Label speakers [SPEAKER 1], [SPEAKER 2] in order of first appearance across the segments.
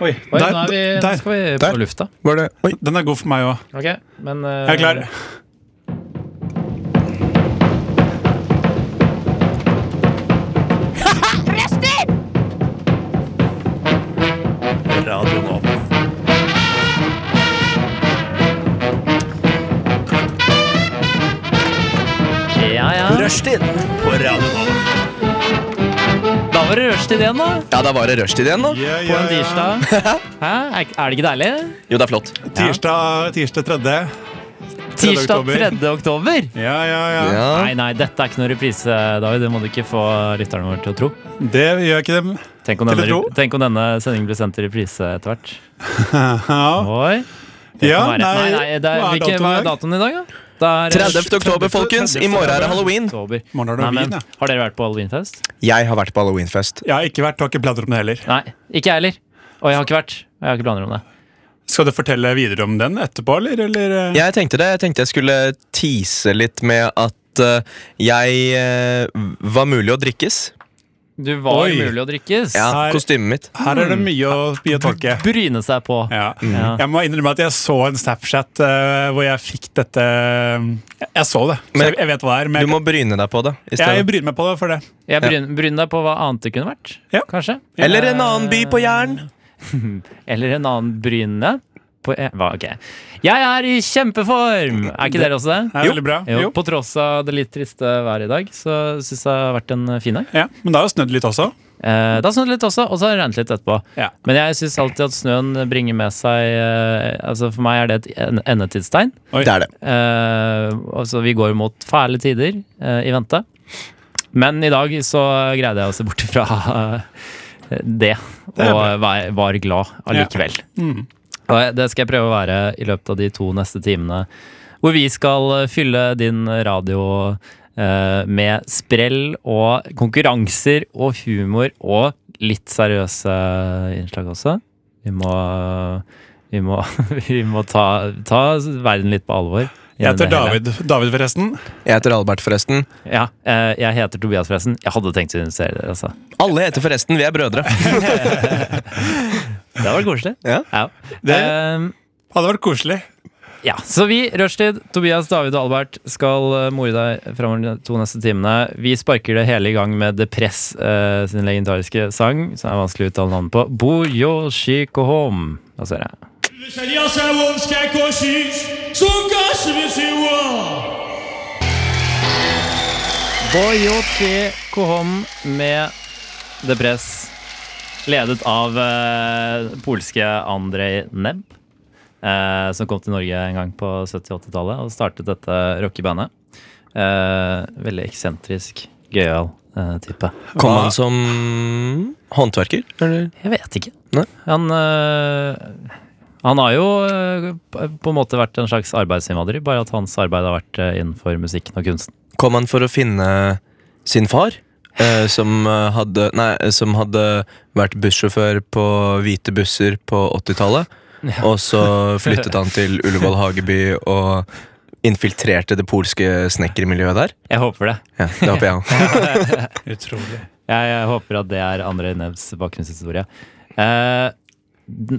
[SPEAKER 1] Oi,
[SPEAKER 2] Oi,
[SPEAKER 3] Der,
[SPEAKER 2] nå, er vi,
[SPEAKER 3] der,
[SPEAKER 2] nå skal vi
[SPEAKER 3] der.
[SPEAKER 2] på lufta.
[SPEAKER 3] Var det Oi, den er god for meg òg.
[SPEAKER 2] Ok, men eh,
[SPEAKER 3] Jeg er klar.
[SPEAKER 4] Radio Nova.
[SPEAKER 2] Ja, ja.
[SPEAKER 4] Rushtid på Radio Nova.
[SPEAKER 2] Da var det rushtid igjen, da.
[SPEAKER 4] Ja, da var det rushtid igjen, da.
[SPEAKER 2] På en tirsdag. Hæ? Er, er det ikke deilig?
[SPEAKER 4] Jo, det er flott.
[SPEAKER 3] Tirsdag, tirsdag tredje.
[SPEAKER 2] Tirsdag
[SPEAKER 3] oktober.
[SPEAKER 2] 3. oktober.
[SPEAKER 3] Ja, ja, ja.
[SPEAKER 4] Ja.
[SPEAKER 2] Nei, nei, dette er ikke noen reprise, David. Det må du ikke få lytterne våre til å tro.
[SPEAKER 3] Det gjør ikke dem.
[SPEAKER 2] Tenk om
[SPEAKER 3] Til å
[SPEAKER 2] denne,
[SPEAKER 3] tro?
[SPEAKER 2] tenk om denne sendingen blir sendt i reprise etter hvert.
[SPEAKER 3] Ja.
[SPEAKER 2] Oi. Det
[SPEAKER 3] Ja,
[SPEAKER 2] kan være.
[SPEAKER 3] nei,
[SPEAKER 2] nei, nei, det er,
[SPEAKER 3] hva er datoen
[SPEAKER 2] hvilken-
[SPEAKER 3] i
[SPEAKER 2] hva er
[SPEAKER 3] dag?
[SPEAKER 2] datoen i dag, da? Det er
[SPEAKER 4] 30. oktober, folkens. I morgen er det halloween.
[SPEAKER 2] oktober.
[SPEAKER 3] Morgen er det
[SPEAKER 2] Nei, men,
[SPEAKER 3] halloween, ja.
[SPEAKER 2] har dere vært på halloweenfest?
[SPEAKER 4] Jeg har vært på halloweenfest.
[SPEAKER 3] Jeg har ikke vært, har ikke planer om det heller.
[SPEAKER 2] Nei, ikke jeg heller. Og jeg har ikke vært. Og jeg har ikke planer om det.
[SPEAKER 3] Skal du fortelle videre om den etterpå, eller? eller? eh?
[SPEAKER 4] Jeg tenkte det. Jeg tenkte jeg skulle tease litt med at eh, jeg eh, var mulig å drikkes.
[SPEAKER 2] Du var
[SPEAKER 3] Oi.
[SPEAKER 2] umulig å drikkes.
[SPEAKER 4] Ja,
[SPEAKER 3] Her-
[SPEAKER 4] kostymet mitt.
[SPEAKER 3] Her er det mye å, mye å tolke.
[SPEAKER 2] Bryne seg på.
[SPEAKER 3] Ja.
[SPEAKER 2] Mm. Ja.
[SPEAKER 3] Jeg må innrømme at jeg så en Snapchat eh, hvor jeg fikk dette eh, Jeg så det, så
[SPEAKER 4] Men-
[SPEAKER 3] jeg, jeg vet hva det er.
[SPEAKER 4] Du
[SPEAKER 3] Men
[SPEAKER 4] må bryne deg på det. i
[SPEAKER 3] jeg, jeg
[SPEAKER 4] stedet.
[SPEAKER 3] bryr meg på det for det.
[SPEAKER 2] Jeg bryne, bryne deg på hva annet det kunne vært.
[SPEAKER 3] Ja.
[SPEAKER 2] Kanskje.
[SPEAKER 4] Eller en annen by på Jæren.
[SPEAKER 2] Eller en annen bryne. På, eh, hva, ok. Jeg er i kjempeform! Er ikke dere også det?
[SPEAKER 3] Det er veldig bra.
[SPEAKER 2] Jo,
[SPEAKER 3] Jo.
[SPEAKER 2] På tross av det litt triste været i dag, så syns jeg det har vært en eh, fin dag.
[SPEAKER 3] Ja. Men det har jo snødd litt også.
[SPEAKER 2] Eh, da snødde det litt også, og så har det regnet litt etterpå.
[SPEAKER 3] Ja.
[SPEAKER 2] Men jeg syns alltid at snøen bringer med seg eh, Altså For meg er det et en- endetidstegn.
[SPEAKER 3] Oi.
[SPEAKER 4] Det er det.
[SPEAKER 2] Eh, altså, vi går mot fæle tider eh, i vente. Men i dag så greide jeg å se bort fra eh, det,
[SPEAKER 3] Det er
[SPEAKER 2] og
[SPEAKER 3] bra.
[SPEAKER 2] var, var glad allikevel.
[SPEAKER 3] Mm.
[SPEAKER 2] Og eh, det skal jeg prøve å være i løpet av de to neste timene, hvor vi skal eh, fylle din radio eh, med sprell og konkurranser og humor og litt seriøse innslag også. Vi må, vi må, vi må ta, ta verden litt på alvor. i
[SPEAKER 3] Jeg heter
[SPEAKER 2] denne hele-
[SPEAKER 3] David, David forresten.
[SPEAKER 4] Jeg heter Albert, forresten.
[SPEAKER 2] Ja, eh, jeg heter Tobias forresten. Jeg hadde tenkt å invitere dere, altså.
[SPEAKER 4] Alle heter forresten. Vi er brødre.
[SPEAKER 2] Det hadde vært koselig.
[SPEAKER 4] Ja.
[SPEAKER 3] Det-
[SPEAKER 2] Ehm,
[SPEAKER 3] Hadde vært koselig.
[SPEAKER 2] ja. Så vi, Rushtid, Tobias, David og Albert, skal eh, more deg framover de to neste timene. Vi sparker det hele i gang med The Press eh, sin legendariske sang, som er vanskelig å uttale navnet på. Boyoshikohom. Da ser jeg. Boyoshi Kohom med The Press, ledet av eh, polske Andrej Nebb, eh, som kom til Norge en gang på 70-80-tallet og startet dette rockebandet. Eh, veldig eksentrisk, gøyal eh, type.
[SPEAKER 4] Kom han som håndverker? Eller?
[SPEAKER 2] Jeg vet ikke.
[SPEAKER 4] Nei.
[SPEAKER 2] Han, øh, han har jo øh, på på en måte vært en slags arbeidsinnvandrer, bare at hans arbeid har vært øh, innenfor musikken og kunsten.
[SPEAKER 4] Kom han for å finne sin far? eh, som, eh, hadde, nei, eh, som hadde vært bussjåfør på hvite busser på 80-tallet. Og så flyttet han til Ullevål Hageby og infiltrerte det polske snekkermiljøet der.
[SPEAKER 2] Jeg håper det.
[SPEAKER 4] Ja, det håper jeg òg.
[SPEAKER 3] Utrolig.
[SPEAKER 2] Jeg, jeg håper at det er André Nevs bakgrunnshistorie. Eh,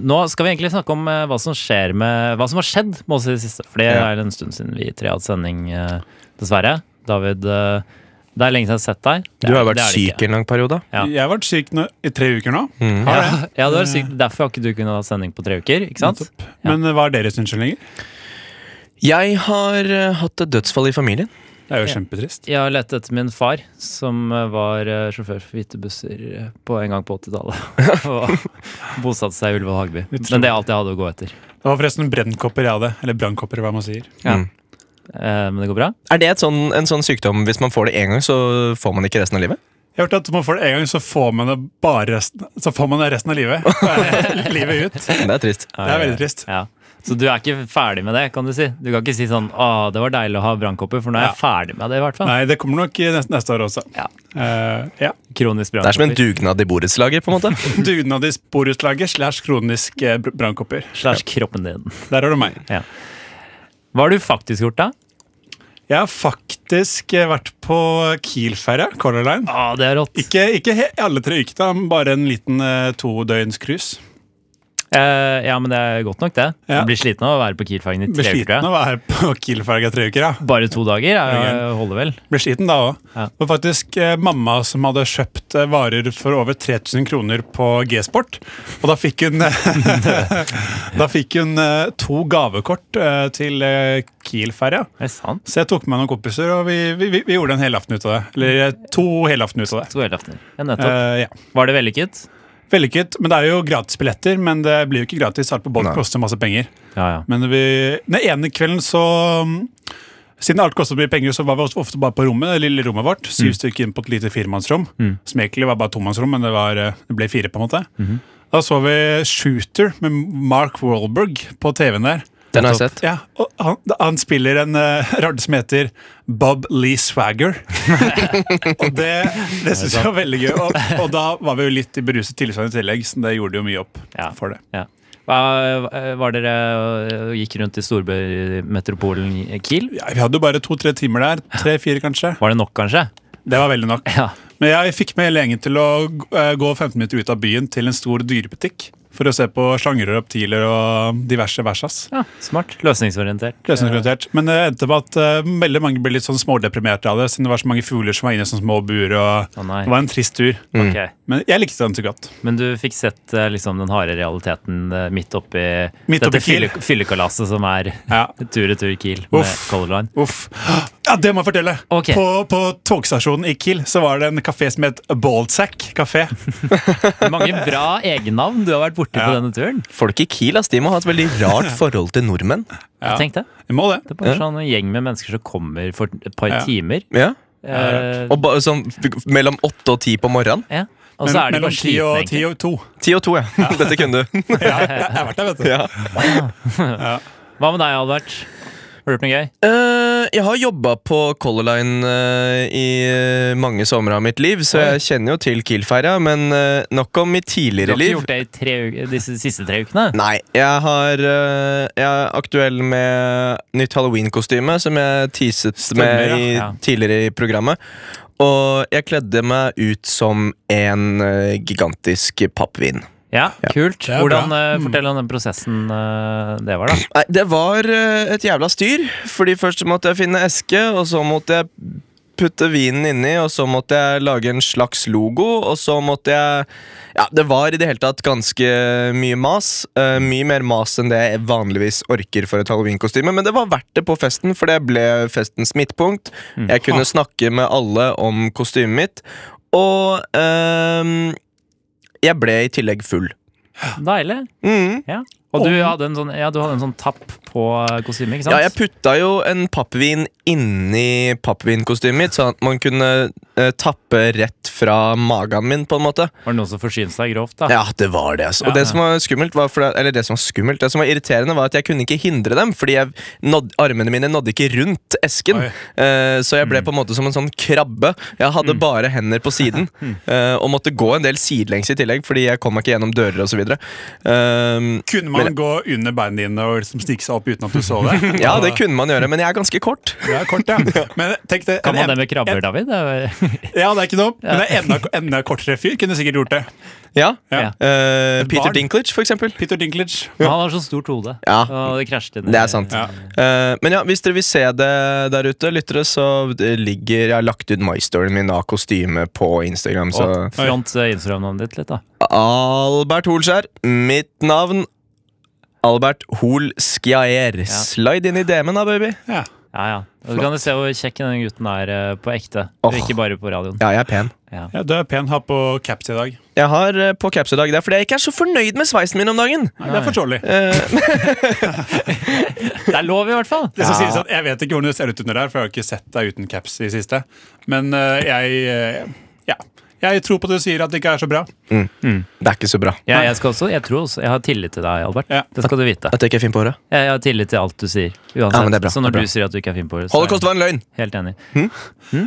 [SPEAKER 2] nå skal vi egentlig snakke om eh, hva som skjer med Hva som har skjedd med oss i det siste. For det
[SPEAKER 4] Ja.
[SPEAKER 2] er en stund siden vi tre hadde sending, eh, dessverre. David, eh, det er lenge siden jeg har sett deg. Det
[SPEAKER 4] Du
[SPEAKER 2] er-
[SPEAKER 4] har vært
[SPEAKER 2] det er det ikke.
[SPEAKER 4] syk en lang periode.
[SPEAKER 2] Ja.
[SPEAKER 3] Jeg har vært syk nå, i tre uker nå.
[SPEAKER 4] Mm.
[SPEAKER 3] Har
[SPEAKER 2] Ja,
[SPEAKER 3] det.
[SPEAKER 2] ja, det var sykt. Derfor har ikke du kunnet ha sending på tre uker. Ikke sant?
[SPEAKER 3] Men eh, hva er deres unnskyldninger?
[SPEAKER 4] Jeg har eh, hatt et dødsfall i familien.
[SPEAKER 3] Det er jo
[SPEAKER 2] Ja.
[SPEAKER 3] kjempetrist.
[SPEAKER 2] Jeg har lett etter min far, som eh, var eh, sjåfør for hvite busser eh, på en gang på 80-tallet. Og bosatte seg i Ulve og Hagby. Men det er alt jeg hadde å gå etter.
[SPEAKER 3] Det var forresten brennkopper jeg hadde. Eller brannkopper, hva man sier.
[SPEAKER 2] Ja.
[SPEAKER 4] Mm.
[SPEAKER 2] Eh, Men det går bra?
[SPEAKER 4] Er det et sånn, en sånn sykdom hvis man får det én gang, så får man ikke resten av livet?
[SPEAKER 3] Jeg har hørt at man får det en gang, så får man det bare resten, så får man det resten av livet. livet ut. Det
[SPEAKER 4] Det er trist.
[SPEAKER 3] er veldig trist.
[SPEAKER 2] Ja. Så du er ikke ferdig med det, kan du si? Du kan ikke si sånn 'Å, det var deilig å ha brannkopper', for nå er jeg ferdig med det, i hvert fall.
[SPEAKER 3] Nei, det kommer nok i neste, neste år også.
[SPEAKER 2] Ja.
[SPEAKER 3] Eh, ja.
[SPEAKER 2] Kronisk
[SPEAKER 4] Det er som en
[SPEAKER 2] brannkopper.
[SPEAKER 4] dugnad i borettslaget, på en måte.
[SPEAKER 3] Dugnad i sporutlaget slash kronisk eh, br- brannkopper.
[SPEAKER 2] Slash kroppen din.
[SPEAKER 3] Der har du meg.
[SPEAKER 2] Hva har du faktisk gjort, da?
[SPEAKER 3] Jeg har faktisk eh, vært på Kiel-ferja, Color Line.
[SPEAKER 2] Å, det er rått.
[SPEAKER 3] Ikke, ikke he alle tre ukene, men bare en liten eh, todøgns cruise.
[SPEAKER 2] Eh, ja, men det er godt nok, det.
[SPEAKER 3] Ja.
[SPEAKER 2] Du blir sliten av å være på Kielfergen i
[SPEAKER 3] Blir
[SPEAKER 2] tre uker.
[SPEAKER 3] sliten av å være på Kielferga tre uker, ja.
[SPEAKER 2] Bare to dager er, holder vel.
[SPEAKER 3] Blir sliten da òg.
[SPEAKER 2] Ja.
[SPEAKER 3] Det var faktisk eh, mamma som hadde kjøpt eh, varer for over 3000 kroner på G-Sport. Og da fikk hun Da fikk hun eh, to gavekort eh, til eh, Kiel-ferja.
[SPEAKER 2] Er det sant?
[SPEAKER 3] Så jeg tok med noen kompiser, og vi, vi, vi- vi gjorde en helaften ut av det. Eller eh, to helaften ut av det.
[SPEAKER 2] To helaftener. Ja, nettopp.
[SPEAKER 3] Eh, ja.
[SPEAKER 2] Var det vellykket?
[SPEAKER 3] Vellykket. Men det er jo gratisbilletter, men det blir jo ikke gratis. Alt på båt
[SPEAKER 4] Nei.
[SPEAKER 3] koster masse penger.
[SPEAKER 2] Ja, ja.
[SPEAKER 3] Men vi, den ene kvelden så mm, Siden alt kostet mye penger, så var vi også ofte bare på rommet, det lille rommet vårt. Syv stykker inn på et lite firemannsrom.
[SPEAKER 2] Mm.
[SPEAKER 3] Som egentlig var bare tomannsrom, men det, var, eh, det ble fire. på en måte Da så vi Shooter med Mark Wahlberg på TV-en der.
[SPEAKER 4] Den har jeg sett.
[SPEAKER 3] Ja, og han, han spiller en uh, radde som heter Bob Lee Swagger. og det, det syns jeg var veldig gøy. Og, og da var vi jo litt i beruset tilstand i tillegg, så det gjorde jo mye opp
[SPEAKER 2] Ja.
[SPEAKER 3] for det.
[SPEAKER 2] ja. Hva- Var dere og gikk rundt i storbymetropolen Kiel?
[SPEAKER 3] Ja, vi hadde jo bare to-tre timer der. Tre-fire, kanskje.
[SPEAKER 2] Var det nok, kanskje?
[SPEAKER 3] Det var veldig nok.
[SPEAKER 2] Ja.
[SPEAKER 3] Men jeg fikk med hele gjengen til å g- eh, gå 15 minutter ut av byen til en stor dyrebutikk for å se på slanger og reptiler og diverse versas.
[SPEAKER 2] ja. Smart. Løsningsorientert.
[SPEAKER 3] Løsningsorientert. Men det endte på at eh, veldig mange ble litt sånn smådeprimerte av det, siden det var så mange fugler som var inne i sånne små bur. og
[SPEAKER 2] Å nei.
[SPEAKER 3] Det var en trist tur.
[SPEAKER 2] Ok.
[SPEAKER 3] Men jeg likte den så godt.
[SPEAKER 2] Men du fikk sett eh, liksom, den harde realiteten eh, midt oppi
[SPEAKER 3] Midt oppi
[SPEAKER 2] dette
[SPEAKER 3] Kiel.
[SPEAKER 2] fylle- fyllekalaset som er
[SPEAKER 3] Ja.
[SPEAKER 2] tur-retur Kiel med
[SPEAKER 3] Uff.
[SPEAKER 2] Color Line.
[SPEAKER 3] Uff. Ja, det må jeg fortelle!
[SPEAKER 2] Ok.
[SPEAKER 3] På, på togstasjonen i Kiel så var det en kafé som het Baldsack kafé.
[SPEAKER 2] Mange bra egennavn du har vært borti på
[SPEAKER 3] Ja.
[SPEAKER 2] denne turen.
[SPEAKER 4] Folk i Kiel ass, de må ha et veldig rart forhold til nordmenn.
[SPEAKER 3] Ja.
[SPEAKER 2] Tenk det.
[SPEAKER 3] Jeg må det.
[SPEAKER 2] Det er bare sånn en gjeng med mennesker som kommer for et par
[SPEAKER 3] Ja.
[SPEAKER 2] timer.
[SPEAKER 4] Ja.
[SPEAKER 2] Eh,
[SPEAKER 4] Og ba, sånn f- mellom åtte og ti på morgenen.
[SPEAKER 2] ja. Og så er de bare
[SPEAKER 3] Mellom ti
[SPEAKER 2] slitne,
[SPEAKER 3] og ti
[SPEAKER 2] egentlig.
[SPEAKER 3] og to.
[SPEAKER 4] Ti og to, ja. Dette kunne du.
[SPEAKER 3] Ja, jeg, jeg har vært der, vet du.
[SPEAKER 4] ja.
[SPEAKER 2] Hva med deg, Albert? Har du gjort noe gøy?
[SPEAKER 4] Eh, jeg har jobba på Color Line eh, i mange somre av mitt liv, så jeg kjenner jo til Kiel-ferja, men eh, nok om mitt
[SPEAKER 2] Du
[SPEAKER 4] tidligere
[SPEAKER 2] har ikke
[SPEAKER 4] liv.
[SPEAKER 2] gjort det i tre, uker- disse siste tre ukene?
[SPEAKER 4] Nei, jeg, har, eh, jeg er aktuell med nytt Halloween-kostyme, som jeg teaset
[SPEAKER 3] Stemmer,
[SPEAKER 4] med i,
[SPEAKER 2] ja. Ja.
[SPEAKER 4] tidligere i programmet. Og jeg kledde meg ut som en eh, gigantisk pappvin.
[SPEAKER 2] Ja, kult.
[SPEAKER 3] er
[SPEAKER 2] Hvordan,
[SPEAKER 3] bra.
[SPEAKER 2] eh, fortell om den prosessen eh, det var, da.
[SPEAKER 4] Nei, det var eh, et jævla styr. Fordi først måtte jeg finne eske, og så måtte jeg putte vinen inni, og så måtte jeg lage en slags logo, og så måtte jeg Ja, det var i det hele tatt ganske mye mas. eh, mye mer mas enn det jeg vanligvis orker for et halloweenkostyme, men det var verdt det på festen, for det ble festens midtpunkt. Jeg kunne snakke med alle om kostymet mitt, og ehm, jeg ble i tillegg full.
[SPEAKER 2] Deilig.
[SPEAKER 4] Mm.
[SPEAKER 2] Ja. Og du
[SPEAKER 3] Om-
[SPEAKER 2] hadde, en sånn, ja, du hadde en sånn tapp på eh, kostymet, ikke sant?
[SPEAKER 4] Ja, jeg putta jo en pappvin inni pappvinkostymet mitt, sånn at man kunne eh, tappe rett fra magen min, på en måte.
[SPEAKER 2] Var det noen som forsynte seg grovt, da?
[SPEAKER 4] Ja, det var det, altså.
[SPEAKER 2] Ja.
[SPEAKER 4] Og det som var skummelt, var for, eller det som var skummelt, det som var irriterende, var at jeg kunne ikke hindre dem, fordi jeg nådd, armene mine nådde ikke rundt esken.
[SPEAKER 3] Oi.
[SPEAKER 4] Eh, så jeg ble på en måte som en sånn krabbe. Jeg hadde bare hender på siden, eh, og måtte gå en del sidelengs i tillegg, fordi jeg kom meg ikke gjennom dører osv. Um,
[SPEAKER 3] Kunne man gå under beina dine og liksom snike seg opp uten at du så det?
[SPEAKER 4] ja, det kunne man gjøre, men jeg er ganske kort.
[SPEAKER 3] Det er kort, ja. Men tenk det,
[SPEAKER 2] Kan man
[SPEAKER 3] en-
[SPEAKER 2] det med krabber,
[SPEAKER 3] en-
[SPEAKER 2] David? Det er-
[SPEAKER 3] Ja, det er ikke noe. Men det er enda, enda kortere fyr kunne sikkert gjort det.
[SPEAKER 4] Ja.
[SPEAKER 3] Ja.
[SPEAKER 2] Ja.
[SPEAKER 4] Eh, Peter
[SPEAKER 3] barn.
[SPEAKER 4] Dinklage, for eksempel.
[SPEAKER 3] Peter Dinklage.
[SPEAKER 2] Han har så stort hode.
[SPEAKER 4] Ja.
[SPEAKER 2] Og det krasjet inn i-
[SPEAKER 4] Det er sant.
[SPEAKER 3] Ja.
[SPEAKER 4] Eh, men ja, hvis dere vil se det der ute, lyttere, så det ligger Jeg har lagt ut mystoryen min av kostyme på Instagram, så
[SPEAKER 2] Og front eh, Instagram-navnet ditt litt, da.
[SPEAKER 4] Albert Holskjær. Mitt navn Albert Hol Skiaer. Slide inn i DM-en, da, baby.
[SPEAKER 3] Ja.
[SPEAKER 2] Ja, ja. Og du kan jo se hvor kjekk den gutten er eh, på ekte, og
[SPEAKER 4] Åh.
[SPEAKER 2] ikke bare på radioen.
[SPEAKER 4] Ja, jeg er pen.
[SPEAKER 3] ja, du er pen. Ha på caps i dag.
[SPEAKER 4] Jeg har eh, på caps i dag. Det er fordi jeg ikke er så fornøyd med sveisen min om dagen.
[SPEAKER 3] Nei, det er forståelig.
[SPEAKER 4] Eh,
[SPEAKER 2] Det er lov, i hvert fall!
[SPEAKER 3] Det skal sies at Jeg vet ikke hvordan du ser ut under der, for jeg har ikke sett deg uten caps i siste. Men eh, jeg eh, Ja. Jeg tror på det du sier, at det ikke er så bra.
[SPEAKER 4] det er ikke så bra.
[SPEAKER 2] Ja, jeg, skal også, jeg tror også Jeg har tillit til deg, Albert.
[SPEAKER 3] Ja.
[SPEAKER 2] Det skal du vite.
[SPEAKER 4] At jeg ikke er fin på håret.
[SPEAKER 2] Jeg, jeg har tillit til alt du sier. Uansett.
[SPEAKER 4] Ja, men det er bra,
[SPEAKER 2] så når
[SPEAKER 4] det er bra.
[SPEAKER 2] du sier at du ikke er fin på det, så er
[SPEAKER 4] Holocaust var en løgn.
[SPEAKER 2] jeg helt enig.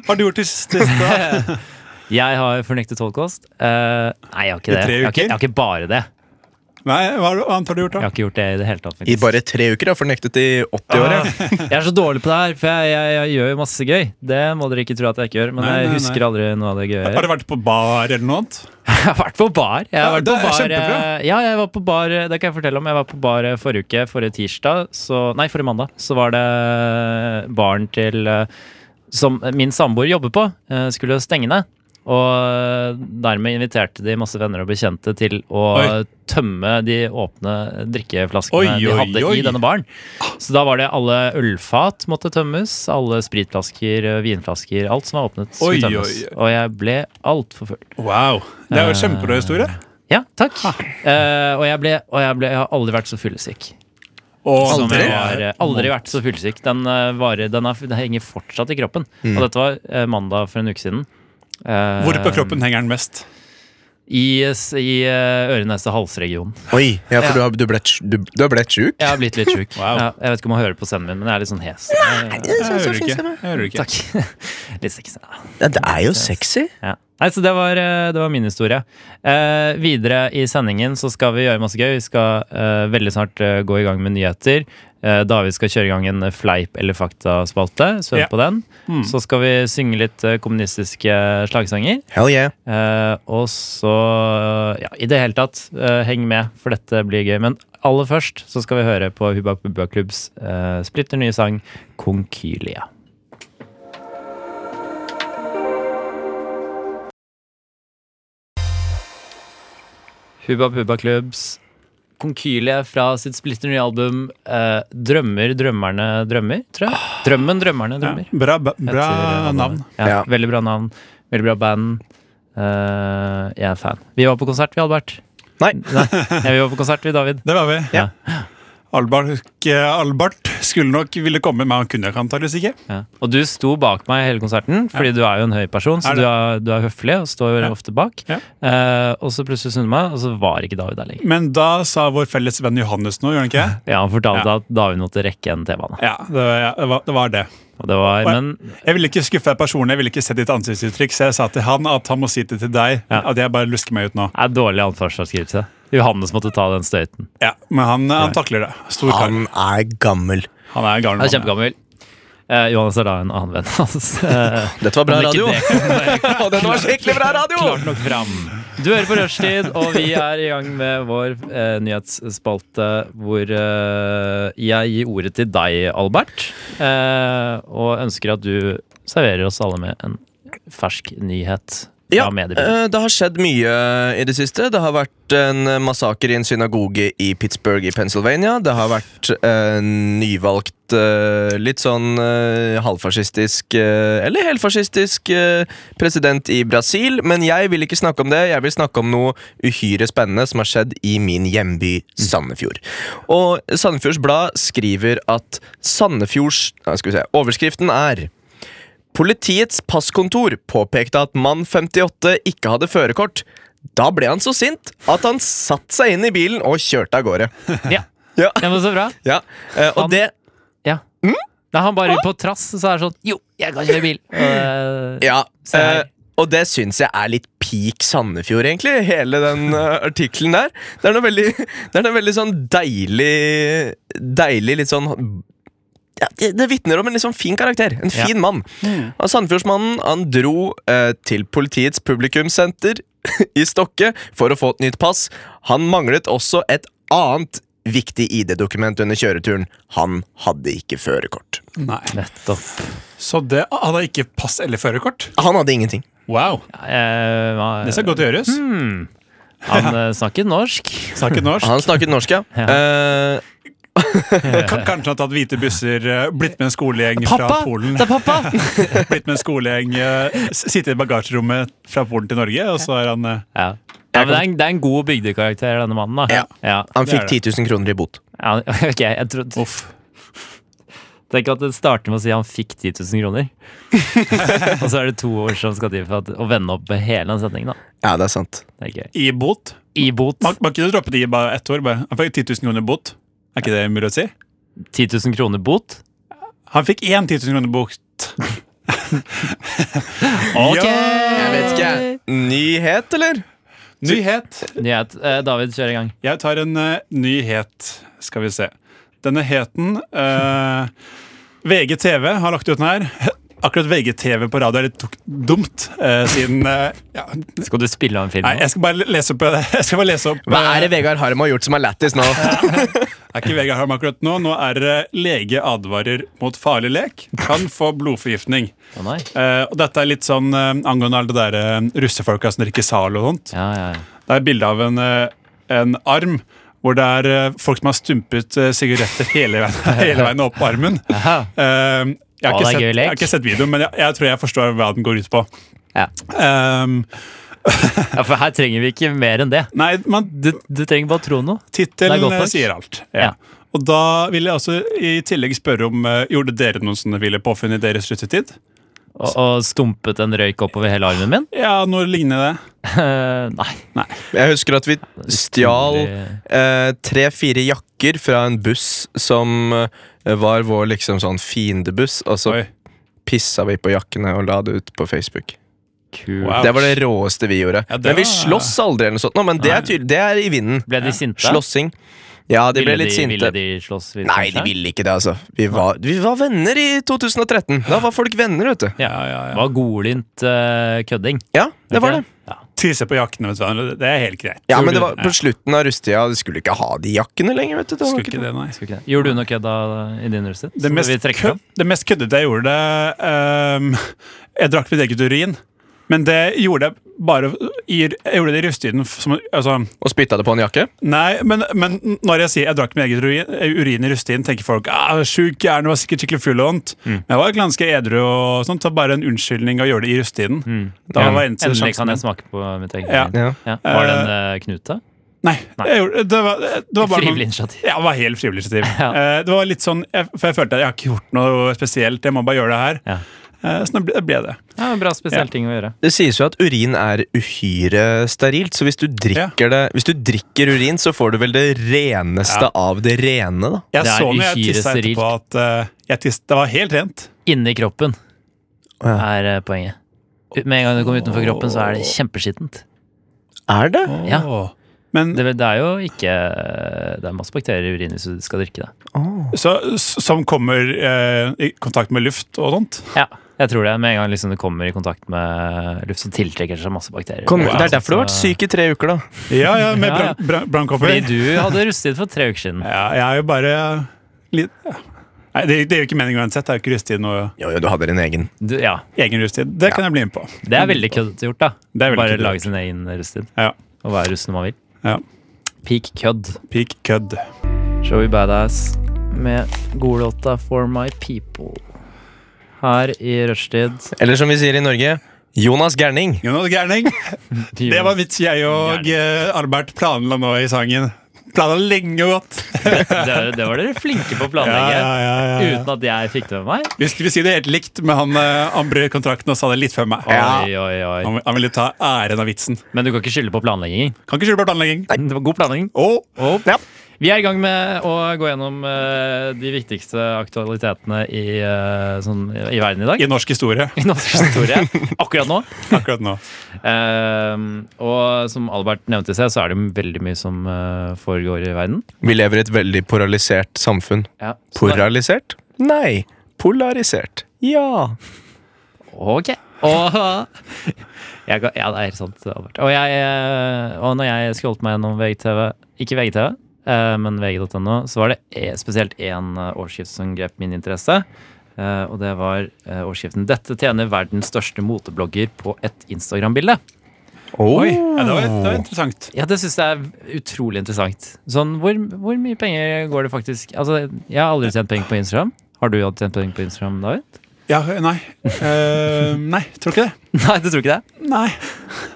[SPEAKER 3] Har du gjort det siste? da?
[SPEAKER 2] Jeg har fornektet holocaust. Eh, nei, jeg har ikke det.
[SPEAKER 3] tre
[SPEAKER 2] Jeg har
[SPEAKER 3] uker?
[SPEAKER 2] ikke, jeg har ikke bare det.
[SPEAKER 3] Nei, hva har du- annet har du gjort,
[SPEAKER 2] Jeg
[SPEAKER 3] da?
[SPEAKER 2] har ikke gjort det i det hele tatt.
[SPEAKER 4] I
[SPEAKER 2] faktisk.
[SPEAKER 4] bare tre uker, da, for nektet i 80 år. Ja.
[SPEAKER 2] Jeg er så dårlig på det her, for jeg, jeg, jeg gjør jo masse gøy. Det må dere ikke tro at jeg ikke gjør, men
[SPEAKER 3] Nei, nei,
[SPEAKER 2] jeg
[SPEAKER 3] nei.
[SPEAKER 2] husker aldri noe av det gøye.
[SPEAKER 3] Har du vært på bar eller noe annet?
[SPEAKER 2] Jeg har vært på bar. Jeg har
[SPEAKER 3] Ja,
[SPEAKER 2] vært
[SPEAKER 3] det
[SPEAKER 2] på
[SPEAKER 3] er
[SPEAKER 2] bar
[SPEAKER 3] kjempebra.
[SPEAKER 2] eh, ja, jeg var på bar eh, Det kan jeg fortelle om. Jeg var på bar eh, forrige uke. Forrige tirsdag, så Nei, forrige mandag. Så var det baren til eh, Som min samboer jobber på, eh, skulle stenge ned. Og eh, dermed inviterte de masse venner og bekjente til å
[SPEAKER 3] Oi.
[SPEAKER 2] tømme de åpne drikkeflaskene
[SPEAKER 3] Oi,
[SPEAKER 2] de
[SPEAKER 3] oi,
[SPEAKER 2] hadde
[SPEAKER 3] oi.
[SPEAKER 2] i denne baren. Så da var det alle ølfat måtte tømmes. Alle spritflasker, eh, vinflasker, alt som var åpnet, skulle
[SPEAKER 3] Oi, oi,
[SPEAKER 2] tømmes. Og jeg ble altfor full.
[SPEAKER 3] Wow. Det
[SPEAKER 2] Eh,
[SPEAKER 3] er jo en kjempebra historie.
[SPEAKER 2] Ja, takk. Eh, og, jeg ble, og jeg ble Jeg har aldri vært så fyllesyk.
[SPEAKER 3] Og,
[SPEAKER 2] Som
[SPEAKER 4] Aldri?
[SPEAKER 2] jeg Var, eh, aldri vært så fyllesyk. Den, eh, varer, den, er, den henger fortsatt i kroppen. Og dette var eh, mandag for en uke siden. Eh,
[SPEAKER 3] Mm. Hvor på kroppen henger den mest?
[SPEAKER 2] I, s- i eh, øre-nese-hals-regionen.
[SPEAKER 4] Oi, ja, for du har, du ble, sj- du, du har blitt sjuk?
[SPEAKER 2] Jeg har blitt litt sjuk.
[SPEAKER 3] Wow.
[SPEAKER 2] ja, jeg vet ikke om man hører på stemmen min, men jeg er litt sånn hes. Eh,
[SPEAKER 3] Jeg hører ikke. Jeg hører ikke.
[SPEAKER 2] Takk. litt sexy. da.
[SPEAKER 4] Ja, det er jo sexy.
[SPEAKER 2] Ja. Nei, så det var, eh, det var min historie. Eh, videre i sendingen så skal vi gjøre masse gøy. Vi skal eh, veldig snart eh, gå i gang med nyheter. Eh, David skal kjøre i gang en eh, fleip- eller faktaspalte. Svøm
[SPEAKER 3] Ja.
[SPEAKER 2] på den. Så skal vi synge litt eh, kommunistiske slagsanger.
[SPEAKER 4] Hell yeah.
[SPEAKER 2] Eh, og så Ja, i det hele tatt, eh, heng med, for dette blir gøy. Men aller først så skal vi høre på Hubba Bubba Klubbs eh, splitter nye sang Konkylia. Hubba Bubba Klubbs Konkylie fra sitt splitter nye album eh, Drømmer drømmerne drømmer, tror jeg. Drømmen drømmerne
[SPEAKER 3] Ja.
[SPEAKER 2] drømmer.
[SPEAKER 3] Bra, ba- bra
[SPEAKER 2] Etter, eh,
[SPEAKER 3] navn.
[SPEAKER 2] Ja,
[SPEAKER 4] Ja.
[SPEAKER 2] Veldig bra navn. Veldig bra band. Eh, jeg er fan. Vi var på konsert, vi, Albert.
[SPEAKER 4] Nei.
[SPEAKER 2] Nei, ja, vi var på konsert, vi, David.
[SPEAKER 3] Det var vi.
[SPEAKER 2] Ja.
[SPEAKER 3] Albert, eh, Albert skulle nok ville komme, men han kunne ikke antakeligvis ikke.
[SPEAKER 2] Ja. Og du sto bak meg hele konserten, fordi du er jo en høy person, så
[SPEAKER 3] Er
[SPEAKER 2] du
[SPEAKER 3] det?
[SPEAKER 2] er, du er høflig og står
[SPEAKER 3] Ja.
[SPEAKER 2] ofte bak.
[SPEAKER 3] Ja.
[SPEAKER 2] Eh, og så plutselig snudde jeg meg, og så var ikke David der lenger.
[SPEAKER 3] Men da sa vår felles venn Johannes noe, gjorde han ikke?
[SPEAKER 2] Ja, Han fortalte
[SPEAKER 3] Ja.
[SPEAKER 2] at David måtte rekke en T-bane.
[SPEAKER 3] Ja, det var, ja, det var, det, var det.
[SPEAKER 2] Og det var,
[SPEAKER 3] Oi.
[SPEAKER 2] men
[SPEAKER 3] Jeg ville ikke skuffe deg personlig, jeg ville ikke se ditt ansiktsuttrykk, så jeg sa til han at han må si det til deg.
[SPEAKER 2] Ja.
[SPEAKER 3] At jeg bare lusker meg ut nå.
[SPEAKER 2] det er dårlig ansvarsavskrivelse. Johannes måtte ta den støyten.
[SPEAKER 3] Ja, Men han, han takler det. Stor kar.
[SPEAKER 4] Han er gammel.
[SPEAKER 3] Han er galen. mann,
[SPEAKER 2] Han er
[SPEAKER 3] ja.
[SPEAKER 2] kjempegammel. Eh, Johannes er da en annen venn hans. Eh,
[SPEAKER 4] Dette var bra
[SPEAKER 2] Men ikke
[SPEAKER 4] radio.
[SPEAKER 2] det
[SPEAKER 4] Og den var skikkelig bra radio!
[SPEAKER 2] Klart nok fram. Du hører på Rushtid, og vi er i gang med vår eh, nyhetsspalte hvor eh, jeg gir ordet til deg, Albert, eh, og ønsker at du serverer oss alle med en fersk nyhet fra
[SPEAKER 4] Ja,
[SPEAKER 2] mediebildet.
[SPEAKER 4] eh, det har skjedd mye i det siste. Det har vært en eh, massaker i en synagoge i Pittsburgh i Pennsylvania. Det har vært en nyvalgt, eh, litt sånn eh, halvfascistisk eh, eller helfascistisk eh, president i Brasil. Men jeg vil ikke snakke om det. Jeg vil snakke om noe uhyre spennende som har skjedd i min hjemby Sandefjord. Og Sandefjords Blad skriver at Sandefjords ja, Skal vi se. Overskriften er Politiets passkontor påpekte at mann 58 ikke hadde førerkort. Da ble han så sint at han satte seg inn i bilen og kjørte av gårde.
[SPEAKER 2] Ja.
[SPEAKER 4] eh, Ja. Mm?
[SPEAKER 2] Det var så bra.
[SPEAKER 4] Ja, eh,
[SPEAKER 2] Han-
[SPEAKER 4] Og det
[SPEAKER 2] Ja. Nei, han bare på trass så er det sånn Jo, jeg kan kjøre bil. Og, eh,
[SPEAKER 4] Ja,
[SPEAKER 2] Se her.
[SPEAKER 4] eh, og det syns jeg er litt peak Sandefjord, egentlig, hele den uh, artikkelen der. Det er noe veldig, det er noe veldig sånn deilig Deilig litt sånn ja, det, det vitner om en liksom fin karakter. En fin mann.
[SPEAKER 2] Mm.
[SPEAKER 4] Og Sandefjordsmannen han dro eh, til politiets publikumssenter i Stokke for å få et nytt pass. Han manglet også et annet viktig ID-dokument under kjøreturen. Han hadde ikke førerkort.
[SPEAKER 3] Nei.
[SPEAKER 2] Nettopp.
[SPEAKER 3] Så det han har ikke pass eller førerkort?
[SPEAKER 4] Han hadde ingenting.
[SPEAKER 3] Wow.
[SPEAKER 2] Eh,
[SPEAKER 3] Det skal godt gjøres.
[SPEAKER 2] han eh, snakket norsk.
[SPEAKER 3] Snakket norsk.
[SPEAKER 4] Han snakket norsk, ja.
[SPEAKER 2] Ja.
[SPEAKER 4] Eh,
[SPEAKER 3] Kan, kanskje han har tatt hvite busser, eh, blitt med en skolegjeng fra
[SPEAKER 2] Pappa!
[SPEAKER 3] Polen.
[SPEAKER 2] Det er pappa!
[SPEAKER 3] Blitt med en skolegjeng, eh, s- Sitte i bagasjerommet fra Polen til Norge, og så er han eh,
[SPEAKER 2] Ja. Ja, men det, er en, det er en god bygdekarakter, denne mannen. da
[SPEAKER 4] Ja.
[SPEAKER 2] Ja.
[SPEAKER 4] Han
[SPEAKER 3] Det
[SPEAKER 4] fikk
[SPEAKER 3] er
[SPEAKER 4] 10 000 kroner i bot.
[SPEAKER 2] Ja, ok, jeg trodde
[SPEAKER 3] Uff.
[SPEAKER 2] Tenk at det starter med å si han fikk 10 000 kroner. og så er det to år som skal til for at, å vende opp hele den setningen. da
[SPEAKER 4] Ja, det er sant.
[SPEAKER 2] Det er gøy.
[SPEAKER 3] I bot?
[SPEAKER 2] I bot.
[SPEAKER 3] Man, man kunne droppet det i bare ett år. Bare. Han fikk 10 000 kroner bot. Er ikke det mulig å si?
[SPEAKER 2] 10 000 kroner bot.
[SPEAKER 3] Han fikk én 10 000 kroner bot.
[SPEAKER 2] Ok!
[SPEAKER 3] Ja!
[SPEAKER 4] Jeg vet ikke. Eh. Nyhet, eller?
[SPEAKER 3] Nyhet.
[SPEAKER 2] Nyhet. Eh, David, kjør i gang.
[SPEAKER 3] Jeg tar en eh, nyhet. Skal vi se. Denne heten eh, VGTV har lagt ut den her. Akkurat VGTV på radio er litt tok- dumt, eh, siden eh, ja,
[SPEAKER 2] Skal du spille av en film?
[SPEAKER 3] Nei, jeg skal bare lese opp eh, Jeg skal bare lese opp
[SPEAKER 4] Hva
[SPEAKER 3] eh,
[SPEAKER 4] er det Vegard Harm har gjort som er lættis nå?
[SPEAKER 3] Det er ikke Vegard Harm akkurat nå. Nå er det lege advarer mot farlig lek. Kan få blodforgiftning.
[SPEAKER 2] Å, nei.
[SPEAKER 3] Eh, og dette er litt sånn eh, angående alle det der eh, russefolka som drikker Zalo og sånt.
[SPEAKER 2] Ja, ja, ja.
[SPEAKER 3] Det er bilde av en, eh, en arm hvor det er eh, folk som har stumpet eh, sigaretter hele veien, hele veien opp armen.
[SPEAKER 2] Aha.
[SPEAKER 3] Eh, jeg, har
[SPEAKER 2] Å,
[SPEAKER 3] ikke
[SPEAKER 2] det er
[SPEAKER 3] sett,
[SPEAKER 2] gøy lek.
[SPEAKER 3] jeg har ikke sett videoen, men jeg, jeg tror jeg forstår hva den går ut på.
[SPEAKER 2] Ja.
[SPEAKER 3] Um,
[SPEAKER 2] ja, for her trenger vi ikke mer enn det.
[SPEAKER 3] nei, man
[SPEAKER 2] Du, du trenger bare tro noe. Det er
[SPEAKER 3] Tittelen
[SPEAKER 2] godt nok.
[SPEAKER 3] eh, sier alt.
[SPEAKER 2] Ja.
[SPEAKER 3] Og da vil jeg også i tillegg spørre om eh, Gjorde dere noen sånne ville påfunn i deres russetid?
[SPEAKER 2] Og, og stumpet en røyk oppover hele armen min?
[SPEAKER 3] Ja, noe lignende det.
[SPEAKER 2] Eh, nei.
[SPEAKER 4] Jeg husker at vi stjal eh, tre-fire jakker fra en buss som eh, var vår liksom sånn fiendebuss, og så
[SPEAKER 3] Oi.
[SPEAKER 4] pissa vi på jakkene og la det ut på Facebook.
[SPEAKER 2] Kul.
[SPEAKER 3] Wow.
[SPEAKER 4] Det var det råeste vi gjorde.
[SPEAKER 3] Ja, det
[SPEAKER 4] men vi
[SPEAKER 3] var-
[SPEAKER 4] sloss aldri, eller noe sånt. Nå, men det er, tydelig, det er i vinden.
[SPEAKER 2] Ble de sinte?
[SPEAKER 4] Slåssing. Ja, de ble
[SPEAKER 2] Ville
[SPEAKER 4] litt
[SPEAKER 2] Ville
[SPEAKER 4] sinte.
[SPEAKER 2] de slåss? litt,
[SPEAKER 4] Nei, de
[SPEAKER 2] kanskje?
[SPEAKER 4] ville ikke det, altså. Vi var, vi var venner i 2013. Da var folk venner, vet du.
[SPEAKER 2] Ja.
[SPEAKER 3] Ja, ja, ja.
[SPEAKER 2] Det var godlynt eh, kødding.
[SPEAKER 4] Ja, det var det.
[SPEAKER 2] Ja.
[SPEAKER 3] Tisse på jakkene, vet du. hva. Det er helt greit.
[SPEAKER 4] Ja,
[SPEAKER 3] Gjorde
[SPEAKER 4] men det
[SPEAKER 3] du
[SPEAKER 4] var på slutten av rusttida. Du skulle ikke ha de jakkene lenger, vet du. Det var
[SPEAKER 3] Skulle
[SPEAKER 4] ikke
[SPEAKER 3] ikke det, nei.
[SPEAKER 2] Skulle ikke det. Gjorde du noe kødda i din russet?
[SPEAKER 3] Det mest, kød, det mest køddete jeg gjorde, det ehm, Jeg drakk mitt eget urin. Men det gjorde jeg bare i, Jeg gjorde det i russetiden f- som altså,
[SPEAKER 4] Og spytta det på en jakke?
[SPEAKER 3] Nei, men, men når jeg sier jeg drakk min egen urin, urin i russetiden, tenker folk ah, sjuk gjerne, var sikkert skikkelig full og vondt.
[SPEAKER 2] Mm.
[SPEAKER 3] Men jeg var ganske edru og sånt, så bare en unnskyldning å gjøre det i russetiden. Da
[SPEAKER 2] Mm. Ja.
[SPEAKER 3] var eneste
[SPEAKER 2] Endelig
[SPEAKER 3] sjansen
[SPEAKER 2] kan jeg
[SPEAKER 3] min.
[SPEAKER 2] smake på mitt eget.
[SPEAKER 3] Ja.
[SPEAKER 2] vin.
[SPEAKER 4] Ja.
[SPEAKER 2] Ja. Var det en eh, knute?
[SPEAKER 3] Nei, jeg gjorde, det var, det var bare
[SPEAKER 2] Frivillig
[SPEAKER 3] noen,
[SPEAKER 2] initiativ.
[SPEAKER 3] ja, det var helt frivillig initiativ.
[SPEAKER 2] Ja.
[SPEAKER 3] Eh, Det var litt sånn, jeg, for jeg følte at jeg har ikke gjort noe spesielt, jeg må bare gjøre det her.
[SPEAKER 2] Ja.
[SPEAKER 3] Eh, Så da ble, det ble det.
[SPEAKER 2] Ja, bra spesiell
[SPEAKER 3] Ja.
[SPEAKER 2] ting å gjøre.
[SPEAKER 4] Det sies jo at urin er uhyre sterilt, så hvis du drikker, det, hvis du drikker urin, så får du vel det reneste
[SPEAKER 3] Ja.
[SPEAKER 4] av det rene, da.
[SPEAKER 3] Jeg
[SPEAKER 2] Det er
[SPEAKER 3] så når jeg
[SPEAKER 2] uhyre
[SPEAKER 3] tissa
[SPEAKER 2] sterilt.
[SPEAKER 3] etterpå at eh, jeg tissa, det var helt rent.
[SPEAKER 2] Inni kroppen
[SPEAKER 4] Å, ja.
[SPEAKER 2] er eh, poenget. Med en gang du kommer utenfor kroppen, så er det kjempeskittent.
[SPEAKER 4] Er det?
[SPEAKER 2] Ja.
[SPEAKER 3] Åh. Men
[SPEAKER 2] Det, det er jo ikke eh, Det er masse bakterier i urinen hvis du skal drikke det.
[SPEAKER 3] så, som kommer eh, i kontakt med luft og sånt.
[SPEAKER 2] Ja, jeg tror det. Med en gang liksom du kommer i kontakt med luft, så tiltrekker det seg masse bakterier.
[SPEAKER 4] Kom,
[SPEAKER 2] Wow.
[SPEAKER 4] Det er derfor du har vært
[SPEAKER 2] altså, Så-
[SPEAKER 4] syk i tre uker, da.
[SPEAKER 3] Ja, ja, med
[SPEAKER 2] Ja, ja.
[SPEAKER 3] bran- bran- brannkopper.
[SPEAKER 2] Fordi du hadde rustet for tre uker siden.
[SPEAKER 3] Ja, jeg er jo bare litt ja. Nei, det, det er jo ikke meningen uansett. Det er jo ikke rusttid noe
[SPEAKER 4] Jo, jo, du hadde din egen.
[SPEAKER 2] Du, ja,
[SPEAKER 3] egen rusttid. Det kan jeg bli med på.
[SPEAKER 2] Det er veldig køddete gjort, da.
[SPEAKER 3] Det er veldig
[SPEAKER 2] Bare
[SPEAKER 3] køddete
[SPEAKER 2] lage sin egen russetid.
[SPEAKER 3] Ja.
[SPEAKER 2] Og være russen når man vil.
[SPEAKER 3] ja.
[SPEAKER 2] Peak kødd.
[SPEAKER 3] Peak kødd.
[SPEAKER 2] Joey Badass med godlåta For My People. Her i rushtid.
[SPEAKER 4] Eller som vi sier i Norge, Jonas Gerning.
[SPEAKER 3] Jonas Gærning. Det var vits jeg og eh, Albert planla nå i sangen. Planla lenge og godt.
[SPEAKER 2] det, det var dere flinke på å planlegge.
[SPEAKER 3] ja,
[SPEAKER 2] Uten at jeg fikk det med meg.
[SPEAKER 3] Vi skulle si det helt likt, men han, eh, han brøt kontrakten og sa det litt før meg.
[SPEAKER 2] Oi, oi, oi.
[SPEAKER 3] Han, han ville ta æren av vitsen.
[SPEAKER 2] Men du kan ikke skylde på planleggingen.
[SPEAKER 3] Kan ikke skylde på planlegging.
[SPEAKER 2] Det var god planlegging.
[SPEAKER 3] Og
[SPEAKER 2] Og
[SPEAKER 4] Ja.
[SPEAKER 2] Vi er i gang med å gå gjennom eh, de viktigste aktualitetene i, eh, sånn, i verden i dag.
[SPEAKER 3] i norsk historie
[SPEAKER 2] I norsk historie. Akkurat nå.
[SPEAKER 3] akkurat nå.
[SPEAKER 2] Ehm, og som Albert nevnte i seg, så er det jo veldig mye som eh, foregår i verden.
[SPEAKER 4] Vi lever i et veldig polarisert samfunn.
[SPEAKER 2] Så da-
[SPEAKER 4] Polarisert? Nei. Polarisert. Ja.
[SPEAKER 2] Ok. Og jeg, ga- ja, det er helt sant, Albert. Og, jeg, eh, og når jeg scrollet meg gjennom VGTV, ikke VGTV, eh, men vg.no, så var det e- spesielt én eh, overskrift som grep min interesse. Eh, og det var eh, overskriften 'Dette tjener verdens største moteblogger på et Instagram-bilde'.
[SPEAKER 3] Oi, ja, det, var, det var interessant.
[SPEAKER 2] Ja, det syns jeg er utrolig interessant. Sånn, hvor, hvor mye penger går det faktisk Altså, jeg har aldri tjent penger på Instagram. Har du hatt tjent penger på Instagram, David?
[SPEAKER 3] Ja, nei. Eh, nei, tror ikke det.
[SPEAKER 2] Nei, du tror ikke det?
[SPEAKER 3] Nei.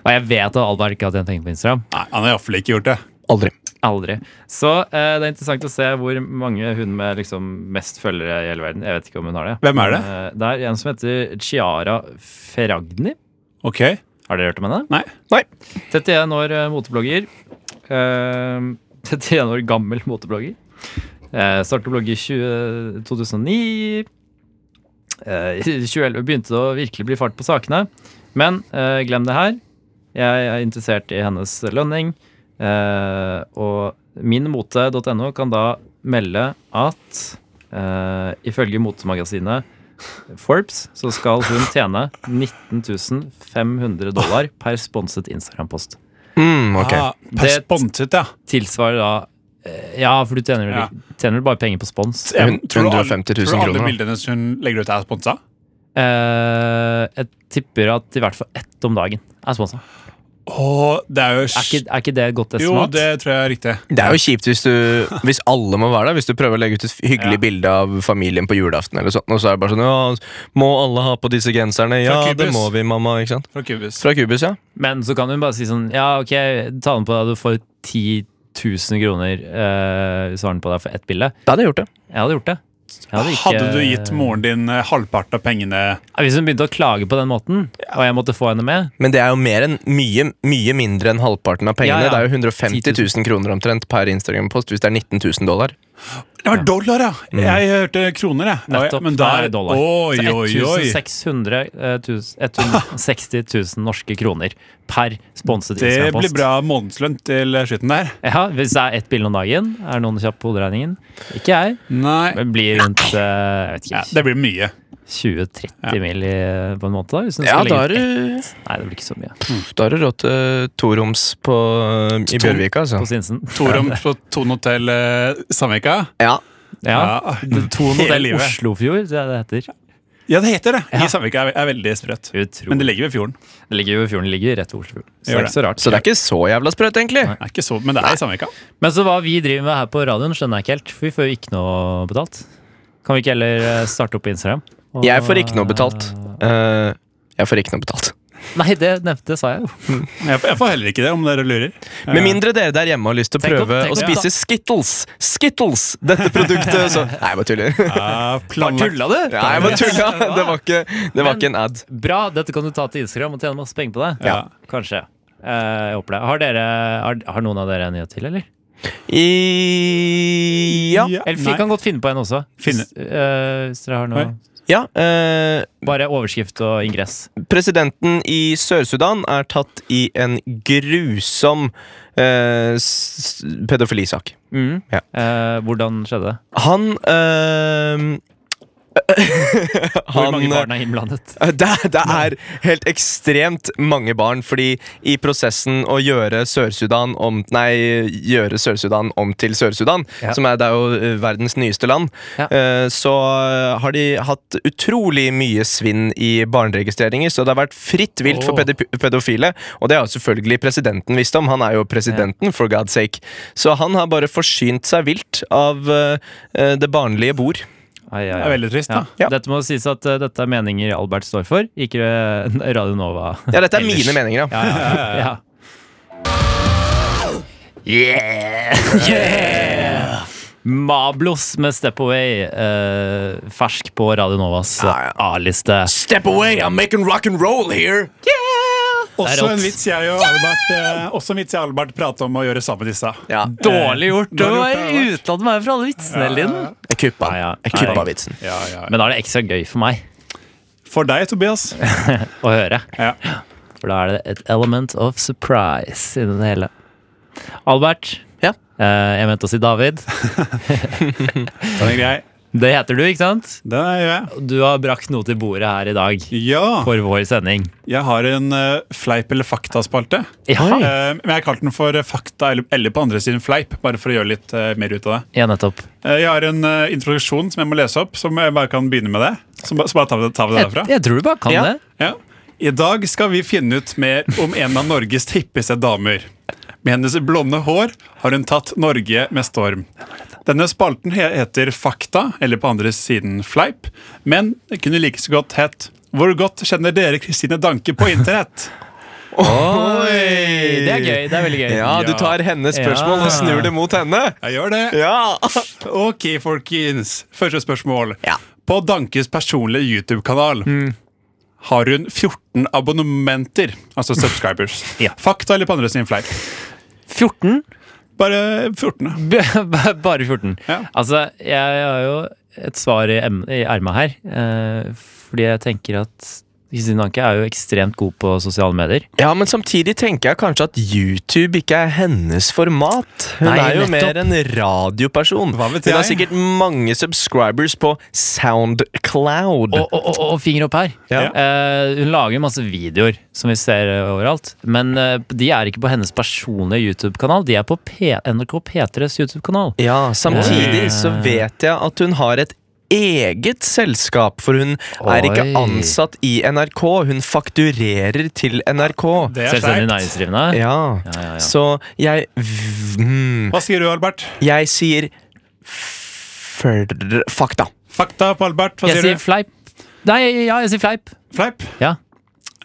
[SPEAKER 2] Og jeg vet at Albert ikke har tjent penger på Instagram.
[SPEAKER 3] Nei, Han har iallfall ikke gjort det.
[SPEAKER 4] Aldri.
[SPEAKER 2] Aldri. Så eh, det er interessant å se hvor mange hun med liksom mest følgere i hele verden. Jeg vet ikke om hun har det.
[SPEAKER 3] Hvem er det?
[SPEAKER 2] Eh, det er en som heter Chiara Ferragni.
[SPEAKER 3] Ok,
[SPEAKER 2] Har dere hørt om henne?
[SPEAKER 3] Nei.
[SPEAKER 2] 31 år eh, moteblogger. Eh, 31 år gammel moteblogger. Uh, Startet å blogge i 20, 2009. Eh, I 2011 begynte det å virkelig bli fart på sakene. Men eh, glem det her. Jeg er interessert i hennes lønning. Eh, og minmote.no kan da melde at eh, ifølge motemagasinet Forbes så skal hun tjene 19 500 dollar per sponset Instagram-post.
[SPEAKER 4] Mm, ok.
[SPEAKER 3] Ah, per
[SPEAKER 2] Det-
[SPEAKER 3] sponset, ja.
[SPEAKER 2] Tilsvarer da eh, Ja, for du tjener vel,
[SPEAKER 3] Ja.
[SPEAKER 2] tjener vel bare penger på spons?
[SPEAKER 3] Jeg-
[SPEAKER 4] Hun-
[SPEAKER 3] tror du alle-
[SPEAKER 4] 150 000
[SPEAKER 3] Tror du alle
[SPEAKER 4] kroner, da.
[SPEAKER 3] bildene hun legger ut, er sponsa?
[SPEAKER 2] Eh, jeg tipper at i hvert fall ett om dagen er sponsa.
[SPEAKER 3] Åh, det er jo
[SPEAKER 2] Er, ikke- er ikke det et godt
[SPEAKER 3] Jo,
[SPEAKER 2] estimat?
[SPEAKER 3] det tror jeg er riktig.
[SPEAKER 4] Det er jo kjipt hvis, du, hvis alle må være der. Hvis du prøver å legge ut et hyggelig
[SPEAKER 3] Ja.
[SPEAKER 4] bilde av familien på julaften, eller sånt, og så er det bare sånn ja, Må alle ha på disse genserne? Ja,
[SPEAKER 3] Fra Cubus.
[SPEAKER 4] det må vi, mamma. ikke sant?
[SPEAKER 3] Fra Cubus.
[SPEAKER 4] Fra Cubus, ja.
[SPEAKER 2] Men så kan hun bare si sånn Ja, ok, ta den på deg, du får 10 000 kroner eh, hvis du har den på deg for ett bilde.
[SPEAKER 4] Da hadde jeg gjort det.
[SPEAKER 2] Jeg hadde gjort det. Jeg
[SPEAKER 3] Hadde,
[SPEAKER 2] ikke-
[SPEAKER 3] du gitt moren din eh, halvparten av pengene
[SPEAKER 2] Ja, Hvis hun begynte å klage på den måten, og jeg måtte få henne med
[SPEAKER 4] Men det er jo mer enn, mye, mye mindre enn halvparten av
[SPEAKER 2] Ja,
[SPEAKER 4] pengene.
[SPEAKER 2] ja.
[SPEAKER 4] Det er jo 150 000 kroner omtrent per Instagram-post hvis det er 19 000 dollar.
[SPEAKER 3] Det var dollar, ja! Mm. Jeg hørte kroner, jeg.
[SPEAKER 2] Nettopp.
[SPEAKER 3] Men
[SPEAKER 2] da
[SPEAKER 3] der,
[SPEAKER 2] er det dollar.
[SPEAKER 3] Oi,
[SPEAKER 2] så
[SPEAKER 3] oi, oi.
[SPEAKER 2] 1600, eh, tus- 160 000 norske kroner per sponset
[SPEAKER 3] Det
[SPEAKER 2] Instagram-post.
[SPEAKER 3] blir bra månedslønn til slutten der.
[SPEAKER 2] Ja, Hvis det er ett bilde om dagen, er det noen kjapp på hoderegningen? Ikke jeg.
[SPEAKER 3] Nei.
[SPEAKER 2] Men blir rundt eh, jeg vet
[SPEAKER 3] Ja,
[SPEAKER 2] ikke,
[SPEAKER 3] det blir mye.
[SPEAKER 2] 20-30
[SPEAKER 3] Ja.
[SPEAKER 2] mil i, på en måned, da? Hvis hun
[SPEAKER 4] Ja,
[SPEAKER 2] skal legge
[SPEAKER 4] da
[SPEAKER 2] ut
[SPEAKER 4] er du
[SPEAKER 2] ett. Nei, det blir ikke så mye.
[SPEAKER 4] Da har du råd til toroms på, i Bjørvika, altså.
[SPEAKER 2] På Sinsen.
[SPEAKER 3] Torom på Tone Hotell eh, Sandvika.
[SPEAKER 4] Ja.
[SPEAKER 2] Ja.
[SPEAKER 3] Tone
[SPEAKER 2] Hotell Oslofjord, det er det det heter.
[SPEAKER 3] Ja, det heter det.
[SPEAKER 2] Ja.
[SPEAKER 3] I Sandvika er, er veldig sprøtt.
[SPEAKER 2] Utrolig.
[SPEAKER 3] Men det ligger ved fjorden.
[SPEAKER 2] Det ligger jo i fjorden, det ligger rett ved Oslofjorden. Så det
[SPEAKER 3] Gjør
[SPEAKER 2] er ikke så rart.
[SPEAKER 4] Så det er ikke så jævla sprøt, egentlig.
[SPEAKER 3] Det er ikke så, men det er i Sandvika.
[SPEAKER 2] Men så hva vi driver med her på radioen, skjønner jeg ikke helt. For vi får jo ikke noe betalt. Kan vi ikke heller eh, starte opp på Instagram? Og-
[SPEAKER 4] Jeg får ikke noe betalt. Eh, jeg får ikke noe betalt.
[SPEAKER 2] Nei, det nevnte det sa jeg jo.
[SPEAKER 3] Jeg, jeg får heller ikke det, om dere lurer.
[SPEAKER 4] Med mindre dere der hjemme har lyst til å
[SPEAKER 2] Tenk om-
[SPEAKER 4] prøve
[SPEAKER 2] tenk
[SPEAKER 4] å
[SPEAKER 2] om-
[SPEAKER 4] spise Skittles. Skittles! Dette produktet så Nei, jeg bare tuller.
[SPEAKER 3] Ja, planlagt.
[SPEAKER 2] Tulla du?
[SPEAKER 4] Nei, jeg bare tuller. Det var ikke, det var ikke en ad.
[SPEAKER 2] Bra, dette kan du ta til Instagram og tjene masse penger på det.
[SPEAKER 3] Ja.
[SPEAKER 2] Kanskje. Eh, jeg håper det. Har, dere, har, har noen av dere en nyhet til, eller?
[SPEAKER 4] I Ja.
[SPEAKER 3] Ja,
[SPEAKER 2] Eller vi
[SPEAKER 3] nei.
[SPEAKER 2] kan godt finne på en også.
[SPEAKER 3] Finne.
[SPEAKER 2] Hvis, eh, hvis dere har noe.
[SPEAKER 3] Oi.
[SPEAKER 4] ja eh,
[SPEAKER 2] Bare overskrift og ingress.
[SPEAKER 4] presidenten i Sør-Sudan er tatt i en grusom eh, s- pedofilisak.
[SPEAKER 2] Mm.
[SPEAKER 4] Ja.
[SPEAKER 2] Eh, hvordan skjedde det?
[SPEAKER 4] Han eh,
[SPEAKER 2] Hvor mange
[SPEAKER 4] eh,
[SPEAKER 2] barn er innblandet?
[SPEAKER 4] Det, det er helt ekstremt mange barn, fordi i prosessen å gjøre Sør-Sudan om, nei, gjøre Sør-Sudan om til Sør-Sudan,
[SPEAKER 2] Ja.
[SPEAKER 4] som er, det er jo eh, verdens nyeste land,
[SPEAKER 2] Ja.
[SPEAKER 4] eh, så har de hatt utrolig mye svinn i barneregistreringer. Så det har vært fritt vilt for
[SPEAKER 2] Åh.
[SPEAKER 4] pedi- pedofile, og det har jo selvfølgelig presidenten visst om. Han er jo presidenten, for God's sake. Så han har bare forsynt seg vilt av eh, eh, det barnlige bord.
[SPEAKER 2] Ai, ai,
[SPEAKER 3] Det
[SPEAKER 2] ai.
[SPEAKER 3] er veldig trist,
[SPEAKER 2] Ja.
[SPEAKER 3] da.
[SPEAKER 4] Ja.
[SPEAKER 2] Dette må sies at eh, dette er meninger Albert står for, ikke eh, Radio Nova.
[SPEAKER 4] Ja, dette er
[SPEAKER 2] Ellers.
[SPEAKER 4] mine meninger, da.
[SPEAKER 2] Ja, ja, ja, ja. Yeah! Mablos med Step Away. eh, fersk på Radio Novas
[SPEAKER 4] Ja, ja.
[SPEAKER 2] A-liste.
[SPEAKER 4] Step away, I'm making rock and roll here!
[SPEAKER 2] Det er
[SPEAKER 3] Også
[SPEAKER 2] rått.
[SPEAKER 3] en vits jeg og Albert, eh, også en vits jeg og Albert prater om å gjøre sammen med disse. Eh,
[SPEAKER 4] Ja.
[SPEAKER 2] Dårlig gjort å
[SPEAKER 3] dårlig gjort,
[SPEAKER 2] være utlandet meg fra alle vitsene hele tiden.
[SPEAKER 4] Jeg kuppa,
[SPEAKER 2] Ja, ja.
[SPEAKER 4] Jeg kuppa
[SPEAKER 2] Nei.
[SPEAKER 4] vitsen.
[SPEAKER 3] Ja, ja.
[SPEAKER 2] Men da er det ekstra gøy for meg
[SPEAKER 3] For deg, Tobias.
[SPEAKER 2] å høre.
[SPEAKER 3] Ja.
[SPEAKER 2] For da er det et element of surprise inni det hele. Albert.
[SPEAKER 4] Ja.
[SPEAKER 2] eh, jeg mente å si David.
[SPEAKER 3] Den er grei.
[SPEAKER 2] Det heter du, ikke sant?
[SPEAKER 3] Den er grei.
[SPEAKER 2] Du har brakt noe til bordet her i dag
[SPEAKER 3] Ja.
[SPEAKER 2] for vår sending.
[SPEAKER 3] Jeg har en eh, fleip eller fakta-spalte. Eh,
[SPEAKER 2] Ja,
[SPEAKER 3] men jeg har kalt den for eh, fakta eller, eller på andre siden fleip, bare for å gjøre litt eh, mer ut av det.
[SPEAKER 2] ja nettopp.
[SPEAKER 3] Eh, jeg har en eh, introduksjon som jeg må lese opp, som jeg bare kan begynne med det. Så, ba- så bare tar vi det, tar vi det
[SPEAKER 2] Jeg,
[SPEAKER 3] derfra.
[SPEAKER 2] jeg tror du bare kan
[SPEAKER 4] Ja.
[SPEAKER 2] det.
[SPEAKER 3] Ja. I dag skal vi finne ut mer om en av Norges hippeste damer. Med hennes blonde hår har hun tatt Norge med storm. Denne spalten he- heter Fakta, eller på andre siden Fleip, men det kunne like så godt hett Hvor godt kjenner dere Kristine Danke på internett?
[SPEAKER 4] Oi!
[SPEAKER 2] Det er gøy. det er veldig gøy
[SPEAKER 4] Ja, du tar hennes spørsmål og
[SPEAKER 2] Ja.
[SPEAKER 4] snur det mot henne.
[SPEAKER 3] Jeg gjør det.
[SPEAKER 4] Ja!
[SPEAKER 3] Ok, folkens. Første spørsmål.
[SPEAKER 4] Ja.
[SPEAKER 3] På Dankes personlige YouTube-kanal
[SPEAKER 2] Mm.
[SPEAKER 3] har hun 14 abonnementer, altså subscribers.
[SPEAKER 2] Ja.
[SPEAKER 3] Fakta eller på andre siden fleip?
[SPEAKER 2] 14?
[SPEAKER 3] Bare 14. ja.
[SPEAKER 2] B- b- Bare 14.
[SPEAKER 3] Ja.
[SPEAKER 2] Altså, jeg har jo et svar i em- i ermet her. eh, fordi jeg tenker at Kristin Danke er jo ekstremt god på sosiale medier.
[SPEAKER 4] Ja, men samtidig tenker jeg kanskje at YouTube ikke er hennes format. Hun
[SPEAKER 2] Nei,
[SPEAKER 4] er jo
[SPEAKER 2] nettopp.
[SPEAKER 4] mer en radioperson.
[SPEAKER 3] Hva vet
[SPEAKER 4] Hun har
[SPEAKER 3] jeg?
[SPEAKER 4] sikkert mange subscribers på Soundcloud.
[SPEAKER 2] Og, og, og, og finger opp her!
[SPEAKER 3] Ja.
[SPEAKER 2] Eh, hun lager jo masse videoer som vi ser eh, overalt. Men eh, de er ikke på hennes personlige YouTube-kanal, de er på P NRK P3s YouTube-kanal.
[SPEAKER 4] Ja, samtidig
[SPEAKER 2] Oi.
[SPEAKER 4] så vet jeg at hun har et eget selskap, for hun er ikke
[SPEAKER 2] Oi.
[SPEAKER 4] ansatt i NRK, hun fakturerer til NRK.
[SPEAKER 3] Det er
[SPEAKER 2] Selvstendig
[SPEAKER 3] skjevt.
[SPEAKER 2] næringsdrivende.
[SPEAKER 4] Ja,
[SPEAKER 2] Ja, ja, ja.
[SPEAKER 4] så jeg mm,
[SPEAKER 3] Hva sier du, Albert?
[SPEAKER 4] Jeg sier før- Fakta.
[SPEAKER 3] Fakta på Albert. Hva
[SPEAKER 2] Jeg
[SPEAKER 3] sier
[SPEAKER 2] sier
[SPEAKER 3] du?
[SPEAKER 2] fleip. Nei, ja, jeg sier fleip.
[SPEAKER 3] Fleip?
[SPEAKER 2] Ja.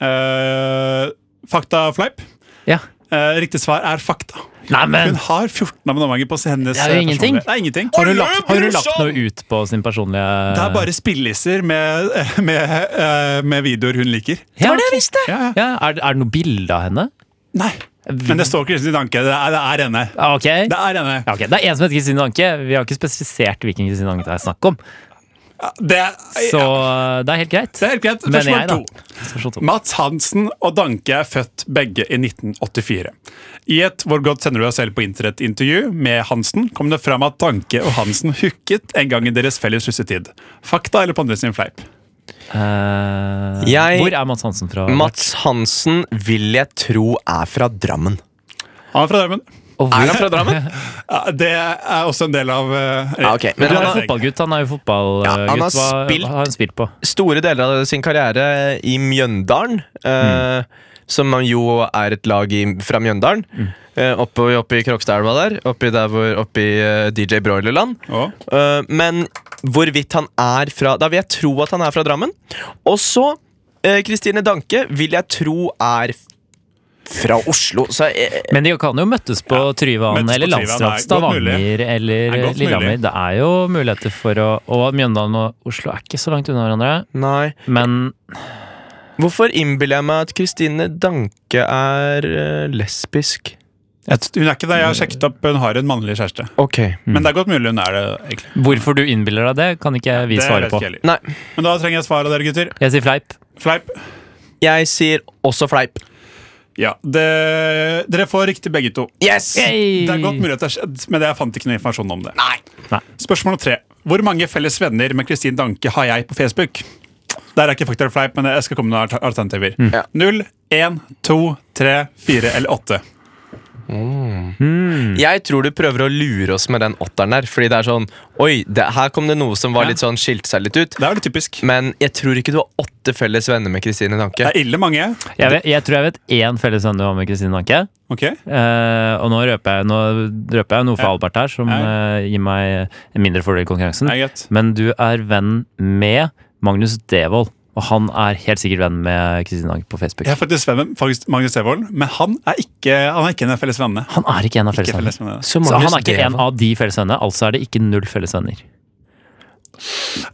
[SPEAKER 3] Eh, fakta fleip?
[SPEAKER 2] ja.
[SPEAKER 3] Eh, riktig svar er fakta. Hun
[SPEAKER 2] Neimen!
[SPEAKER 3] har 14 abonnementer på hennes
[SPEAKER 2] Det er jo
[SPEAKER 3] eh,
[SPEAKER 2] ingenting.
[SPEAKER 3] personlige- Det er ingenting.
[SPEAKER 2] Har hun lagt, har hun lagt noe ut på sin personlige
[SPEAKER 3] Det er bare spillisser med, med, eh, med videoer hun liker.
[SPEAKER 2] ja, ok.
[SPEAKER 4] visste jeg!
[SPEAKER 3] Ja, ja.
[SPEAKER 2] Ja, er, det- er det noe bilde av henne?
[SPEAKER 3] Nei. Men det står Kristin Danke. Det er, det er henne.
[SPEAKER 2] Ja, Ok.
[SPEAKER 3] Det er henne.
[SPEAKER 2] Ja, ok. Det er en som heter Kristine Danke. Vi har ikke spesifisert hvilken Kristine Danke det er snakk om.
[SPEAKER 3] Det, er-
[SPEAKER 2] Så eh, det er helt greit.
[SPEAKER 3] det er helt greit.
[SPEAKER 2] Mener
[SPEAKER 3] Spørsmål
[SPEAKER 2] jeg, da.
[SPEAKER 3] to.
[SPEAKER 2] Spørsmål to.
[SPEAKER 3] Mats Hansen og Danke er født begge i 1984. I et Hvor godt kjenner du deg selv på internett-intervju med Hansen kom det fram at Danke og Hansen hooket en gang i deres felles russetid. Fakta eller på andre sin fleip?
[SPEAKER 2] Eh,
[SPEAKER 4] Jeg-
[SPEAKER 2] Hvor er Mats Hansen fra?
[SPEAKER 4] Mats Hansen vil jeg tro er fra Drammen.
[SPEAKER 3] Han er fra Drammen.
[SPEAKER 2] Og hvor-
[SPEAKER 4] Er han fra Drammen?
[SPEAKER 3] Ja, det er også en del av eh,
[SPEAKER 4] Ja, ok. Men
[SPEAKER 2] Men
[SPEAKER 3] det er
[SPEAKER 2] han er
[SPEAKER 3] fotball.
[SPEAKER 2] fotballgutt. Han er jo fotballgutt.
[SPEAKER 4] Ja, han har
[SPEAKER 2] Hva-
[SPEAKER 4] spilt-
[SPEAKER 2] Hva har han spilt på?
[SPEAKER 4] Store deler av sin karriere i Mjøndalen, eh, som jo er et lag i, fra Mjøndalen. eh, oppe, oppe i Krokstadelva der, oppe i, der hvor, oppe i eh, DJ Broilerland.
[SPEAKER 3] Å,
[SPEAKER 4] Eh, men hvorvidt han er fra Da vil jeg tro at han er fra Drammen. Og så eh, Kristine Danke vil jeg tro er f- fra Oslo. Så jeg,
[SPEAKER 2] Men de kan jo møttes på
[SPEAKER 3] møttes
[SPEAKER 2] Tryvann
[SPEAKER 3] på
[SPEAKER 2] eller
[SPEAKER 3] Tryvann, det er
[SPEAKER 2] Landstrand,
[SPEAKER 3] godt
[SPEAKER 2] Stavanger
[SPEAKER 3] mulig. Det er
[SPEAKER 2] eller
[SPEAKER 3] godt
[SPEAKER 2] Lillehammer.
[SPEAKER 3] mulig.
[SPEAKER 2] Det er jo muligheter for å Og Mjøndalen og Oslo er ikke så langt unna hverandre.
[SPEAKER 4] nei.
[SPEAKER 2] Men
[SPEAKER 4] Hvorfor innbiller jeg meg at Kristine Danke er eh, lesbisk?
[SPEAKER 3] jeg t- Hun er ikke det. Jeg har sjekket opp. Hun har en mannlig kjæreste.
[SPEAKER 4] Ok.
[SPEAKER 3] Men det er godt mulig hun er det. egentlig.
[SPEAKER 2] hvorfor du innbiller deg det, kan ikke vi
[SPEAKER 3] Det
[SPEAKER 2] svare
[SPEAKER 3] vet
[SPEAKER 2] på.
[SPEAKER 3] ikke jeg heller.
[SPEAKER 4] Nei,
[SPEAKER 3] Men da trenger jeg svar av dere, gutter.
[SPEAKER 2] Jeg sier fleip.
[SPEAKER 3] Fleip.
[SPEAKER 4] jeg sier også fleip.
[SPEAKER 3] Ja, det, Dere får riktig begge to.
[SPEAKER 4] Yes!
[SPEAKER 2] Yay!
[SPEAKER 3] Det er godt mulig at det har skjedd, men jeg fant ikke noe informasjon om det.
[SPEAKER 4] Nei.
[SPEAKER 3] Spørsmål tre. Hvor mange felles venner med Kristin Danke har jeg på Facebook? Der er ikke fakta eller fleip, men jeg skal komme med noen alter- alternativer.
[SPEAKER 2] Mm.
[SPEAKER 4] Ja.
[SPEAKER 3] Null, én, to, tre, fire eller åtte.
[SPEAKER 4] Mm. Jeg tror du prøver å lure oss med den åtteren der. Fordi det er sånn Oi, det, her kom det noe som var litt sånn skilte seg litt ut.
[SPEAKER 3] Det er veldig typisk.
[SPEAKER 4] Men jeg tror ikke du har åtte felles venner med Kristine
[SPEAKER 3] Det
[SPEAKER 4] Danke.
[SPEAKER 3] er ille mange.
[SPEAKER 2] Jeg, vet, jeg tror jeg vet én felles venn du har med Kristine Danke.
[SPEAKER 3] Ok,
[SPEAKER 2] Eh, og nå røper, jeg, nå røper jeg noe for Albert her som
[SPEAKER 3] Ja.
[SPEAKER 2] eh, gir meg en mindre fordel i konkurransen.
[SPEAKER 3] det er greit.
[SPEAKER 2] Men du er venn med Magnus Devold, og han er helt sikkert venn med Kristin Hage på Facebook.
[SPEAKER 3] Jeg er faktisk venn med faktisk Magnus Devold, men han er ikke, han er ikke en av felles vennene.
[SPEAKER 2] Han er ikke en av
[SPEAKER 3] Ikke
[SPEAKER 2] fellesvennene.
[SPEAKER 3] felles vennene.
[SPEAKER 4] Så,
[SPEAKER 2] Så
[SPEAKER 4] Magnus
[SPEAKER 2] han er ikke
[SPEAKER 4] Devold-
[SPEAKER 2] en av de fellesvennene, altså er det ikke null fellesvenner.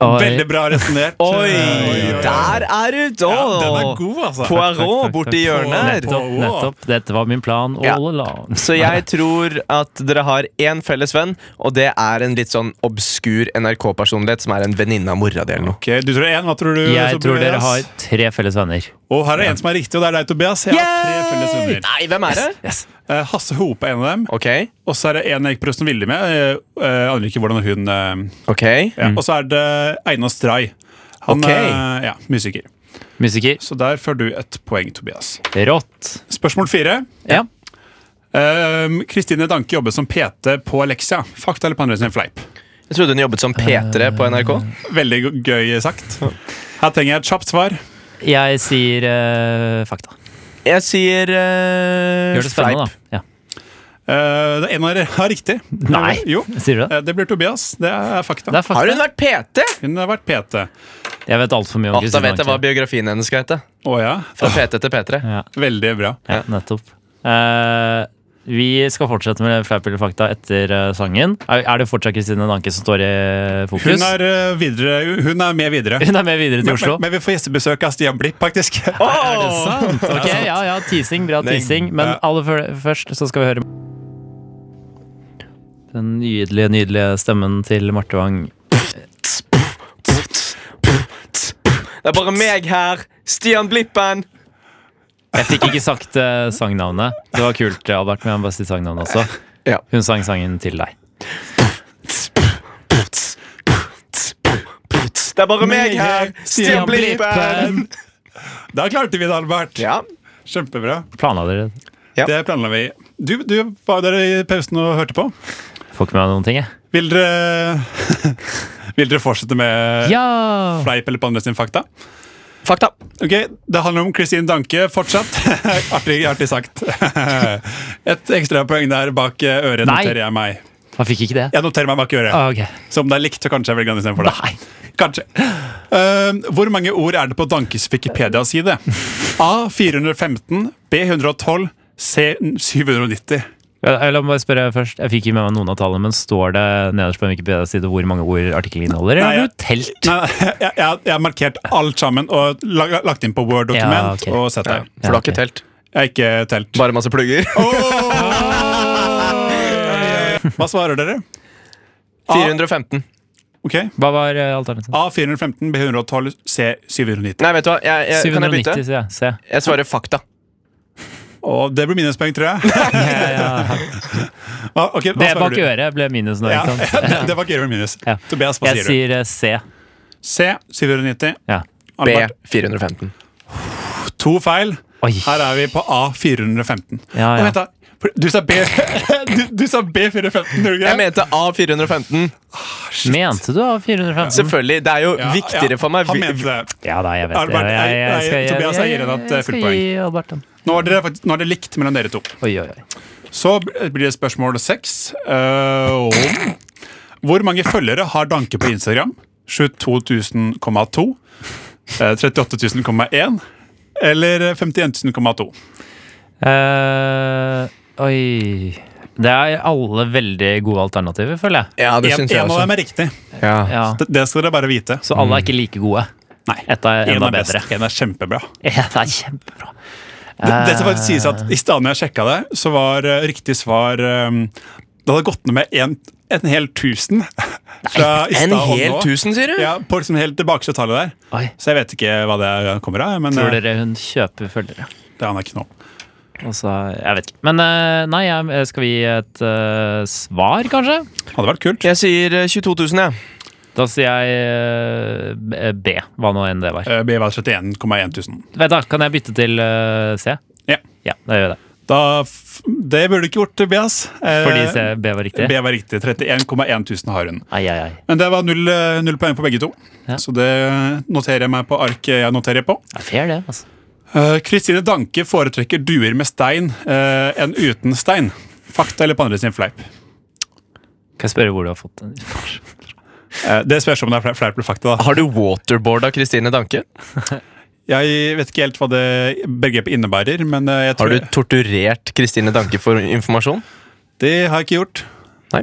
[SPEAKER 2] Og-
[SPEAKER 3] Veldig bra resonnert.
[SPEAKER 4] Oi,
[SPEAKER 3] Eh,
[SPEAKER 4] der er du!
[SPEAKER 3] Ja, den er
[SPEAKER 4] da!
[SPEAKER 3] god, altså.
[SPEAKER 4] Poirot borti hjørnet her.
[SPEAKER 2] Nettopp, nettopp. Dette var min plan all
[SPEAKER 4] Ja.
[SPEAKER 2] along.
[SPEAKER 4] Så jeg tror at dere har én felles venn, og det er en litt sånn obskur NRK-personlighet som er en venninne av mora di eller noe.
[SPEAKER 3] Ok, Du tror én, hva tror du?
[SPEAKER 2] Jeg tror dere
[SPEAKER 3] Tobias?
[SPEAKER 2] har tre felles venner.
[SPEAKER 3] Og her er en som er riktig, og det er deg, Tobias. Jeg har tre felles venner.
[SPEAKER 4] Nei, hvem er det?
[SPEAKER 2] Yes.
[SPEAKER 3] Eh, Hasse Hope er en av dem.
[SPEAKER 4] Ok,
[SPEAKER 3] Og så er det en jeg ikke prosten ville med. Jeg aner ikke hvordan hun eh,
[SPEAKER 4] ok
[SPEAKER 3] ja.
[SPEAKER 2] Mm.
[SPEAKER 3] Og så er det Einar Stray. Han
[SPEAKER 4] Ok.
[SPEAKER 3] er ja, musiker.
[SPEAKER 2] Musiker.
[SPEAKER 3] Så der får du et poeng, Tobias.
[SPEAKER 2] Rått.
[SPEAKER 3] Spørsmål fire.
[SPEAKER 2] Ja.
[SPEAKER 3] Eh, Kristine Danke jobber som PT på Alexia. Fakta eller på andre sin fleip?
[SPEAKER 4] Jeg trodde hun jobbet som P3 på NRK.
[SPEAKER 3] Veldig go- gøy sagt. Her trenger jeg et kjapt svar.
[SPEAKER 2] Jeg sier eh, fakta.
[SPEAKER 4] Jeg sier eh,
[SPEAKER 2] Gjør det spennende,
[SPEAKER 4] fleip.
[SPEAKER 2] da. Ja.
[SPEAKER 3] Eh, det er en av dere har riktig.
[SPEAKER 2] Nei,
[SPEAKER 3] Jo.
[SPEAKER 2] sier du det?
[SPEAKER 3] Eh, Det blir Tobias. Det er fakta.
[SPEAKER 2] Det er fakta.
[SPEAKER 4] Har hun vært PT?
[SPEAKER 3] Hun har vært PT.
[SPEAKER 2] Jeg vet altfor mye om
[SPEAKER 4] Å, da vet jeg hva
[SPEAKER 2] Anke.
[SPEAKER 4] biografien hennes skal hete.
[SPEAKER 3] Å ja.
[SPEAKER 4] Fra PT til P3.
[SPEAKER 2] Ja,
[SPEAKER 3] Veldig bra.
[SPEAKER 2] ja, nettopp. Eh, vi skal fortsette med fleip eller fakta etter eh, sangen. Er, er det fortsatt Kristine Danke som står i fokus?
[SPEAKER 3] Hun er, eh, videre, hun er med videre.
[SPEAKER 2] Hun er med videre til
[SPEAKER 3] Men,
[SPEAKER 2] Oslo.
[SPEAKER 3] men, men vi får gjestebesøk av Stian Blipp, faktisk.
[SPEAKER 2] Er det sant? Ok, ja, ja, teasing, bra
[SPEAKER 4] altså- Nei.
[SPEAKER 2] teasing. Men
[SPEAKER 3] Ja.
[SPEAKER 2] aller før- først så skal vi høre Den nydelige, nydelige stemmen til Marte Wang.
[SPEAKER 4] Det er bare meg her Stian Blippen!
[SPEAKER 2] Jeg fikk ikke sagt eh, sangnavnet. Det var kult, eh, Albert, men jeg må bare si sangnavnet også.
[SPEAKER 4] Ja.
[SPEAKER 2] Hun sang sangen til deg.
[SPEAKER 4] Det er bare meg her! Stian Blippen!
[SPEAKER 3] Da klarte vi det, Albert.
[SPEAKER 4] Ja.
[SPEAKER 3] Kjempebra.
[SPEAKER 2] Planla dere
[SPEAKER 4] Ja.
[SPEAKER 3] Det planla vi. Du, du var dere i pausen og hørte på.
[SPEAKER 2] Får ikke med meg noen ting, jeg.
[SPEAKER 3] Vil dere, vil dere fortsette med
[SPEAKER 2] Ja!
[SPEAKER 3] fleip eller på andre sin fakta?
[SPEAKER 4] Fakta.
[SPEAKER 3] Ok, Det handler om Kristin Danke fortsatt. artig, artig sagt. Et ekstrapoeng der bak eh, øret
[SPEAKER 2] Nei.
[SPEAKER 3] noterer jeg meg.
[SPEAKER 2] Han fikk ikke det.
[SPEAKER 3] Jeg noterer meg bak øret.
[SPEAKER 2] Ah, ok.
[SPEAKER 3] Så om det er likt, så kanskje jeg velger den istedenfor det.
[SPEAKER 2] Nei.
[SPEAKER 3] Kanskje. Ehm, hvor mange ord er det på Dankes Wikipedia-side? A. 415. B. 112. C. 790.
[SPEAKER 2] Ja, La meg bare spørre først. Jeg fikk ikke med meg noen av tallene, men står det nederst på en Wikipedia-side hvor mange ord artikkelen inneholder?
[SPEAKER 3] Nei, jeg-
[SPEAKER 2] Eller har du telt?
[SPEAKER 3] Nei, jeg, jeg, jeg har markert alt sammen og la- lagt inn på
[SPEAKER 2] Ja,
[SPEAKER 3] Word-dokument
[SPEAKER 2] ok.
[SPEAKER 3] og sett det.
[SPEAKER 4] For du har ikke telt.
[SPEAKER 3] Jeg har ikke telt.
[SPEAKER 4] Bare masse plugger.
[SPEAKER 3] Hva svarer dere?
[SPEAKER 4] 415.
[SPEAKER 3] Ok.
[SPEAKER 2] Hva var eh, alternativet?
[SPEAKER 3] A. 415. B. 112. C. 790.
[SPEAKER 4] Nei, vet du hva? Jeg,
[SPEAKER 3] Eh,
[SPEAKER 4] jeg, kan jeg bytte?
[SPEAKER 2] 790, sier jeg. Se.
[SPEAKER 4] Jeg svarer fakta.
[SPEAKER 3] Og det blir minuspoeng, tror jeg. Ah, ok, hva
[SPEAKER 2] Det
[SPEAKER 3] svarer
[SPEAKER 2] bak
[SPEAKER 3] du?
[SPEAKER 2] øret ble minus nå,
[SPEAKER 3] Ja,
[SPEAKER 2] ikke sant?
[SPEAKER 3] det, det var ikke gjøre minus.
[SPEAKER 2] Ja.
[SPEAKER 3] Tobias, hva
[SPEAKER 2] Jeg
[SPEAKER 3] sier du?
[SPEAKER 2] sier eh, C.
[SPEAKER 3] C. 790.
[SPEAKER 2] Ja.
[SPEAKER 4] B.
[SPEAKER 3] Albert,
[SPEAKER 4] 415.
[SPEAKER 3] to feil.
[SPEAKER 2] Oi.
[SPEAKER 3] Her er vi på A415.
[SPEAKER 2] Ja, ja.
[SPEAKER 3] Vent da. For Du sa B Du, du sa B415, gjorde du ikke
[SPEAKER 4] Jeg mente A415.
[SPEAKER 2] Mente du av 415?
[SPEAKER 4] Selvfølgelig. Det er jo
[SPEAKER 3] Ja, ja,
[SPEAKER 4] viktigere for meg.
[SPEAKER 3] Han
[SPEAKER 4] Vi-
[SPEAKER 3] mente det.
[SPEAKER 2] Ja da, jeg vet det.
[SPEAKER 3] Albert,
[SPEAKER 2] Jeg, jeg,
[SPEAKER 3] nei,
[SPEAKER 2] skal, jeg,
[SPEAKER 3] Tobias,
[SPEAKER 2] jeg,
[SPEAKER 3] jeg gir deg et, eh,
[SPEAKER 2] skal
[SPEAKER 3] fullpoeng.
[SPEAKER 2] gi Albert den.
[SPEAKER 3] Nå er, dere, faktisk- nå er det likt mellom dere to.
[SPEAKER 2] Oi, oi, oi.
[SPEAKER 3] Så blir det spørsmål seks eh, om Hvor mange følgere har Danke på Instagram? 72.000,2 eh, 38.000,1 Eller 51.000,2
[SPEAKER 2] Eh, oi Det er alle veldig gode alternativer, føler jeg.
[SPEAKER 4] Ja, det
[SPEAKER 3] En,
[SPEAKER 4] syns jeg
[SPEAKER 3] en av dem
[SPEAKER 4] også.
[SPEAKER 3] er riktig.
[SPEAKER 4] Ja.
[SPEAKER 2] Ja.
[SPEAKER 3] Det, det skal dere bare vite.
[SPEAKER 2] Så alle er ikke like gode.
[SPEAKER 3] Nei.
[SPEAKER 2] Ett er
[SPEAKER 3] En
[SPEAKER 2] enda
[SPEAKER 3] er best.
[SPEAKER 2] bedre.
[SPEAKER 3] En er kjempebra.
[SPEAKER 2] Ja, det er kjempebra.
[SPEAKER 3] Det, det skal faktisk sies at I stedet når jeg sjekka det, så var eh, riktig svar eh, Det hadde gått ned med en, en hel tusen. fra i
[SPEAKER 4] En
[SPEAKER 3] stad og
[SPEAKER 4] hel
[SPEAKER 3] nå.
[SPEAKER 4] tusen, sier du?
[SPEAKER 3] Ja, på liksom helt det bakste tallet der.
[SPEAKER 2] Oi.
[SPEAKER 3] Så jeg vet ikke hva det kommer av. Men
[SPEAKER 2] Tror
[SPEAKER 3] eh,
[SPEAKER 2] dere hun kjøper følgere?
[SPEAKER 3] det aner jeg ikke nå.
[SPEAKER 2] Og så, jeg vet ikke. Men eh, nei, jeg, skal vi gi et eh, svar, kanskje?
[SPEAKER 3] Hadde vært kult.
[SPEAKER 4] Jeg sier eh, 22 000, jeg.
[SPEAKER 2] Da sier jeg eh, B, hva nå enn det var.
[SPEAKER 3] Eh, B var 31,1 tusen.
[SPEAKER 2] Vent da, Kan jeg bytte til eh, C?
[SPEAKER 3] Ja.
[SPEAKER 2] Ja, da gjør jeg det.
[SPEAKER 3] Da, f- det burde du ikke gjort, Tobias. Eh,
[SPEAKER 2] Fordi C, B var riktig?
[SPEAKER 3] B var riktig. 31,1 tusen har hun.
[SPEAKER 2] Ai, ai, ai.
[SPEAKER 3] Men det var null, eh, null poeng på begge to.
[SPEAKER 2] Ja.
[SPEAKER 3] Så det noterer jeg meg på arket jeg noterer på.
[SPEAKER 2] Det er fair, det. altså.
[SPEAKER 3] Eh, Kristine Danke foretrekker duer med stein eh, enn uten stein. Fakta eller på andre sin fleip?
[SPEAKER 2] Kan jeg spørre hvor du har fått den?
[SPEAKER 3] Eh, det spørs om det er fle- fleip eller fakta. da.
[SPEAKER 4] Har du waterboarda Kristine Danke?
[SPEAKER 3] Jeg vet ikke helt hva det begrepet innebærer, men eh, jeg
[SPEAKER 4] Har
[SPEAKER 3] tror
[SPEAKER 4] du torturert Kristine Danke for informasjon?
[SPEAKER 3] det har jeg ikke gjort.
[SPEAKER 4] Nei.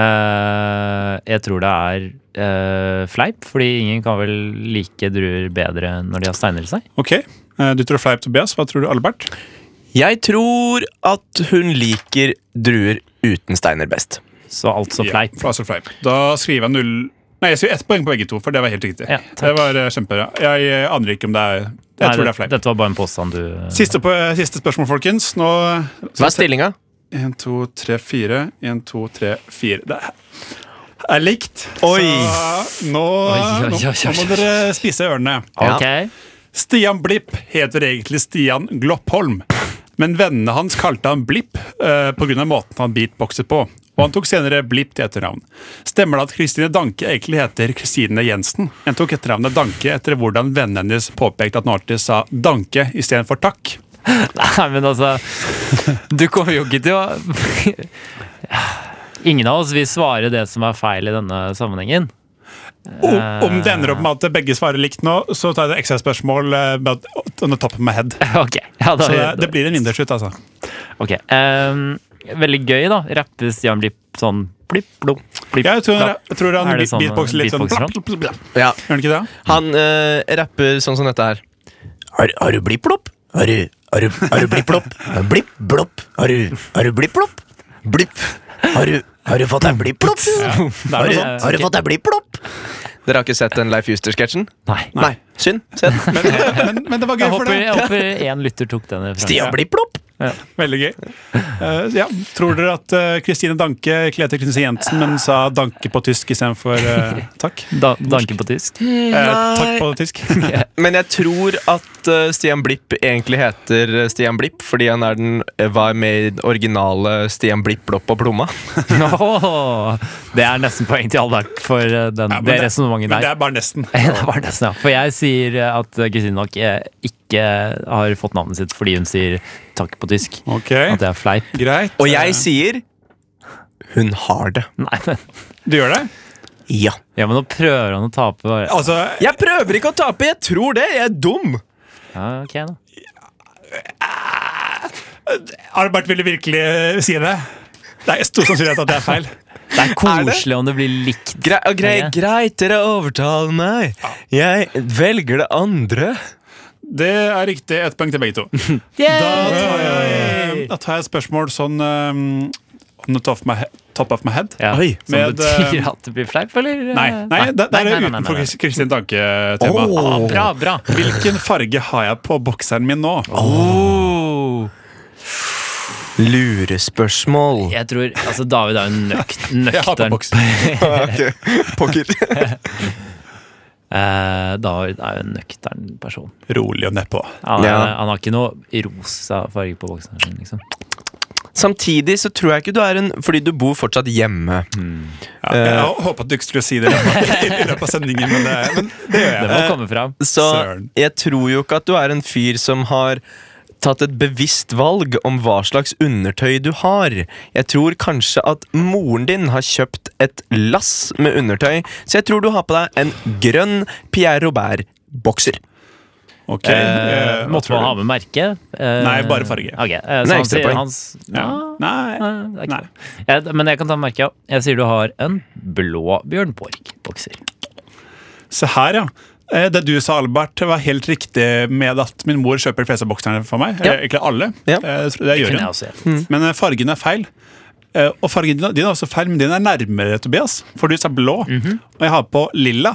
[SPEAKER 2] Eh, jeg tror det er eh, fleip, fordi ingen kan vel like druer bedre når de har steiner i seg.
[SPEAKER 3] Ok, eh, Du tror fleip, Tobias. Hva tror du, Albert?
[SPEAKER 4] Jeg tror at hun liker druer uten steiner best.
[SPEAKER 2] Så altså
[SPEAKER 3] Ja,
[SPEAKER 2] fleip.
[SPEAKER 3] altså fleip. Da skriver jeg null Nei, jeg skriver ett poeng på begge to, for det var helt riktig.
[SPEAKER 2] Ja, takk.
[SPEAKER 3] det var eh, kjempebra. Jeg eh, aner ikke om det er Jeg
[SPEAKER 2] Nei,
[SPEAKER 3] tror det er fleip.
[SPEAKER 2] Dette var bare en påstand du
[SPEAKER 3] Siste, på, siste spørsmål, folkens. Nå
[SPEAKER 4] Hva er stillinga?
[SPEAKER 3] En, to, tre, fire. En, to, tre, fire. Det er likt.
[SPEAKER 4] Oi.
[SPEAKER 3] Så nå,
[SPEAKER 2] Oi, oi, oi, oi.
[SPEAKER 3] nå må dere spise ørene.
[SPEAKER 2] Ok.
[SPEAKER 3] Stian Blipp heter egentlig Stian Gloppholm. Men vennene hans kalte han Blipp eh, pga. måten han beatboxet på. Og han tok senere Blipp til etternavn. Stemmer det at Kristine Danke egentlig heter Kristine Jensen? En tok etternavnet Danke etter hvordan vennene hennes påpekte at han alltid sa Danke istedenfor takk.
[SPEAKER 2] Nei, men altså Du kommer jo ikke til å Ingen av oss vil svare det som er feil i denne sammenhengen.
[SPEAKER 3] Om, om det ender opp med at begge svarer likt nå, så tar jeg et ekstra spørsmål eh, but on the top of my head.
[SPEAKER 2] Ok, ja, da,
[SPEAKER 3] Så det, det blir en vinnerslutt, altså.
[SPEAKER 2] Ok, ehm, Veldig gøy, da. Rappe Stian Blipp sånn blipp, blom, blipp,
[SPEAKER 3] Jeg tror,
[SPEAKER 2] blapp.
[SPEAKER 3] jeg tror han
[SPEAKER 2] Er det sånn,
[SPEAKER 3] beatboxer litt sånn
[SPEAKER 2] beatboxer han?
[SPEAKER 3] blapp, blapp, blapp, blapp.
[SPEAKER 4] Ja,
[SPEAKER 3] Gjør han ikke det?
[SPEAKER 4] Han eh, rapper sånn som dette her. Har, har du blipp-blopp? Har du, har du, har du blipp-blopp? Blipp-blopp? Har du, har du blipp-blopp? Blipp? Har du, har du fått deg blipp-blopp?
[SPEAKER 3] Det
[SPEAKER 4] Har,
[SPEAKER 3] er noe
[SPEAKER 4] du-
[SPEAKER 3] sånt.
[SPEAKER 4] har du fått deg blipp-blopp? Dere har ikke sett den Leif Juster-sketsjen?
[SPEAKER 2] Nei.
[SPEAKER 4] Nei. Synd. Synd.
[SPEAKER 3] Men, men, men det var gøy
[SPEAKER 2] Jeg
[SPEAKER 3] for
[SPEAKER 2] håper,
[SPEAKER 3] det.
[SPEAKER 2] jeg håper en lytter tok den. referansen.
[SPEAKER 4] Stian blir plopp!
[SPEAKER 3] Veldig gøy. Eh, ja. Tror dere at eh, Kristine Danke klete Kristine Jensen, men sa Danke på tysk istedenfor uh, takk?
[SPEAKER 2] Da, danke på tysk.
[SPEAKER 3] Eh, takk på tysk.
[SPEAKER 4] Men jeg tror at eh, Stian Blipp egentlig heter eh, Stian Blipp fordi han er den eh, var med i den originale Stian Blipp Lopp og Plomma.
[SPEAKER 2] Åh, det er nesten poeng til Albert for eh, den,
[SPEAKER 3] men
[SPEAKER 2] det
[SPEAKER 3] det-
[SPEAKER 2] resonnementet
[SPEAKER 3] Men det
[SPEAKER 2] der.
[SPEAKER 3] er bare nesten.
[SPEAKER 2] Det var nesten, ja. For jeg sier eh, at Kristine nok eh, ikke har fått navnet sitt fordi hun sier takk på tysk.
[SPEAKER 3] Ok,
[SPEAKER 2] At det er fleip.
[SPEAKER 3] Greit.
[SPEAKER 4] Og jeg sier hun har det.
[SPEAKER 2] Nei, men,
[SPEAKER 3] Eh, Du gjør det?
[SPEAKER 4] Ja.
[SPEAKER 2] ja, men nå prøver han å tape. Bare.
[SPEAKER 3] Altså,
[SPEAKER 4] Jeg prøver ikke å tape, jeg tror det! Jeg er dum!
[SPEAKER 2] Ja, ok da.
[SPEAKER 3] Albert ville virkelig si det. Det er stor sannsynlighet at det er feil.
[SPEAKER 2] Det er
[SPEAKER 4] Er det?
[SPEAKER 2] koselig om det blir likt.
[SPEAKER 4] Grei, og grei,
[SPEAKER 2] Ja.
[SPEAKER 4] greit, dere overtaler meg. Jeg velger det andre.
[SPEAKER 3] Det er riktig. Ett poeng til begge to. Da tar jeg, da tar jeg et spørsmål sånn um, On the top of my, he- top of my head.
[SPEAKER 2] Ja,
[SPEAKER 4] Oi,
[SPEAKER 2] som
[SPEAKER 3] med,
[SPEAKER 2] betyr
[SPEAKER 3] eh,
[SPEAKER 2] at det blir fleip, eller?
[SPEAKER 3] Nei, nei, det, det
[SPEAKER 2] Nei, nei,
[SPEAKER 3] er
[SPEAKER 2] nei, nei,
[SPEAKER 3] utenfor
[SPEAKER 2] nei.
[SPEAKER 3] Kris- Kristin Danke-tema.
[SPEAKER 4] Åh.
[SPEAKER 2] Ah, Bra, bra.
[SPEAKER 3] Hvilken farge har jeg på bokseren min nå?
[SPEAKER 4] Lurespørsmål.
[SPEAKER 2] Jeg tror, altså David er jo nøkt,
[SPEAKER 3] Jeg har på
[SPEAKER 2] nøktern.
[SPEAKER 3] boksen.
[SPEAKER 4] Ok, Pokker.
[SPEAKER 2] Eh, David er jo en nøktern person.
[SPEAKER 3] Rolig og nedpå.
[SPEAKER 2] Han, er-
[SPEAKER 4] Ja.
[SPEAKER 2] han har ikke noe rosa farge på boksen sin, liksom.
[SPEAKER 4] Samtidig så tror jeg ikke du er en Fordi du bor fortsatt hjemme.
[SPEAKER 2] Eh.
[SPEAKER 3] Ja, jeg håpet du ikke skulle si det i løpet- i løpet av sendingen, men det, men det gjør
[SPEAKER 2] Det
[SPEAKER 3] jeg.
[SPEAKER 2] må komme fram.
[SPEAKER 4] Så
[SPEAKER 3] Søren.
[SPEAKER 4] jeg tror jo ikke at du er en fyr som har tatt et bevisst valg om hva slags undertøy du har. Jeg tror kanskje at moren din har kjøpt et lass med undertøy, så jeg tror du har på deg en grønn Pierre Robert-bokser.
[SPEAKER 3] Ok, eh,
[SPEAKER 2] Eh,
[SPEAKER 3] hva
[SPEAKER 2] måtte
[SPEAKER 3] tror
[SPEAKER 2] man ha
[SPEAKER 3] du?
[SPEAKER 2] med merke? Eh,
[SPEAKER 3] Nei, bare farge.
[SPEAKER 2] ok, eh,
[SPEAKER 4] Nei,
[SPEAKER 2] så han
[SPEAKER 4] ekstra
[SPEAKER 2] sier
[SPEAKER 4] poeng.
[SPEAKER 2] hans
[SPEAKER 3] Ja.
[SPEAKER 2] ja,
[SPEAKER 3] Nei.
[SPEAKER 2] eh, det er
[SPEAKER 3] Nei.
[SPEAKER 2] ikke bra. Jeg, men jeg kan ta med merket. ja. Jeg sier du har en blå Bjørn Borg-bokser.
[SPEAKER 3] Se her, ja. Eh, Det du sa, Albert, var helt riktig med at min mor kjøper de fleste bokserne for meg.
[SPEAKER 2] Ja.
[SPEAKER 3] Eller Egentlig alle.
[SPEAKER 4] Ja.
[SPEAKER 3] Eh, jeg tror Det gjør
[SPEAKER 2] Kunne jeg
[SPEAKER 3] hun.
[SPEAKER 2] også gjette.
[SPEAKER 3] Men eh, fargen er feil. Eh, Og fargen din din er også feil, men din er nærmere, Tobias. For du sa blå,
[SPEAKER 2] Mhm.
[SPEAKER 3] og jeg har på lilla.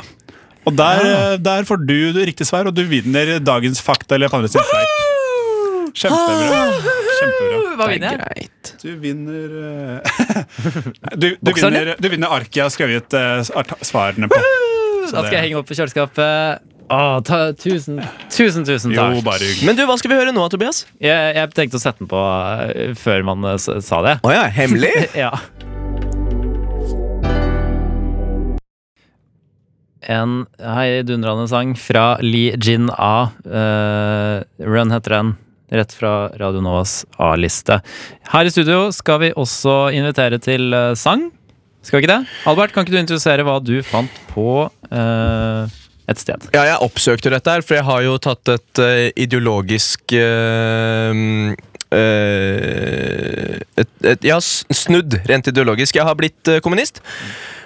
[SPEAKER 3] Og der, eh, der får du det riktige svar, og du vinner dagens fakta eller Pandres fleip. Kjempebra. Kjempebra.
[SPEAKER 2] Uh, Hva
[SPEAKER 4] Det
[SPEAKER 2] vinner
[SPEAKER 4] er
[SPEAKER 2] jeg?
[SPEAKER 4] greit.
[SPEAKER 3] Du vinner eh, du, du
[SPEAKER 2] Bokserne?
[SPEAKER 3] vinner, du vinner arket jeg har skrevet eh, art- svarene på.
[SPEAKER 2] Da skal jeg henge opp på kjøleskapet. Å, ta, tusen, tusen, tusen takk.
[SPEAKER 3] Jo, bare hyggelig.
[SPEAKER 4] Men du, hva skal vi høre nå, Tobias?
[SPEAKER 2] Jeg, jeg tenkte å sette den på eh, før man eh, s- sa det.
[SPEAKER 4] Å ja, hemmelig?
[SPEAKER 2] Ja. En heidundrende sang fra Lee Jin A. Eh, Run heter den. Rett fra Radio Novas A-liste. Her i studio skal vi også invitere til eh, sang. Skal vi ikke det? Albert, kan ikke du introdusere hva du fant på eh, et sted?
[SPEAKER 4] Ja, jeg oppsøkte dette her, for jeg har jo tatt et eh, ideologisk eh, mm, eh, et, et, Jeg har s- snudd rent ideologisk. Jeg har blitt eh, kommunist.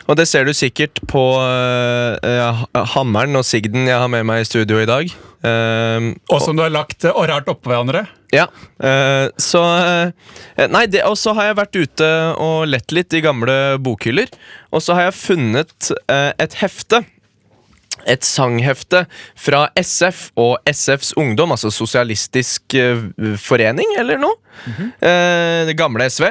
[SPEAKER 4] Og det ser du sikkert på eh, eh, ha- hammeren og sigden jeg har med meg i studio i dag. Eh,
[SPEAKER 3] Og som du har lagt eh, og rart oppå hverandre.
[SPEAKER 4] ja, eh, så eh, Nei, det- og så har jeg vært ute og lett litt i gamle bokhyller. Og så har jeg funnet eh, et hefte. Et sanghefte fra SF og SFs Ungdom, altså Sosialistisk eh, Forening, eller noe. Eh, det gamle SV.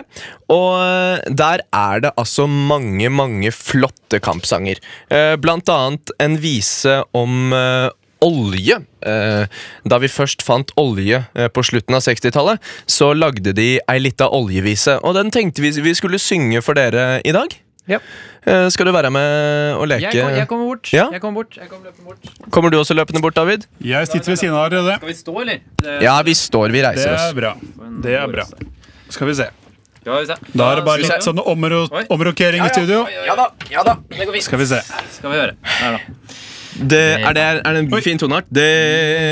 [SPEAKER 4] Og eh, der er det altså mange, mange flotte kampsanger. Eh, blant annet en vise om eh, olje. Eh, da vi først fant olje eh, på slutten av 60-tallet, så lagde de ei lita oljevise. Og den tenkte vi vi skulle synge for dere i dag.
[SPEAKER 2] Ja.
[SPEAKER 4] Eh, skal du være med og leke?
[SPEAKER 2] kommer bort.
[SPEAKER 4] Ja? Jeg
[SPEAKER 2] kommer bort. Jeg kommer løpende bort.
[SPEAKER 4] Kommer du også løpende bort, David?
[SPEAKER 3] Jeg sitter ved siden av dere.
[SPEAKER 2] Skal vi stå, eller?
[SPEAKER 4] Ja, vi står, vi
[SPEAKER 3] Det
[SPEAKER 4] reiser
[SPEAKER 3] er
[SPEAKER 4] oss.
[SPEAKER 3] bra. Det er bra. Skal vi se.
[SPEAKER 2] Skal vi se.
[SPEAKER 3] Da er det bare litt sånn omro
[SPEAKER 2] Oi.
[SPEAKER 3] omrokering i studio.
[SPEAKER 2] Ja da, ja da. Det går fint.
[SPEAKER 3] Skal vi se.
[SPEAKER 2] Skal vi høre. Der, da.
[SPEAKER 4] Det er, det, er det en fin toneart? Det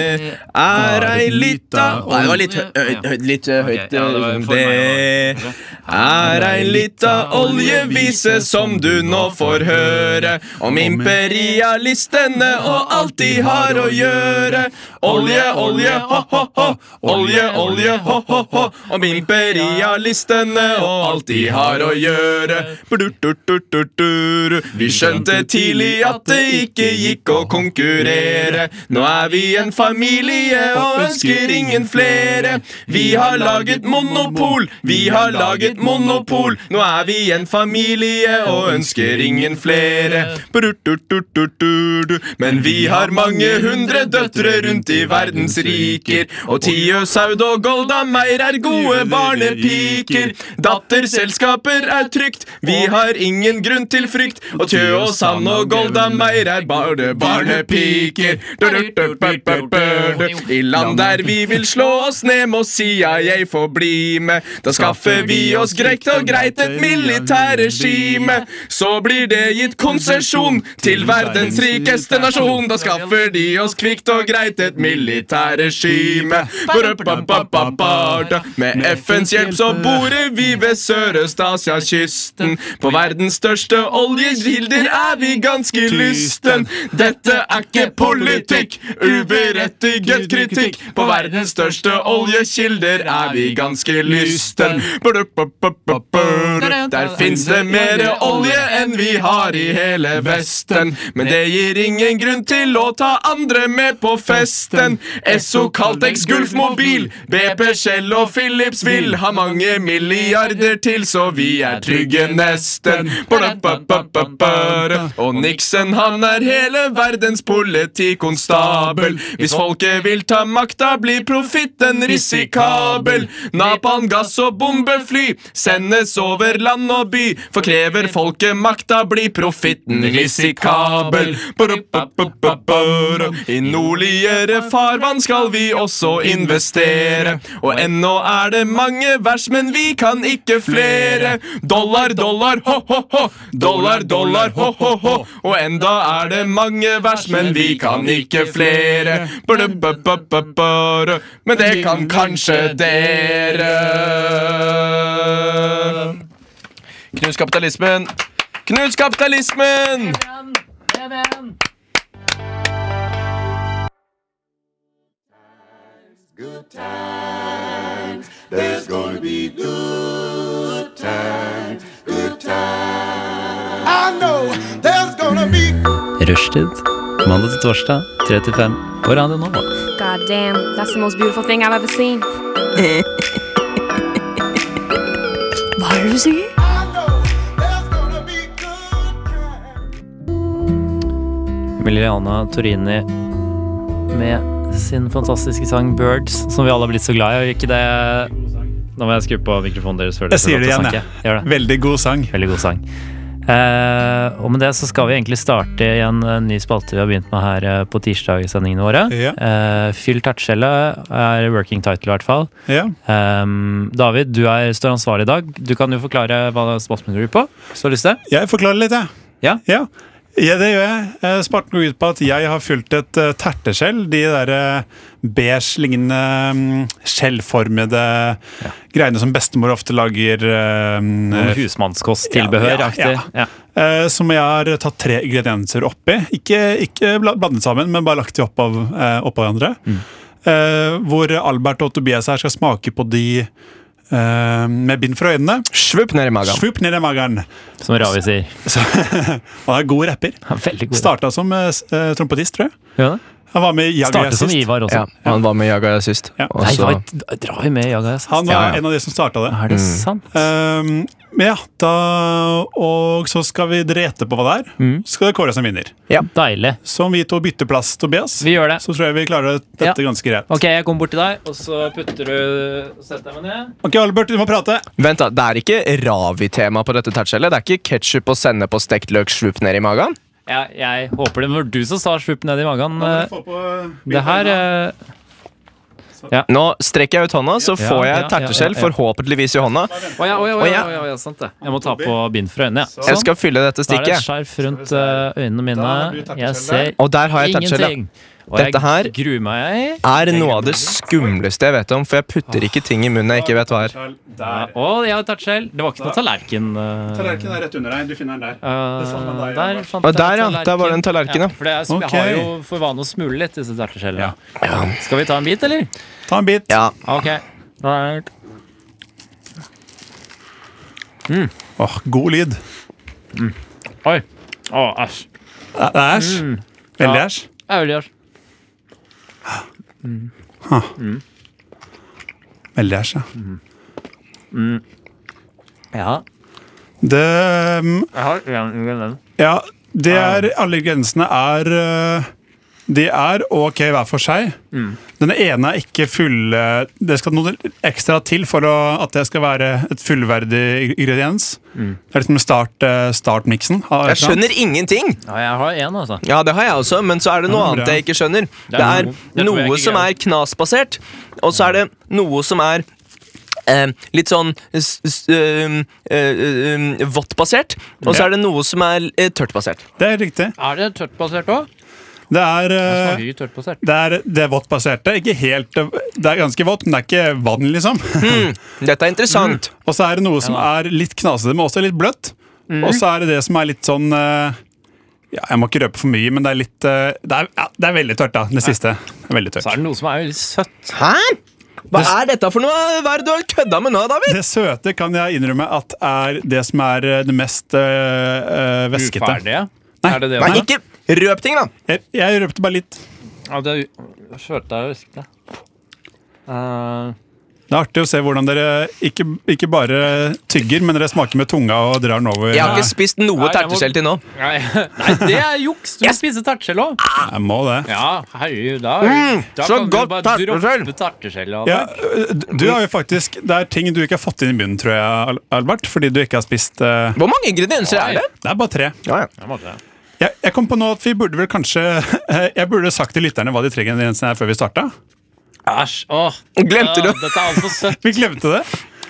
[SPEAKER 4] er ei lita Nei, det var litt, hø hø hø litt eh, høyt.
[SPEAKER 1] Ok, ja, det var for meg, det
[SPEAKER 4] det er ei lita oljevise som du nå får høre om imperialistene og alt de har å gjøre. Olje, olje, ho-ho-ho. Olje, olje, ho-ho-ho. Om imperialistene og alt de har å gjøre. Blututututur. Vi skjønte tidlig at det ikke gikk å konkurrere. Nå er vi en familie og ønsker ingen flere. Vi har laget monopol, vi har laget monopol. Nå er vi en familie og ønsker ingen flere. Brutututututu. Men vi har mange hundre døtre rundt i verdens riker. Og Tio Saud og Golda Meir er gode barnepiker. Datterselskaper er trygt, vi har ingen grunn til frykt. Og Tjø og Sand og Golda Meir er bare barnepiker. I land der vi vil slå oss ned, må CIA få bli med. Da skaffer vi oss greit og greit et militærregime. Så blir det gitt konsesjon til verdens rikeste nasjon. Da skaffer de oss kvikt og greit et militærregime. Ba-da-ba-ba-ba-ba-da. Med FNs hjelp så borer vi ved Sørøst-Asia-kysten. På verdens største oljekilder er vi ganske lysten. Dette er ikke politikk, uberettiget kritikk. På verdens største oljekilder er vi ganske lysten. Ba-da-ba-ba-ba-ba-da. Der fins det mer olje enn vi har i hele Vesten. Men det gir ingen grunn til å ta andre med på festen. Esso Caltex Gulf Mobil, BP Shell og Philips vil ha mange milliarder til, så vi er trygge nesten. Ba-da-ba-ba-ba-ba-da. Og Nixon, han er hele verdens politikonstabel. Hvis folket vil ta makta, blir profitten risikabel. Napalm, gass og bombefly sendes over land og by. For krever folket makta, blir profitten risikabel. Ba-da-ba-ba-ba-ba-da. I nordligere farvann skal vi også investere. Og ennå er det mange vers, men vi kan ikke flere. Dollar, dollar, ho-ho-ho. Dollar, dollar, ho-ho-ho. Og enda er det mange vers, men vi kan ikke flere. Ba-da-ba-ba-ba-ba-da. Men det kan kanskje dere. Knus kapitalismen! Knus kapitalismen!
[SPEAKER 5] I know there's gonna be
[SPEAKER 2] Rushtid. Mandag til torsdag, 3 til 5 på Radio Nova.
[SPEAKER 6] God damn, that's the most beautiful thing I've ever seen. Hva er det du sier?
[SPEAKER 5] I know there's gonna be good times.
[SPEAKER 2] Emiliana Torini med sin fantastiske sang 'Birds', som vi alle har blitt så glad i. og Ikke det Nå må jeg skru på mikrofonen deres. før dere
[SPEAKER 3] Jeg sier
[SPEAKER 2] får lov
[SPEAKER 3] det
[SPEAKER 2] til å
[SPEAKER 3] igjen,
[SPEAKER 2] snakke. Gjør det.
[SPEAKER 3] Veldig god sang.
[SPEAKER 2] Veldig god sang. Eh, og med det så skal vi egentlig starte i en eh, ny spalte vi har begynt med her eh, på tirsdagssendingene våre.
[SPEAKER 3] Ja.
[SPEAKER 2] Eh, Fyll tertskjellet er working title, i hvert fall.
[SPEAKER 3] Ja.
[SPEAKER 2] Ehm, David, du er, står ansvarlig i dag. Du kan jo forklare hva spalten går ut på. Hvis du har lyst til det.
[SPEAKER 3] Jeg forklarer litt, jeg.
[SPEAKER 2] Ja.
[SPEAKER 3] Ja. ja, det gjør jeg. Eh, Sparten går ut på at jeg har fylt et eh, terteskjell. De der eh, beige-lignende mm, skjellformede greiene som bestemor ofte lager. eh,
[SPEAKER 2] Noen
[SPEAKER 3] eh, Ja,
[SPEAKER 2] husmannskosttilbehør-aktig.
[SPEAKER 3] ja, ja. eh, som jeg har tatt tre ingredienser oppi. Ikke, ikke bla- blandet sammen, men bare lagt de oppå eh, oppå hverandre.
[SPEAKER 4] Mm.
[SPEAKER 3] Eh, hvor Albert og Tobias her skal smake på de eh, med bind for øynene.
[SPEAKER 4] Svupp ned i magen.
[SPEAKER 3] Svupp ned i magen.
[SPEAKER 2] Som Ravi sier.
[SPEAKER 3] Han er god rapper.
[SPEAKER 2] Han er Veldig god.
[SPEAKER 3] Starta som eh, s- eh, trompetist, tror jeg.
[SPEAKER 2] Ja.
[SPEAKER 3] Han var med i Jaguar
[SPEAKER 2] Startet som
[SPEAKER 3] sist.
[SPEAKER 2] Ivar også.
[SPEAKER 4] Ja, Altså- han var med i Jaga sist.
[SPEAKER 3] Ja.
[SPEAKER 4] og
[SPEAKER 2] Nei,
[SPEAKER 4] så-
[SPEAKER 2] hva- d- drar vi med Jaga? jeg-
[SPEAKER 3] Han var
[SPEAKER 4] Ja, ja.
[SPEAKER 3] en av de som starta det.
[SPEAKER 2] Er det sant?
[SPEAKER 3] Ehm, men ja, da, og så skal vi dere gjette på hva det er.
[SPEAKER 4] Mm.
[SPEAKER 3] Så skal det kåres en vinner.
[SPEAKER 2] Deilig.
[SPEAKER 3] Så om vi to bytter plass, Tobias,
[SPEAKER 2] Vi gjør det.
[SPEAKER 3] så tror jeg vi klarer dette
[SPEAKER 2] Ja.
[SPEAKER 3] ganske greit.
[SPEAKER 2] Ok, jeg kommer bort til deg, og så putter du Setter jeg meg ned.
[SPEAKER 3] Ok, Albert, du må prate.
[SPEAKER 4] Vent, da. Det er ikke ravi-tema på dette tertskjellet? Det er ikke ketsjup og sennep og stekt løk svupp ned i magen?
[SPEAKER 2] Jeg, eh, jeg håper det var du som sa slupp ned i magen. eh, Det her eh,
[SPEAKER 4] Nå strekker jeg ut hånda, så
[SPEAKER 2] Ja,
[SPEAKER 4] får jeg
[SPEAKER 2] ja,
[SPEAKER 4] terteskjell,
[SPEAKER 2] ja, ja.
[SPEAKER 4] forhåpentligvis i hånda.
[SPEAKER 7] Å ja, å ja, å ja, å ja, å ja, sant det.
[SPEAKER 2] Jeg må ta på bind for øynene. Ja.
[SPEAKER 4] Jeg skal fylle dette
[SPEAKER 2] Da er det et
[SPEAKER 4] stikket.
[SPEAKER 2] skjerf rundt eh, øynene mine.
[SPEAKER 3] Da blir det terteskjell
[SPEAKER 2] Jeg ser
[SPEAKER 4] Og der har jeg tertskjellet.
[SPEAKER 2] ingenting. Og
[SPEAKER 4] Dette her- Ah.
[SPEAKER 2] jeg gruer meg.
[SPEAKER 4] Er noe av det skumleste jeg vet om, for jeg putter ikke ting i munnen jeg ikke vet hva er.
[SPEAKER 2] Ja, Å, jeg har tertskjell. Det var ikke noe tallerken. eh,
[SPEAKER 3] er rett under deg. Du finner den der. Det samme
[SPEAKER 2] eh,
[SPEAKER 3] med deg,
[SPEAKER 2] der
[SPEAKER 3] Albert.
[SPEAKER 2] fant
[SPEAKER 4] Og
[SPEAKER 2] jeg
[SPEAKER 4] der, ja. Der var det en tallerken, ja.
[SPEAKER 2] for det er, sm-
[SPEAKER 3] Ok.
[SPEAKER 2] Jeg har jo for vane å smule litt disse terteskjellene. Skal vi ta en bit, eller?
[SPEAKER 3] Ta en bit.
[SPEAKER 4] Ja,
[SPEAKER 2] Ok. Right.
[SPEAKER 3] Åh, god lyd.
[SPEAKER 2] Oi. Å, æsj.
[SPEAKER 3] Det er æsj.
[SPEAKER 2] Mm.
[SPEAKER 3] Veldig æsj.
[SPEAKER 2] Jeg vil gjøre
[SPEAKER 3] Veldig æsj, ja.
[SPEAKER 2] Ja.
[SPEAKER 3] Det mm,
[SPEAKER 2] Jeg har den.
[SPEAKER 3] Ja, det er Alle grensene er øh, De er ok hver for seg.
[SPEAKER 2] Mm.
[SPEAKER 3] Den ene er ikke fulle Det skal noe ekstra til for å, at det skal være et fullverdig ingrediens.
[SPEAKER 2] Mm.
[SPEAKER 3] Det er liksom start, øh, startmiksen. av
[SPEAKER 4] jeg
[SPEAKER 3] et eller annet.
[SPEAKER 4] skjønner ingenting!
[SPEAKER 2] Ja, jeg har én, altså.
[SPEAKER 4] Ja, det har jeg også, men så er det
[SPEAKER 3] Ja,
[SPEAKER 4] noe
[SPEAKER 3] det er
[SPEAKER 4] annet jeg ikke skjønner. Det
[SPEAKER 2] er
[SPEAKER 4] er
[SPEAKER 2] noe- det tror jeg
[SPEAKER 4] noe
[SPEAKER 2] ikke
[SPEAKER 4] som
[SPEAKER 2] greier.
[SPEAKER 4] er knasbasert, og så er det noe som er eh, litt sånn s- s- eh, eh, eh, våttbasert, og så
[SPEAKER 3] Ja.
[SPEAKER 4] er det noe som er eh, tørtbasert.
[SPEAKER 3] Det er riktig.
[SPEAKER 2] Er det tørtbasert òg?
[SPEAKER 3] Det er, øh,
[SPEAKER 2] Smaker tørtbasert.
[SPEAKER 3] det er, det er våttbaserte. Ikke helt øh, Det er ganske vått, men det er ikke vann, liksom.
[SPEAKER 4] Dette er interessant.
[SPEAKER 3] Og så er det noe som er litt knasete, men også litt bløtt. Og så er det det som er litt sånn eh, ja, Jeg må ikke røpe for mye, men det er litt eh, Det er, ja, det er veldig tørt, da. Det siste. Det er veldig
[SPEAKER 2] Så er
[SPEAKER 3] tørt.
[SPEAKER 2] det noe som er veldig søtt.
[SPEAKER 4] Hæ? Hva er dette for noe? Hva er det du har kødda med nå, David?
[SPEAKER 3] Det søte kan jeg innrømme at er det som er eh, det mest eh, eh, væskete.
[SPEAKER 2] Uferdige.
[SPEAKER 3] Nei,
[SPEAKER 2] Er det det
[SPEAKER 3] nei,
[SPEAKER 2] også?
[SPEAKER 4] Ikke røp ting, da.
[SPEAKER 3] Jeg, jeg røpte bare litt.
[SPEAKER 2] Ja, det er skjørte jeg husker jeg. Eh,
[SPEAKER 3] Det er artig å se hvordan dere ikke, ikke bare tygger, men dere smaker med tunga og drar den over.
[SPEAKER 4] Jeg har ikke spist noe
[SPEAKER 2] Nei, jeg må-
[SPEAKER 4] terteskjell til nå.
[SPEAKER 2] nei, nei, det er juks! Du må spise tertskjell òg.
[SPEAKER 3] Jeg må det.
[SPEAKER 2] Ja, herregud. Da,
[SPEAKER 4] Mm,
[SPEAKER 2] da
[SPEAKER 4] så
[SPEAKER 2] kan
[SPEAKER 4] godt
[SPEAKER 2] du bare
[SPEAKER 4] terteskjell.
[SPEAKER 2] droppe terteskjell.
[SPEAKER 3] Ja, øh, du har jo faktisk, Det er ting du ikke har fått inn i munnen, tror jeg, Al- Albert. Fordi du ikke har spist eh,
[SPEAKER 4] Hvor mange ingredienser er det?
[SPEAKER 3] Det er bare tre.
[SPEAKER 4] Ja, ja.
[SPEAKER 3] Jeg, jeg kom på nå at vi burde vel kanskje Jeg burde sagt til lytterne hva de trenger ingrediensene er før vi starta.
[SPEAKER 2] Æsj. Åh.
[SPEAKER 4] Glemte du?
[SPEAKER 2] Åh, Dette er altfor søtt.
[SPEAKER 3] Vi glemte det.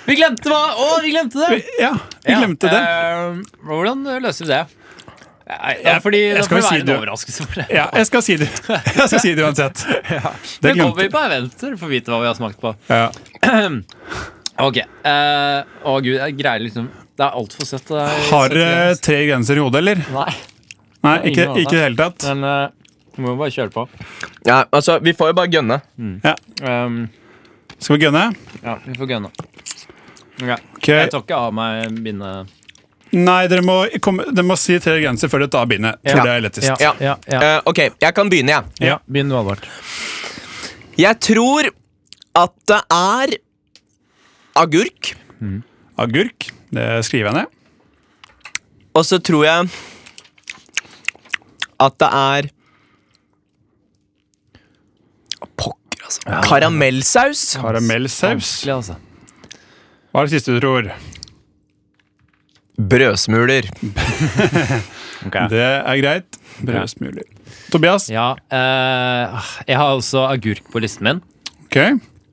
[SPEAKER 2] Vi glemte hva? Å, vi glemte det!
[SPEAKER 3] Ja, vi glemte det.
[SPEAKER 2] eh, hvordan løser vi det? Nei, da,
[SPEAKER 3] Jeg-
[SPEAKER 2] fordi,
[SPEAKER 3] jeg
[SPEAKER 2] da
[SPEAKER 3] skal
[SPEAKER 2] får det
[SPEAKER 3] jo si
[SPEAKER 2] være en
[SPEAKER 3] det.
[SPEAKER 2] overraskelse for deg.
[SPEAKER 3] Ja, jeg skal si det, jeg skal si det uansett. Det
[SPEAKER 2] Det kommer vi på eventer for å vite hva vi har smakt på.
[SPEAKER 3] Ja.
[SPEAKER 2] Ok. eh, å gud, jeg greier liksom Det er altfor søtt. det er-
[SPEAKER 3] Har
[SPEAKER 2] søtt
[SPEAKER 3] dere
[SPEAKER 2] grens.
[SPEAKER 3] tre grenser i hodet, eller?
[SPEAKER 2] Nei,
[SPEAKER 3] Nei,
[SPEAKER 2] ingen
[SPEAKER 3] ikke
[SPEAKER 2] av
[SPEAKER 3] ikke i det hele tatt.
[SPEAKER 2] men eh, vi må jo bare kjøre på.
[SPEAKER 4] ja, altså, Vi får jo bare gønne.
[SPEAKER 2] Um,
[SPEAKER 3] Skal vi gønne?
[SPEAKER 2] ja, vi får gønne. Ok,
[SPEAKER 3] Ok.
[SPEAKER 2] Jeg tar ikke av meg bindet.
[SPEAKER 3] Nei, dere må, komme, dere må si tre grenser før dere tar bindet. Tror
[SPEAKER 4] Ja.
[SPEAKER 3] det er lettest.
[SPEAKER 4] Ja.
[SPEAKER 2] ja, ja.
[SPEAKER 4] Eh, ok, jeg kan begynne, jeg.
[SPEAKER 3] Ja.
[SPEAKER 2] Begynn du, Albert.
[SPEAKER 4] Jeg tror at det er agurk.
[SPEAKER 3] Agurk. Det skriver jeg ned.
[SPEAKER 4] Og så tror jeg at det er Pokker, altså. Karamellsaus.
[SPEAKER 3] Karamellsaus.
[SPEAKER 2] Vanskelig, altså.
[SPEAKER 3] Hva er det siste du tror?
[SPEAKER 4] Brødsmuler.
[SPEAKER 3] Det er greit. Brødsmuler. Tobias?
[SPEAKER 2] Ja, eh, jeg har også agurk på listen min.
[SPEAKER 3] Ok.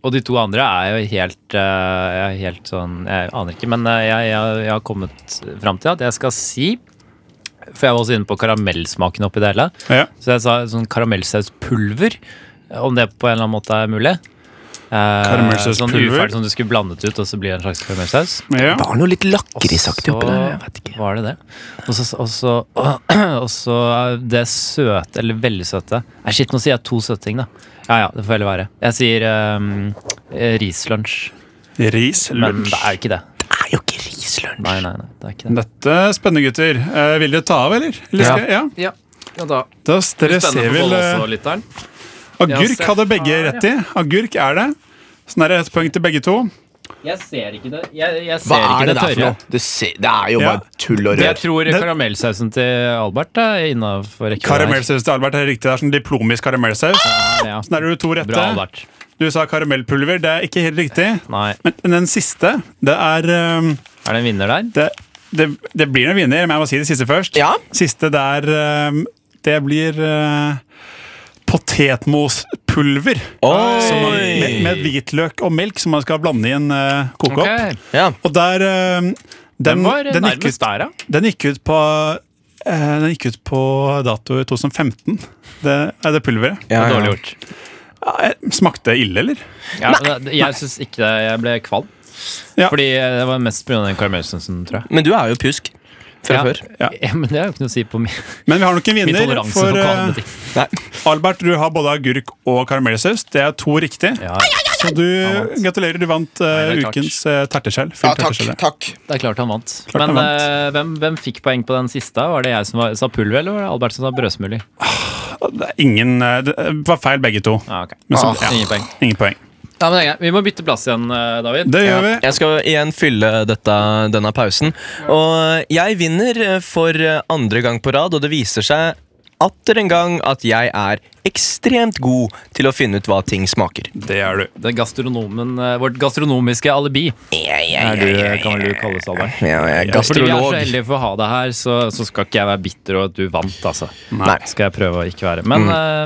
[SPEAKER 2] Og de to andre er jo helt, eh, jeg er helt sånn Jeg aner ikke, men eh, jeg, jeg, jeg har kommet fram til at jeg skal si For jeg var også inne på karamellsmaken oppi det hele.
[SPEAKER 3] Ja.
[SPEAKER 2] Så jeg sa sånn karamellsauspulver. Om det på en eller annen måte er mulig. Eh, sånn
[SPEAKER 3] Karamellsauspulver?
[SPEAKER 2] uferdig som du skulle blandet ut, og så blir det en slags karamellsaus.
[SPEAKER 3] ja.
[SPEAKER 4] Var noe litt lakrisaktig oppi der. Jeg vet
[SPEAKER 2] Så var det det. Og så, og så, og så det søte, eller veldig søte Nei, shit, nå sier jeg to søte ting, da. Ja ja, det får heller være. Jeg sier ehm, eh, rislunsj,
[SPEAKER 3] Ris,
[SPEAKER 2] men
[SPEAKER 3] lunsj.
[SPEAKER 2] det er jo ikke det.
[SPEAKER 4] Det er jo ikke rislunsj.
[SPEAKER 2] Nei, nei, nei, det er ikke det.
[SPEAKER 3] Dette er spennende, gutter. Eh, vil dere ta av, eller? eller skal, ja.
[SPEAKER 7] Ja. ja da.
[SPEAKER 3] Da s- dere ser vel eh,
[SPEAKER 2] lytteren.
[SPEAKER 3] Agurk hadde begge rett i. Agurk er det. Så nå er det ett poeng til begge to.
[SPEAKER 2] Jeg ser ikke det. Jeg, jeg
[SPEAKER 4] Hva
[SPEAKER 2] ser ikke
[SPEAKER 4] er det
[SPEAKER 2] det
[SPEAKER 4] der for
[SPEAKER 2] tørre.
[SPEAKER 4] noe? Du ser, det er jo
[SPEAKER 3] Ja.
[SPEAKER 4] bare tull og
[SPEAKER 2] Jeg
[SPEAKER 4] rør.
[SPEAKER 2] tror
[SPEAKER 3] Det-
[SPEAKER 2] karamellsausen til Albert eh, er innafor rekkevidde.
[SPEAKER 3] Karamellsaus til Albert er riktig. Det er sånn diplomisk karamellsaus.
[SPEAKER 2] her. Ja,
[SPEAKER 3] Så nå er det jo to
[SPEAKER 2] Ah! Bra,
[SPEAKER 3] rette.
[SPEAKER 2] Albert.
[SPEAKER 3] Du sa karamellpulver. Det er ikke helt riktig.
[SPEAKER 2] Nei.
[SPEAKER 3] Men den siste, det er eh,
[SPEAKER 2] Er det en vinner der?
[SPEAKER 3] Det, det, det blir noen vinner, men jeg må si det siste først.
[SPEAKER 4] Ja.
[SPEAKER 3] Siste der eh, Det blir eh, potetmospulver.
[SPEAKER 4] Oi!
[SPEAKER 3] som man- Med, med hvitløk og melk som man skal blande i en eh, kokeopp.
[SPEAKER 7] Ok.
[SPEAKER 4] Ja.
[SPEAKER 3] Og der eh,
[SPEAKER 7] Den
[SPEAKER 3] den,
[SPEAKER 7] var
[SPEAKER 3] den, gikk
[SPEAKER 7] nærmest
[SPEAKER 3] ut,
[SPEAKER 7] der, ja.
[SPEAKER 3] den gikk ut på eh, Den gikk ut på dato i 2015, det, er det pulveret.
[SPEAKER 4] Ja, ja.
[SPEAKER 2] Dårlig gjort.
[SPEAKER 3] Ja, jeg- smakte det ille, eller?
[SPEAKER 2] Ja, det- jeg syns ikke det. Jeg ble kvalm.
[SPEAKER 3] Ja.
[SPEAKER 2] Fordi eh, det var mest pga. den karamellsausen, tror jeg.
[SPEAKER 4] Men du er jo pjusk fra
[SPEAKER 2] Ja.
[SPEAKER 4] før.
[SPEAKER 3] Ja.
[SPEAKER 2] Ja, men det har jo ikke noe å si på min,
[SPEAKER 3] Men vi har nok en
[SPEAKER 2] min
[SPEAKER 3] vinner.
[SPEAKER 2] toleranse for,
[SPEAKER 3] For
[SPEAKER 2] kvalme
[SPEAKER 3] eh,
[SPEAKER 2] ting.
[SPEAKER 3] Albert, du har både agurk og karamellsaus. Det er to riktig.
[SPEAKER 2] Ja,
[SPEAKER 3] Så du gratulerer, du vant eh,
[SPEAKER 2] Nei, det er klart.
[SPEAKER 3] ukens uh, terteskjell. Fyll
[SPEAKER 1] Ja, takk.
[SPEAKER 3] terteskjellet.
[SPEAKER 1] takk.
[SPEAKER 2] det er klart han vant.
[SPEAKER 3] Klart han
[SPEAKER 2] men eh, hvem, hvem fikk poeng på den siste? Var det jeg som var, sa pulver, eller var det Albert som sa brødsmuler?
[SPEAKER 3] Det, er ingen, eh, det var feil, begge to.
[SPEAKER 2] Ja, ok.
[SPEAKER 3] Men så-
[SPEAKER 2] Ah, Ingen poeng.
[SPEAKER 3] Ingen poeng.
[SPEAKER 2] Ja, men det er greit. Vi må bytte plass igjen, eh, David.
[SPEAKER 3] Det gjør vi.
[SPEAKER 4] Jeg skal igjen fylle dette, denne pausen. Og jeg vinner eh, for eh, andre gang på rad, og det viser seg atter en gang at jeg er ekstremt god til å finne ut hva ting smaker.
[SPEAKER 3] Det er du.
[SPEAKER 2] Det er gastronomen, eh, vårt gastronomiske alibi er du, kan vel du kalles, Albert.
[SPEAKER 4] Ja, jeg
[SPEAKER 2] Fordi vi er
[SPEAKER 4] er
[SPEAKER 2] så
[SPEAKER 4] gastrolog.
[SPEAKER 2] heldige for å ha deg her, så, så skal ikke jeg være bitter over at du vant, altså.
[SPEAKER 4] Nei. Mm.
[SPEAKER 2] Skal jeg prøve å ikke være. Men, eh,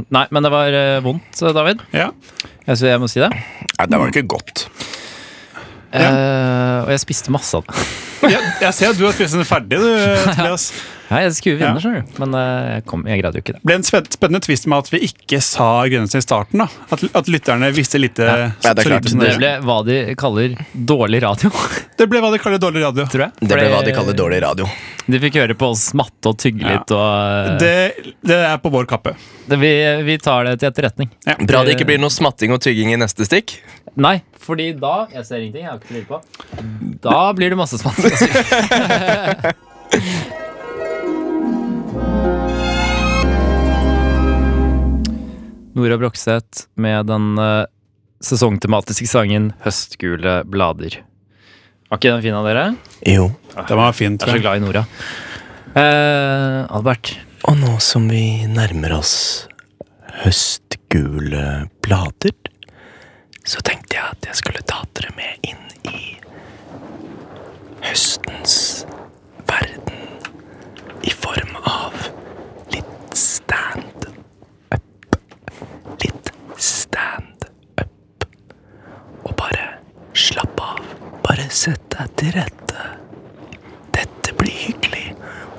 [SPEAKER 2] nei, men det var eh, vondt, eh, David.
[SPEAKER 3] Ja.
[SPEAKER 2] Jeg, synes jeg må si det.
[SPEAKER 4] Nei, det var ikke godt.
[SPEAKER 2] Eh, og jeg spiste masse av det.
[SPEAKER 3] Jeg, jeg ser at du har spist den ferdig, du, Tobias.
[SPEAKER 2] Nei, jeg skulle jo
[SPEAKER 3] Ja.
[SPEAKER 2] vinne, skjønner du. Men eh, jeg, kom, jeg greide jo ikke det.
[SPEAKER 3] ble en spen- spennende twist med at vi ikke sa grensen i starten. da At, at lytterne visste lite.
[SPEAKER 4] Ja, det er
[SPEAKER 3] så
[SPEAKER 4] klart.
[SPEAKER 3] lite som
[SPEAKER 2] Det
[SPEAKER 3] dere.
[SPEAKER 2] ble hva de kaller dårlig radio,
[SPEAKER 3] det ble hva de kaller dårlig radio.
[SPEAKER 2] tror jeg.
[SPEAKER 4] Det ble hva
[SPEAKER 2] Fordi
[SPEAKER 4] de kaller dårlig radio.
[SPEAKER 2] De fikk høre på oss smatte og tygge litt. Og, eh,
[SPEAKER 3] Det, det er på vår kappe.
[SPEAKER 2] det, vi, vi tar det til etterretning.
[SPEAKER 4] Bra det ikke blir noe smatting og tygging i neste stikk.
[SPEAKER 2] Nei, fordi da Jeg ser ingenting, jeg har ikke lyd på. Da blir det masse spansk. Nora Brokseth med den eh, sesongtematiske sangen 'Høstgule blader'. Var ikke den fin av dere?
[SPEAKER 4] Jo.
[SPEAKER 3] Den var fin.
[SPEAKER 2] Jeg er
[SPEAKER 3] Tror
[SPEAKER 2] så
[SPEAKER 3] jeg.
[SPEAKER 2] glad i Nora. Eh, Albert,
[SPEAKER 4] Og nå som vi nærmer oss høstgule blader, så tenkte jeg at jeg skulle ta dere med inn i høstens verden. I form av litt stand-up. Litt stand-up. Og bare slapp av. Bare sett deg til rette. Dette blir hyggelig,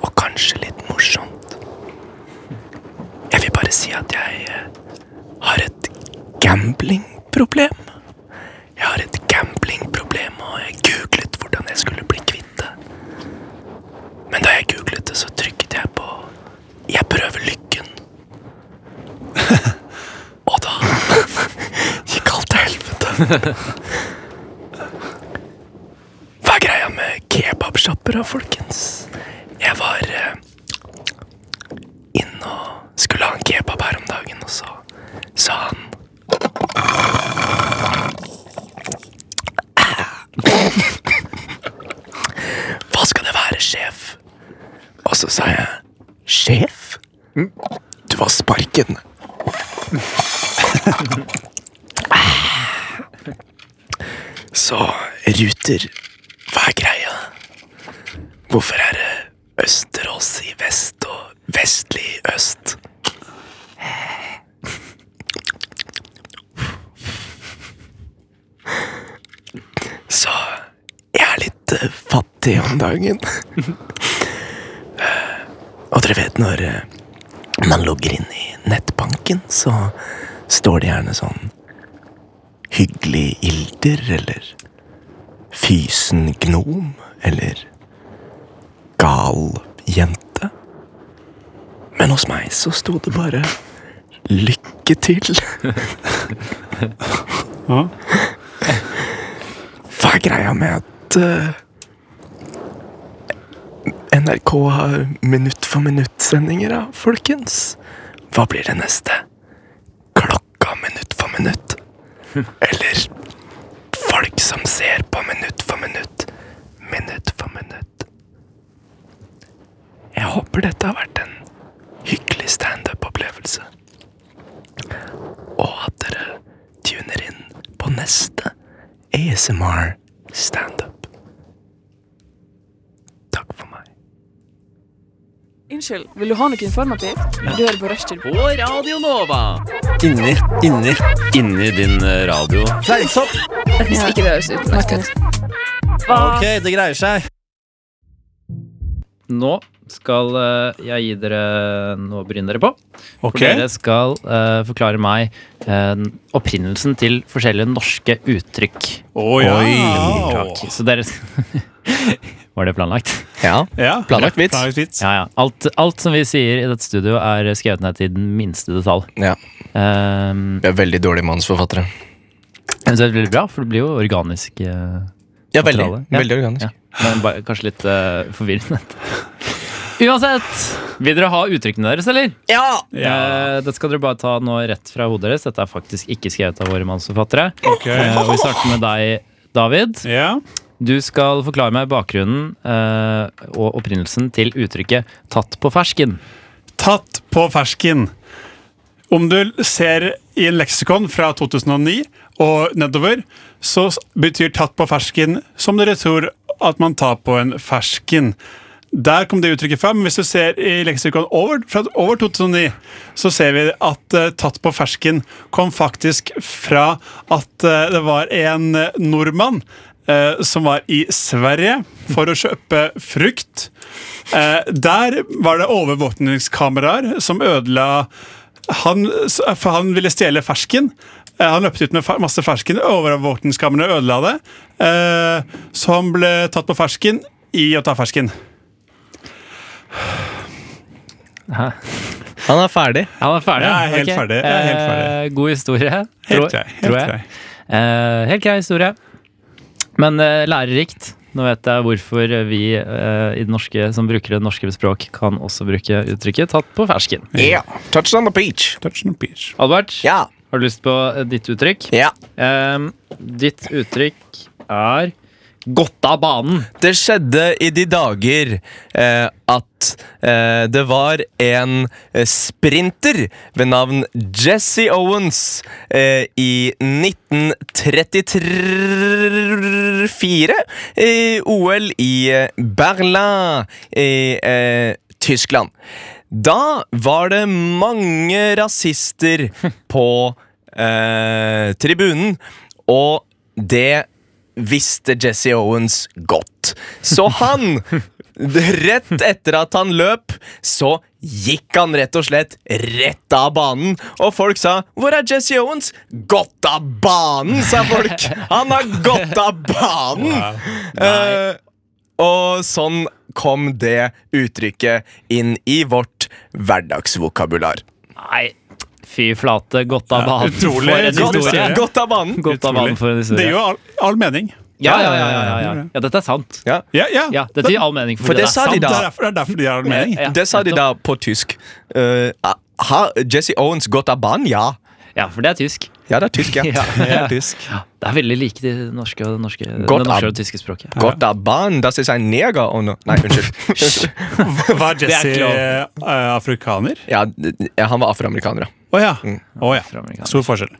[SPEAKER 4] og kanskje litt morsomt. Jeg vil bare si at jeg eh, har et gamblingproblem. Jeg har et gamblingproblem, og jeg googlet hvordan jeg skulle bli kvitt det. Men da jeg googlet det, så trykket jeg på 'Jeg prøver lykken'. og da gikk alt til helvete. Hva er greia med kebabsjapper, da, folkens? Jeg var eh, inn og skulle ha en kebab her om dagen, og så sa han Hva skal det være, sjef? Og så sa jeg Sjef? Du var sparken. Så Ruter, hva er greia? Hvorfor er det Østerås i vest og vestlig i øst? Så jeg er litt eh, fattig om dagen. Eh, Og dere vet når eh, man logger inn i nettbanken, så står det gjerne sånn Hyggelig ilder, eller Fysen gnom, eller gal jente. Men hos meg så sto det bare 'lykke til'.
[SPEAKER 3] Ja.
[SPEAKER 4] Hva er greia med at eh, NRK har minutt for minutt-sendinger, da, folkens? Hva blir det neste? Klokka minutt for minutt? Eller folk som ser på minutt for minutt? Minutt for minutt. Jeg håper dette har vært en hyggelig standup-opplevelse. Og at dere tuner inn på neste ASMR standup. Takk for meg.
[SPEAKER 8] Unnskyld, vil du ha noe informativt? Du hører på Rushtid.
[SPEAKER 7] På Radio Nova.
[SPEAKER 4] Inni, inni.
[SPEAKER 1] Inni din eh, radio.
[SPEAKER 4] Fleinsopp!
[SPEAKER 8] Hvis ikke det høres utenlandsk ut.
[SPEAKER 1] Ok, det greier seg.
[SPEAKER 2] Nå skal eh, jeg gi dere noe å bryne dere på. For
[SPEAKER 3] Ok,
[SPEAKER 2] Dere skal eh, forklare meg eh, opprinnelsen til forskjellige norske uttrykk.
[SPEAKER 3] Å, ja.
[SPEAKER 2] Takk. Så dere Var det planlagt?
[SPEAKER 4] Ja.
[SPEAKER 3] Ja.
[SPEAKER 4] Planlagt vits.
[SPEAKER 3] Planlagt vits.
[SPEAKER 2] Ja, ja. Alt, alt som vi sier i dette studio, er skrevet ned til den minste detalj.
[SPEAKER 4] Ja.
[SPEAKER 2] Um,
[SPEAKER 4] Vi er veldig dårlige manusforfattere.
[SPEAKER 2] så det er veldig bra, for det blir jo organisk. eh,
[SPEAKER 4] Ja, veldig.
[SPEAKER 2] Materiale. Ja.
[SPEAKER 4] Veldig organisk.
[SPEAKER 2] ja. Men bare, kanskje litt eh, forvirrende. Uansett, vil dere ha uttrykkene deres, eller?
[SPEAKER 4] Ja!
[SPEAKER 2] Eh, det skal dere bare ta nå rett fra hodet deres. Dette er faktisk ikke skrevet av våre mannsforfattere.
[SPEAKER 3] Ok.
[SPEAKER 2] Eh, og vi starter med deg, David.
[SPEAKER 3] Ja.
[SPEAKER 2] Du skal forklare meg bakgrunnen eh, og opprinnelsen til uttrykket 'tatt på fersken'.
[SPEAKER 3] Tatt på fersken. Om du ser i en leksikon fra 2009 og nedover, så s- betyr tatt på fersken som dere tror at man tar på en fersken. Der kom det uttrykket fra, men hvis du ser i leksikon over, fra over 2009, så ser vi at eh, tatt på fersken kom faktisk fra at eh, det var en eh, nordmann eh, som var i Sverige for å kjøpe frukt. Eh, der var det overvåkningskameraer som ødela han, For han ville stjele fersken. Eh, han løpte ut med fe- masse fersken. Overvåkningskameraene ødela det. Eh, så han ble tatt på fersken i å ta fersken.
[SPEAKER 2] Hæ?
[SPEAKER 4] Han er ferdig.
[SPEAKER 2] Han er ferdig?
[SPEAKER 3] Jeg er helt
[SPEAKER 2] Ok.
[SPEAKER 3] ferdig, jeg er helt ferdig.
[SPEAKER 2] Eh, god historie,
[SPEAKER 3] Helt
[SPEAKER 2] tror-
[SPEAKER 3] grei.
[SPEAKER 2] tror
[SPEAKER 3] Helt
[SPEAKER 2] jeg.
[SPEAKER 3] grei.
[SPEAKER 2] Eh, helt grei historie. Men eh, lærerikt. Nå vet jeg hvorfor vi eh, i det norske, som bruker det norske språk kan også bruke uttrykket 'tatt på fersken'.
[SPEAKER 4] Ja. Touch on the peach.
[SPEAKER 3] Touch and peach.
[SPEAKER 2] Albert,
[SPEAKER 4] Ja.
[SPEAKER 2] har du lyst på eh, ditt uttrykk?
[SPEAKER 4] ja.
[SPEAKER 2] Eh, ditt uttrykk er 'godt av banen'.
[SPEAKER 4] Det skjedde i de dager eh, at eh, det var en eh, sprinter ved navn Jesse Owens eh, i 1934 i OL i eh, Berlin i eh, Tyskland. Da var det mange rasister på eh, tribunen, og det visste Jesse Owens godt. Så han, rett etter at han løp, så gikk han rett og slett rett av banen. Og folk sa 'Hvor er Jesse Owens?' 'Gått av banen', sa folk. Han har gått av banen! Eh, og sånn kom det uttrykket inn i vårt hverdagsvokabular.
[SPEAKER 2] Nei, fy flate. 'Godt av banen'.
[SPEAKER 3] utrolig
[SPEAKER 2] For en
[SPEAKER 3] godt-
[SPEAKER 2] historie.
[SPEAKER 3] Historie.
[SPEAKER 4] Gått av banen!
[SPEAKER 2] Godt av banen for en
[SPEAKER 3] Det
[SPEAKER 2] historie.
[SPEAKER 3] gir jo all, all mening.
[SPEAKER 2] ja, ja, ja, ja, ja, ja. ja, dette er sant.
[SPEAKER 4] Ja.
[SPEAKER 3] Ja, ja.
[SPEAKER 2] Ja, dette gir all mening.
[SPEAKER 4] For det sa de
[SPEAKER 3] Det
[SPEAKER 4] da.
[SPEAKER 3] er derfor, det er derfor de har all mening.
[SPEAKER 2] Ja,
[SPEAKER 4] Det sa de da på tysk. Eh, har Jesse Owens gått av banen? Ja.
[SPEAKER 2] Ja, for det er tysk.
[SPEAKER 4] Ja, det er tysk, ja.
[SPEAKER 2] Ja.
[SPEAKER 4] Det er tysk.
[SPEAKER 2] Det er veldig like det norske og det norske, det
[SPEAKER 4] Godt
[SPEAKER 2] norske
[SPEAKER 4] ab-
[SPEAKER 2] og det tyske språket.
[SPEAKER 4] Gott ab Bahn, das ist ein Neger und... Nei, unnskyld.
[SPEAKER 3] Var Jesse
[SPEAKER 2] ikke lov.
[SPEAKER 3] eh, afrikaner?
[SPEAKER 4] Ja, d- ja, han var afroamerikaner, ja.
[SPEAKER 3] Å ja.
[SPEAKER 2] Mm.
[SPEAKER 3] Å ja.
[SPEAKER 2] Afroamerikaner.
[SPEAKER 3] Stor forskjell.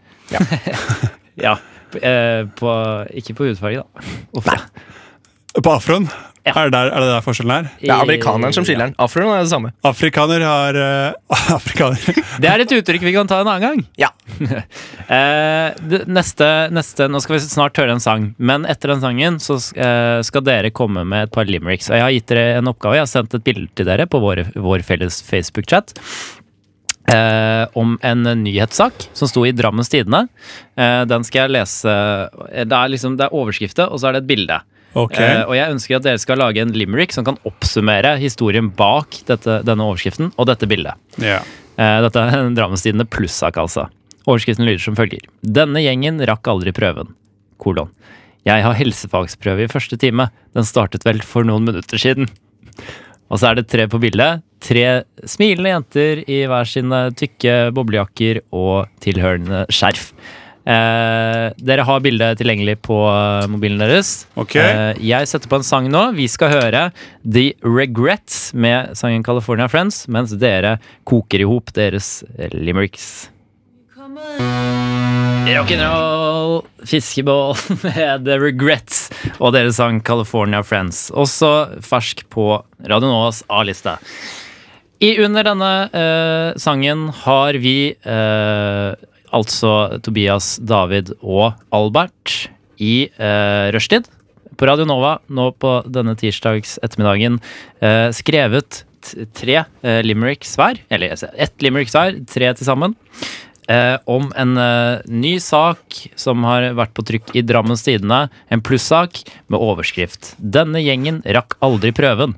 [SPEAKER 2] Ja. P- eh, På, ikke på hudfarge, da. Uff, ja.
[SPEAKER 3] På afroen?
[SPEAKER 2] Ja.
[SPEAKER 3] Er, det der, er det der forskjellen er?
[SPEAKER 4] Det er amerikaneren som skiller den. Afroen er det samme.
[SPEAKER 3] Afrikaner har eh, Afrikaner.
[SPEAKER 2] Det er et uttrykk vi kan ta en annen gang.
[SPEAKER 4] Ja.
[SPEAKER 2] Eh, det- neste, neste, nå skal vi snart høre en sang, men etter den sangen så eh, skal dere komme med et par limericks. Og jeg har gitt dere en oppgave. Jeg har sendt et bilde til dere på vår, vår felles Facebook-chat. Eh, om en nyhetssak som sto i Drammens Tidende. Eh, den skal jeg lese Det er, liksom, det er overskrifter, og så er det et bilde.
[SPEAKER 3] Ok.
[SPEAKER 2] Eh, og jeg ønsker at dere skal lage en limerick som kan oppsummere historien bak dette, denne overskriften og dette bildet.
[SPEAKER 3] Ja.
[SPEAKER 2] Eh, Dette er en Drammestidende plussak, altså. Overskriften lyder som følger. Denne gjengen rakk aldri prøven. Kolon. Jeg har helsefagsprøve i første time. Den startet vel for noen minutter siden. Og så er det tre på bildet. Tre smilende jenter i hver sine tykke boblejakker og tilhørende skjerf. Eh, dere har bildet tilgjengelig på eh, mobilen deres.
[SPEAKER 3] Ok.
[SPEAKER 2] Eh, jeg setter på en sang nå. Vi skal høre The Regrets med sangen California Friends, mens dere koker i hop deres limericks. Eh, Rock'n'roll, fiskebål med The Regrets og deres sang California Friends. Også fersk på Radio Novas A-liste. I Under denne eh, sangen har vi eh, altså Tobias, David og Albert i eh, rushtid på Radio Nova nå på denne tirsdags ettermiddagen eh, skrevet t- tre eh, limericks hver, eller altså, ett limericks hver, tre til sammen. Eh, om en eh, ny sak som har vært på trykk i Drammens Tidende. En plussak med overskrift 'Denne gjengen rakk aldri prøven'.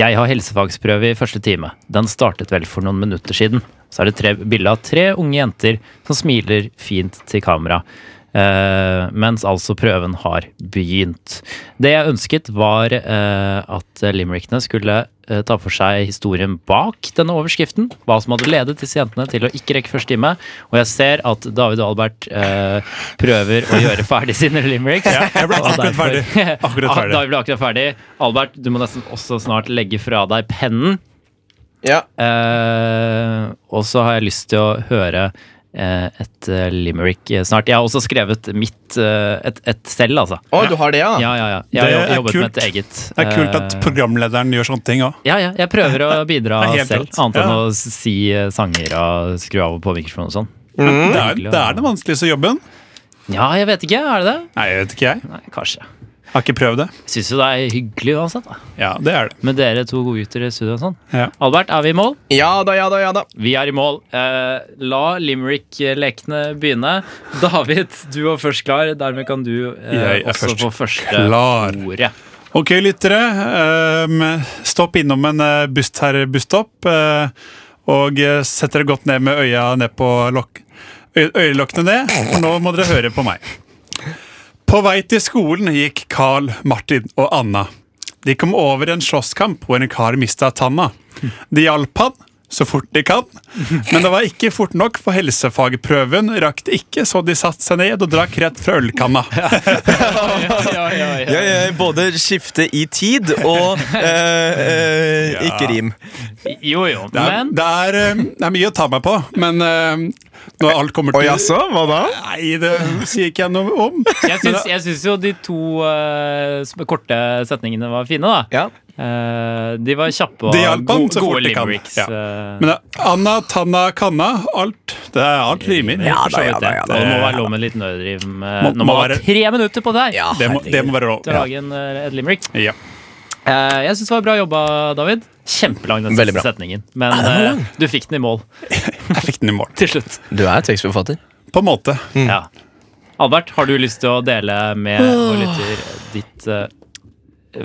[SPEAKER 2] Jeg har helsefagsprøve i første time. Den startet vel for noen minutter siden. Så er det tre bilde av tre unge jenter som smiler fint til kamera. Eh, mens altså prøven har begynt. Det jeg ønsket, var eh, at limerickene skulle eh, ta for seg historien bak denne overskriften. Hva som hadde ledet disse jentene til å ikke rekke første time. Og jeg ser at David og Albert eh, prøver å gjøre ferdig sine limericks.
[SPEAKER 3] Jeg ble
[SPEAKER 2] Og
[SPEAKER 3] akkurat
[SPEAKER 2] derfor-
[SPEAKER 3] ferdig. Akkurat
[SPEAKER 2] Ah,
[SPEAKER 3] ferdig.
[SPEAKER 2] Da vi ble akkurat ferdig. Albert, du må nesten også snart legge fra deg pennen.
[SPEAKER 4] Ja.
[SPEAKER 2] Eh, og så har jeg lyst til å høre eh, et eh, limerick eh, snart. Jeg har også skrevet mitt eh, et, et selv, altså.
[SPEAKER 4] Å, du har det,
[SPEAKER 2] Ja, ja, ja. Jeg har
[SPEAKER 3] Det
[SPEAKER 2] jo-
[SPEAKER 3] er
[SPEAKER 2] jobbet
[SPEAKER 3] kult.
[SPEAKER 2] med et eget.
[SPEAKER 3] Det er kult at
[SPEAKER 2] eh,
[SPEAKER 3] programlederen gjør sånne ting òg.
[SPEAKER 2] ja, ja, jeg prøver å bidra
[SPEAKER 3] Det er helt
[SPEAKER 2] selv,
[SPEAKER 3] rått.
[SPEAKER 2] annet enn
[SPEAKER 3] Ja.
[SPEAKER 2] å si eh, sanger og skru av og på mikrofonen og sånn.
[SPEAKER 3] Det, er- det er den vanskeligste jobben.
[SPEAKER 2] Ja, jeg vet ikke. Er det det?
[SPEAKER 3] Nei, jeg vet ikke jeg.
[SPEAKER 2] Nei, kanskje.
[SPEAKER 3] Jeg Har ikke prøvd det.
[SPEAKER 2] Jeg syns jo det er hyggelig uansett, da.
[SPEAKER 3] Ja, det er det.
[SPEAKER 2] Med dere to godgutter i studio og sånn.
[SPEAKER 3] Ja.
[SPEAKER 2] Albert, er vi i mål?
[SPEAKER 4] Ja da, ja da, ja da.
[SPEAKER 2] Vi er i mål. Eh, la Limerick-lekene begynne. David, du var først klar. Dermed kan du eh,
[SPEAKER 3] Jeg er
[SPEAKER 2] også
[SPEAKER 3] først
[SPEAKER 2] få første
[SPEAKER 3] klar.
[SPEAKER 2] ordet.
[SPEAKER 3] Ok, lyttere. ehm, stopp innom en eh, bust her, busstopp. eh, og eh, sett dere godt ned med øya ned på lokk... øy- Øyelokkene ned, for nå må dere høre på meg. På vei til skolen gikk Carl, Martin og Anna. De kom over en slåsskamp hvor en kar mista tanna. De hjalp han så fort de kan, men det var ikke fort nok, for helsefagprøven rakk det ikke, så de satte seg ned og drakk rett fra ølkanna.
[SPEAKER 4] Ja, ja, både skifte i tid og eh, eh, ikke rim.
[SPEAKER 2] Jo, jo,
[SPEAKER 3] Det er,
[SPEAKER 2] men
[SPEAKER 3] det, er, eh, det er mye å ta meg på, men eh, når alt kommer til
[SPEAKER 4] Hva da?
[SPEAKER 3] Nei, det sier ikke jeg noe om.
[SPEAKER 2] jeg syns, jeg syns jo de to eh, sm- korte setningene var fine, da.
[SPEAKER 4] Ja.
[SPEAKER 2] Eh, de var kjappe og
[SPEAKER 3] De hjalp han
[SPEAKER 2] gode,
[SPEAKER 3] så fort
[SPEAKER 2] gode
[SPEAKER 3] de kan.
[SPEAKER 2] limericks.
[SPEAKER 3] Ja.
[SPEAKER 2] eh,
[SPEAKER 3] Men det er Anna, Tanna, Kanna, alt. Det er alt rimer.
[SPEAKER 2] for så vidt det. Og det må være lov med litt nødrim. eh,
[SPEAKER 3] Må-
[SPEAKER 2] Når
[SPEAKER 3] må
[SPEAKER 2] man har
[SPEAKER 3] være-
[SPEAKER 2] tre minutter på deg
[SPEAKER 4] Ja,
[SPEAKER 3] Det må, det må være lov.
[SPEAKER 2] til å lage en, eh, et limerick.
[SPEAKER 3] Ja.
[SPEAKER 2] Eh, jeg syns det var bra jobba, David. Kjempelang den
[SPEAKER 4] Veldig
[SPEAKER 2] siste
[SPEAKER 4] bra.
[SPEAKER 2] setningen. Men eh, du fikk den i mål
[SPEAKER 3] Jeg fikk den i mål.
[SPEAKER 2] til slutt.
[SPEAKER 4] Du er tekstforfatter.
[SPEAKER 3] På en måte.
[SPEAKER 2] Ja. Albert, har du lyst til å dele med vår lytter ditt eh,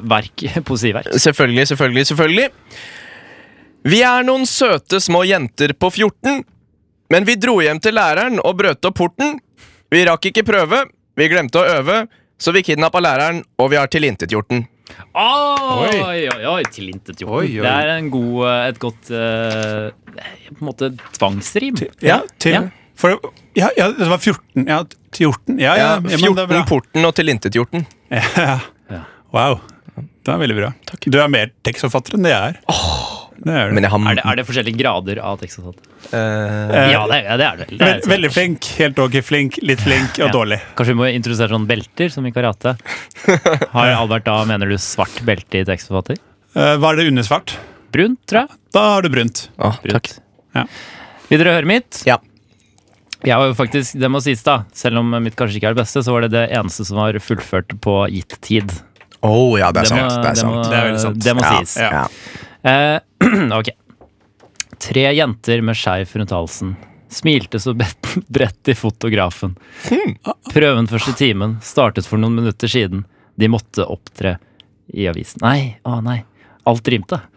[SPEAKER 2] verk, poesiverk?
[SPEAKER 4] Selvfølgelig, selvfølgelig, selvfølgelig. Vi er noen søte små jenter på 14. Men vi dro hjem til læreren og brøt opp porten. Vi rakk ikke prøve, vi glemte å øve, så vi kidnappa læreren, og vi har tilintetgjort den.
[SPEAKER 2] Oi,
[SPEAKER 3] Oi.
[SPEAKER 2] oi, oi! Tilintetgjort.
[SPEAKER 3] Oi, oi.
[SPEAKER 2] Det er en god, eh, et godt eh, på en måte tvangsrim.
[SPEAKER 3] Ja, til
[SPEAKER 2] Ja.
[SPEAKER 3] For ja, ja, det var 14. Ja, til 14. Ja, ja.
[SPEAKER 4] Ja,
[SPEAKER 3] ja, men det er
[SPEAKER 4] 14
[SPEAKER 3] bra.
[SPEAKER 4] porten og tilintetgjort den.
[SPEAKER 3] Ja. Wow. Det er veldig bra. Du er mer tekstforfatter enn det jeg er. Det er du.
[SPEAKER 4] Men jeg har
[SPEAKER 2] Er det, er det forskjellige grader av tekstforfatt?
[SPEAKER 4] eh,
[SPEAKER 3] Eh,
[SPEAKER 2] Ja, det er det. Er det, vel. det, er
[SPEAKER 3] Vel-
[SPEAKER 2] det
[SPEAKER 3] veldig flink, helt ok flink, litt flink og
[SPEAKER 2] Ja.
[SPEAKER 3] dårlig.
[SPEAKER 2] Kanskje vi må introdusere sånn belter, som i karate. Har Albert da, mener du, svart belte i tekstforfatter?
[SPEAKER 3] Eh, hva er det under svart?
[SPEAKER 2] Brunt, tror jeg.
[SPEAKER 3] Da har du brunt.
[SPEAKER 4] å, takk.
[SPEAKER 2] Brunt.
[SPEAKER 3] Ja.
[SPEAKER 2] Vil dere høre mitt?
[SPEAKER 4] Ja.
[SPEAKER 2] Jeg var jo faktisk, det må sies da, selv om mitt kanskje ikke er det beste, så var det det eneste som var fullført på gitt tid.
[SPEAKER 4] Å ja, det er
[SPEAKER 2] må,
[SPEAKER 4] sant. Det er
[SPEAKER 2] Må,
[SPEAKER 4] sant.
[SPEAKER 3] Det er veldig sant.
[SPEAKER 2] Det må
[SPEAKER 4] Ja,
[SPEAKER 2] sies.
[SPEAKER 4] ja.
[SPEAKER 2] Eh, ok. Tre jenter med skeiv rundt halsen. Smilte så bet- bredt til fotografen.
[SPEAKER 4] Hmm.
[SPEAKER 2] Prøven første timen startet for noen minutter siden. De måtte opptre i avisen. Nei, å nei. Alt rimte.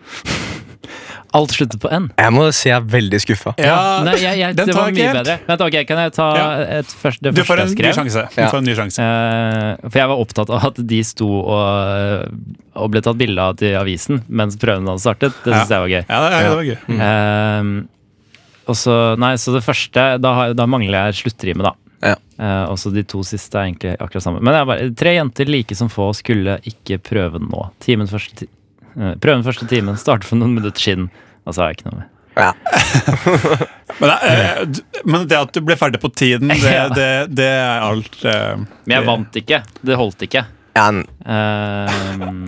[SPEAKER 2] Alt sluttet på N.
[SPEAKER 4] Jeg må si jeg er veldig skuffa.
[SPEAKER 3] Ja,
[SPEAKER 2] Nei, jeg, jeg,
[SPEAKER 3] den
[SPEAKER 2] det
[SPEAKER 3] tar
[SPEAKER 2] var
[SPEAKER 3] jeg
[SPEAKER 2] mye
[SPEAKER 3] ikke helt.
[SPEAKER 2] bedre. Vent, ok, Kan jeg ta
[SPEAKER 3] Ja.
[SPEAKER 2] et først, det
[SPEAKER 3] Du
[SPEAKER 2] første
[SPEAKER 3] får en
[SPEAKER 2] jeg
[SPEAKER 3] ny
[SPEAKER 2] skrev?
[SPEAKER 3] sjanse. Du
[SPEAKER 4] Ja.
[SPEAKER 3] får en ny sjanse.
[SPEAKER 2] Eh, for jeg var opptatt av at de sto og, og ble tatt bilde av til avisen mens prøven hadde startet. Det syns
[SPEAKER 3] Ja. Mm.
[SPEAKER 2] jeg var gøy.
[SPEAKER 3] Ja, det, ja, det var gøy.
[SPEAKER 2] Ehm, og så, nei, så det første Da, har- da mangler jeg sluttrimet, da.
[SPEAKER 4] Ja.
[SPEAKER 2] Eh, og så de to siste er egentlig akkurat samme. Men det er bare, tre jenter like som få skulle ikke prøve nå. Timen første ti eh, prøven første timen startet for noen minutter siden. Og så har jeg ikke noe med.
[SPEAKER 3] Men, det, eh, d- men det at du ble ferdig på tiden, det,
[SPEAKER 2] Ja.
[SPEAKER 3] det, det er alt eh,
[SPEAKER 2] Men jeg
[SPEAKER 3] det-
[SPEAKER 2] vant ikke. Det holdt ikke. Eh,
[SPEAKER 4] Ja, n-
[SPEAKER 2] Ehm,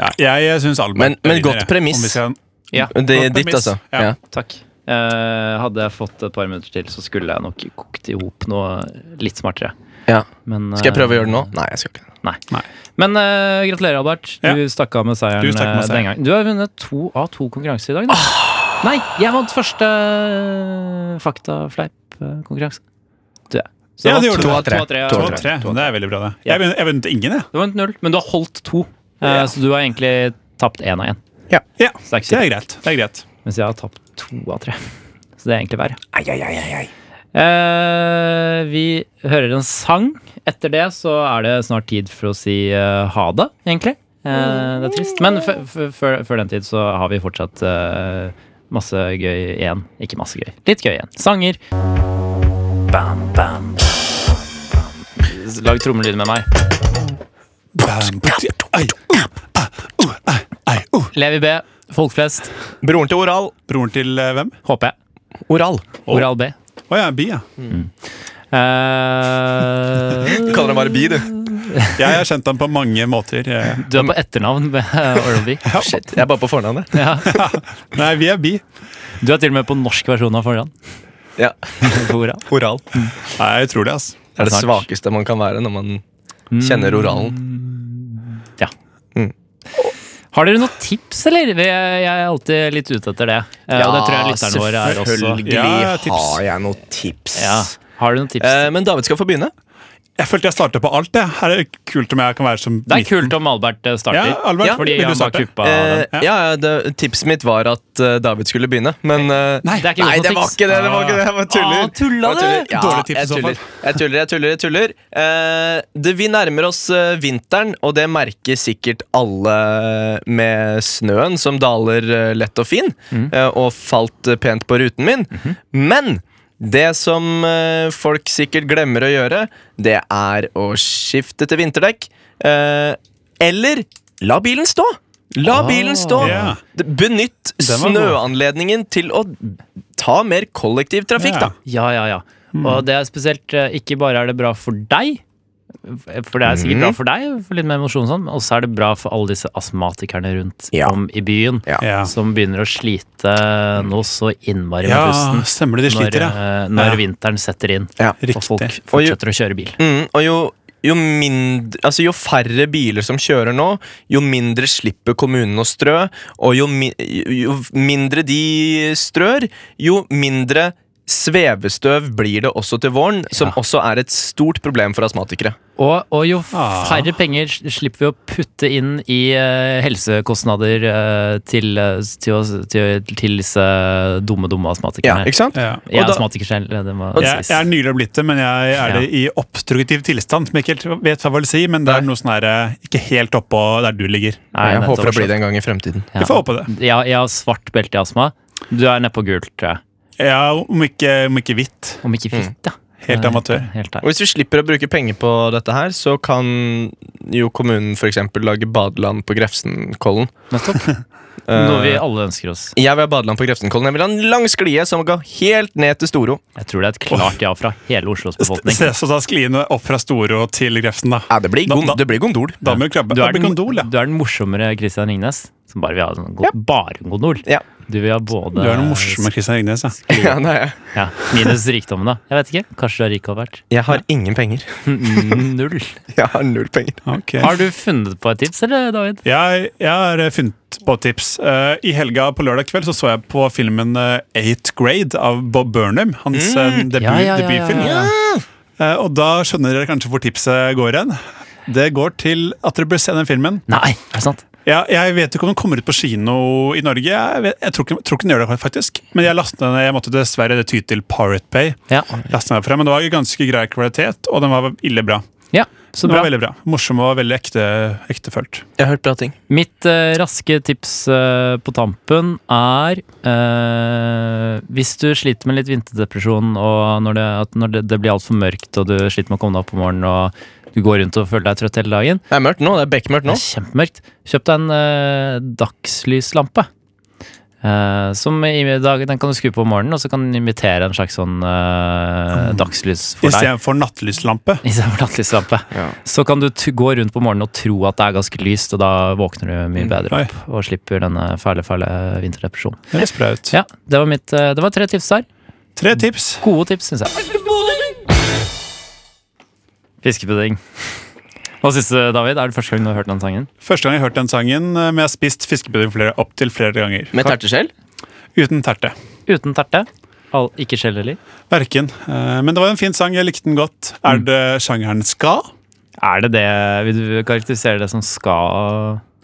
[SPEAKER 3] Ja, jeg jeg syns Albert
[SPEAKER 4] Men- men
[SPEAKER 3] vinner,
[SPEAKER 4] godt
[SPEAKER 3] jeg.
[SPEAKER 4] premiss.
[SPEAKER 3] Om vi skal-
[SPEAKER 2] Ja,
[SPEAKER 4] Det er
[SPEAKER 3] På
[SPEAKER 4] ditt,
[SPEAKER 3] premiss.
[SPEAKER 4] altså.
[SPEAKER 3] Ja.
[SPEAKER 4] Ja.
[SPEAKER 2] takk. Eh, hadde jeg fått et par minutter til, så skulle jeg nok kokt i hop noe litt smartere.
[SPEAKER 4] Ja.
[SPEAKER 2] Men,
[SPEAKER 4] Skal jeg prøve å
[SPEAKER 2] eh,
[SPEAKER 4] gjøre det nå? Nei, jeg skal ikke. det.
[SPEAKER 2] Nei.
[SPEAKER 3] Nei.
[SPEAKER 2] Men eh, gratulerer, Albert. Du
[SPEAKER 3] Ja.
[SPEAKER 2] stakk av med seieren
[SPEAKER 3] Du stakk med
[SPEAKER 2] eh,
[SPEAKER 3] seieren.
[SPEAKER 2] den gangen. Du har vunnet to av to konkurranser i dag. Da. Nei, jeg vant første eh, faktafleip-konkurranse. Du, ja. Så
[SPEAKER 3] Ja, det
[SPEAKER 2] du vant
[SPEAKER 3] gjorde
[SPEAKER 2] to
[SPEAKER 3] du.
[SPEAKER 2] av tre.
[SPEAKER 4] To av tre, ja.
[SPEAKER 3] To og tre. Det er veldig bra, det. Jeg vun- jeg vunnet ingen, jeg.
[SPEAKER 2] Du vant null, men du har holdt to. Eh, Så du har egentlig tapt én av én.
[SPEAKER 3] Ja. ja.
[SPEAKER 2] Så det er
[SPEAKER 3] Det
[SPEAKER 2] ikke så
[SPEAKER 3] er greit. Det er greit.
[SPEAKER 2] Mens jeg har tapt to av tre. Så det er egentlig verre. Eh, vi hører en sang. Etter det så er det snart tid for å si eh, ha det, egentlig. Eh, det er trist. Men f f før før den tid så har vi fortsatt eh, masse gøy igjen. Ikke masse gøy, litt gøy igjen. Sanger. Bam, bam. Lag trommelyd med meg.
[SPEAKER 3] Bam, buti, ai, uh, ah, uh, ai, ai, uh.
[SPEAKER 2] Levi B. Folk flest.
[SPEAKER 4] Broren til Oral.
[SPEAKER 3] Broren til eh, hvem?
[SPEAKER 2] Håper jeg.
[SPEAKER 4] Oral.
[SPEAKER 2] Oral B.
[SPEAKER 3] Å ja, Bi, ja.
[SPEAKER 2] Eh,
[SPEAKER 4] Du kaller ham bare Bi, du.
[SPEAKER 3] Jeg har kjent ham på mange måter. eh.
[SPEAKER 2] Du er på etternavn Oh, med Oral B.
[SPEAKER 4] Shit, Jeg er bare på fornavnet.
[SPEAKER 2] Ja.
[SPEAKER 3] Nei, vi er Bi.
[SPEAKER 2] Du er til og med på norsk versjon av forhånd.
[SPEAKER 4] Ja.
[SPEAKER 2] på Oral.
[SPEAKER 4] Oral.
[SPEAKER 3] Nei, jeg tror det, altså.
[SPEAKER 4] Det er det
[SPEAKER 2] Snart.
[SPEAKER 4] svakeste man kan være når man kjenner
[SPEAKER 2] Mm.
[SPEAKER 4] oralen.
[SPEAKER 2] Har dere noen tips, eller? Vi- Jeg er alltid litt ute etter det. Eh, og det tror jeg lytterne våre er også.
[SPEAKER 4] selvfølgelig
[SPEAKER 3] Ja, tips.
[SPEAKER 4] har jeg noen tips.
[SPEAKER 2] Ja. Har dere noen tips?
[SPEAKER 4] Eh, men David skal få begynne.
[SPEAKER 3] Jeg følte jeg startet på alt. Jeg. Her er det kult om jeg kan være som
[SPEAKER 2] det er kult om Albert eh, starter.
[SPEAKER 3] Ja, Albert,
[SPEAKER 4] Ja,
[SPEAKER 2] fordi
[SPEAKER 3] vil du
[SPEAKER 2] han bare
[SPEAKER 3] starte?
[SPEAKER 2] kuppa
[SPEAKER 4] Eh,
[SPEAKER 2] den.
[SPEAKER 4] ja, ja, det, tipset mitt var at eh, David skulle begynne, men eh,
[SPEAKER 3] Nei,
[SPEAKER 2] Det er ikke
[SPEAKER 4] Nei,
[SPEAKER 2] godt
[SPEAKER 4] det var
[SPEAKER 2] tips.
[SPEAKER 4] ikke det! det var ikke det, Jeg bare tuller.
[SPEAKER 2] Ah, tulla
[SPEAKER 4] Jeg tuller.
[SPEAKER 2] du?
[SPEAKER 4] Ja,
[SPEAKER 3] Dårlig tips i
[SPEAKER 4] jeg
[SPEAKER 3] så fall.
[SPEAKER 4] tuller. Jeg tuller, jeg tuller. jeg tuller Eh, det, Vi nærmer oss eh, vinteren, og det merker sikkert alle med snøen som daler eh, lett og fin, eh, og falt eh, pent på ruten min. Men det som eh, folk sikkert glemmer å gjøre, det er å skifte til vinterdekk. eh, eller la bilen stå! La bilen stå!
[SPEAKER 3] Ja.
[SPEAKER 4] D- Benytt
[SPEAKER 3] Den var god.
[SPEAKER 4] snøanledningen til å ta mer kollektivtrafikk, da.
[SPEAKER 3] Ja.
[SPEAKER 2] Ja, ja, ja.
[SPEAKER 4] Mm.
[SPEAKER 2] Og det er spesielt eh, Ikke bare er det bra for deg, for det er
[SPEAKER 4] Mhm.
[SPEAKER 2] sikkert bra for deg, for litt mer mosjon og sånn, og så er det bra for alle disse astmatikerne rundt
[SPEAKER 4] Ja.
[SPEAKER 2] om i byen
[SPEAKER 4] Ja.
[SPEAKER 3] Ja.
[SPEAKER 2] som begynner å slite nå så innmari med
[SPEAKER 3] ja,
[SPEAKER 2] pusten.
[SPEAKER 3] stemmer det. De
[SPEAKER 2] når,
[SPEAKER 3] sliter, ja.
[SPEAKER 2] eh, når
[SPEAKER 3] Ja.
[SPEAKER 2] vinteren setter inn.
[SPEAKER 4] Ja.
[SPEAKER 2] Og folk
[SPEAKER 3] Riktig.
[SPEAKER 2] fortsetter å kjøre bil.
[SPEAKER 4] Mm, og jo, jo, mindre, altså jo færre biler som kjører nå, jo mindre slipper kommunen å strø. Og jo, mi, jo mindre de strør, jo mindre svevestøv blir det også til våren, som også er et stort problem for astmatikere.
[SPEAKER 2] Og, og jo
[SPEAKER 3] Ah.
[SPEAKER 2] færre penger s- slipper vi å putte inn i eh, helsekostnader eh, til, eh, til, oss- til, til disse dumme, dumme astmatikerne.
[SPEAKER 4] ikke sant?
[SPEAKER 3] Ja.
[SPEAKER 2] jeg er
[SPEAKER 4] og da-
[SPEAKER 2] astmatiker selv. Det må
[SPEAKER 3] Jeg,
[SPEAKER 2] sies.
[SPEAKER 3] jeg er nylig blitt det, men jeg er det i obstruktiv tilstand. Som jeg ikke helt vet hva jeg vil si, men det er noe sånn her eh, ikke helt oppå der du ligger.
[SPEAKER 2] Nei,
[SPEAKER 4] jeg
[SPEAKER 2] nettopp.
[SPEAKER 4] håper det blir det en gang i fremtiden.
[SPEAKER 2] Ja.
[SPEAKER 3] Vi får håpe det.
[SPEAKER 2] Ja, jeg har svart belte i astma. Du er nedpå gult, tror jeg.
[SPEAKER 3] Ja, om ikke, om ikke hvitt.
[SPEAKER 2] Om
[SPEAKER 4] Mm.
[SPEAKER 2] ikke fitt, ja.
[SPEAKER 3] Helt
[SPEAKER 2] Eh,
[SPEAKER 3] amatør.
[SPEAKER 2] Helt her.
[SPEAKER 4] Og hvis vi slipper å bruke penger på dette her, så kan jo kommunen f.eks. lage badeland på Grefsenkollen.
[SPEAKER 2] Nettopp.
[SPEAKER 4] Eh.
[SPEAKER 2] Noe vi alle ønsker oss.
[SPEAKER 4] Jeg vil ha badeland på Grefsenkollen. Jeg vil ha en lang sklie som går helt ned til Storo.
[SPEAKER 2] Jeg tror det er et klart ja fra hele Oslos befolkning.
[SPEAKER 3] Se, så da skliene opp fra Storo til Grefsen, da.
[SPEAKER 4] Ja, det blir,
[SPEAKER 3] Da-
[SPEAKER 4] gon-
[SPEAKER 3] da-
[SPEAKER 4] det blir gondol.
[SPEAKER 3] Da må vi krabbe.
[SPEAKER 2] Du
[SPEAKER 3] Da
[SPEAKER 2] er,
[SPEAKER 3] blir
[SPEAKER 2] den,
[SPEAKER 3] gondol, ja.
[SPEAKER 2] du er den morsommere Christian Ringnes, som bare vil ha sånn, go- bare en gondol.
[SPEAKER 4] Ja.
[SPEAKER 2] Du vil ha både
[SPEAKER 3] Du er noe morsom med Christian Ringnes. Ja.
[SPEAKER 4] Ja, nei, jeg-
[SPEAKER 2] Ja, minus rikdommen, da. Jeg vet ikke. Kanskje du er rik, Albert.
[SPEAKER 4] jeg har ingen penger.
[SPEAKER 2] Null.
[SPEAKER 4] Jeg har null penger.
[SPEAKER 3] Ok.
[SPEAKER 2] Har du funnet på et tips, eller, David?
[SPEAKER 3] Jeg, jeg har eh, funnet på et tips. Eh, I helga på lørdag kveld så, så jeg på filmen eh, Eighth Grade av Bob Burnham. Hans eh, debut,
[SPEAKER 2] Mm. Ja, ja, ja, ja,
[SPEAKER 3] debutfilm.
[SPEAKER 2] ja.
[SPEAKER 3] Eh, og da skjønner dere kanskje hvor tipset går hen. Det går til at dere bør se den filmen.
[SPEAKER 2] Nei, er det sant?
[SPEAKER 3] Ja, jeg vet ikke om den kommer ut på kino i Norge. Jeg, vet, jeg tror, ikke, tror ikke den gjør det, faktisk. Men jeg lastet ned, jeg måtte dessverre ty til Pirate Bay.
[SPEAKER 2] Ja.
[SPEAKER 3] Lastet ned fra, men det var ganske grei kvalitet, og den var ille bra.
[SPEAKER 2] ja så
[SPEAKER 3] Den
[SPEAKER 2] bra.
[SPEAKER 3] var veldig bra. Morsom og veldig ekte, ektefølt.
[SPEAKER 4] Jeg har hørt bra ting.
[SPEAKER 2] Mitt eh, raske tips eh, på tampen er eh, Hvis du sliter med litt vinterdepresjon, og når det, at når det, det blir altfor mørkt, og du sliter med å komme deg opp om morgenen, og du går rundt og føler deg trøtt hele dagen,
[SPEAKER 4] Det er mørkt nå. Det er bekmørkt
[SPEAKER 2] Det
[SPEAKER 4] nå.
[SPEAKER 2] er kjempemørkt. Kjøp deg en eh, dagslyslampe. Eh, som i dag, den kan du skru på om morgenen, og så kan den imitere en slags sånn eh, dagslys for deg.
[SPEAKER 3] Istedenfor nattlyslampe.
[SPEAKER 2] Istedenfor nattlyslampe. Så kan du t gå rundt på morgenen og tro at det er ganske lyst, og da våkner du mye bedre
[SPEAKER 3] Oi.
[SPEAKER 2] opp og slipper denne fæle, fæle vinterdepresjonen.
[SPEAKER 3] Det høres bra ut.
[SPEAKER 2] Ja, det var, mitt, eh, det var tre tips der.
[SPEAKER 3] Tre tips.
[SPEAKER 2] Gode tips, syns jeg. Fiskepudding. Hva syns du, David? Er det første gang du har hørt den sangen?
[SPEAKER 3] Første gang jeg hørte den sangen, eh, men jeg har spist fiskepudding flere, opptil flere ganger.
[SPEAKER 4] Med terteskjell?
[SPEAKER 3] Uten terte.
[SPEAKER 2] Uten terte. Al ikke skjell heller.
[SPEAKER 3] Verken. Eh, Men det var en fin sang. Jeg likte den godt.
[SPEAKER 2] Mm.
[SPEAKER 3] Er det sjangeren ska?
[SPEAKER 2] Er det det Vil du karakterisere det som ska?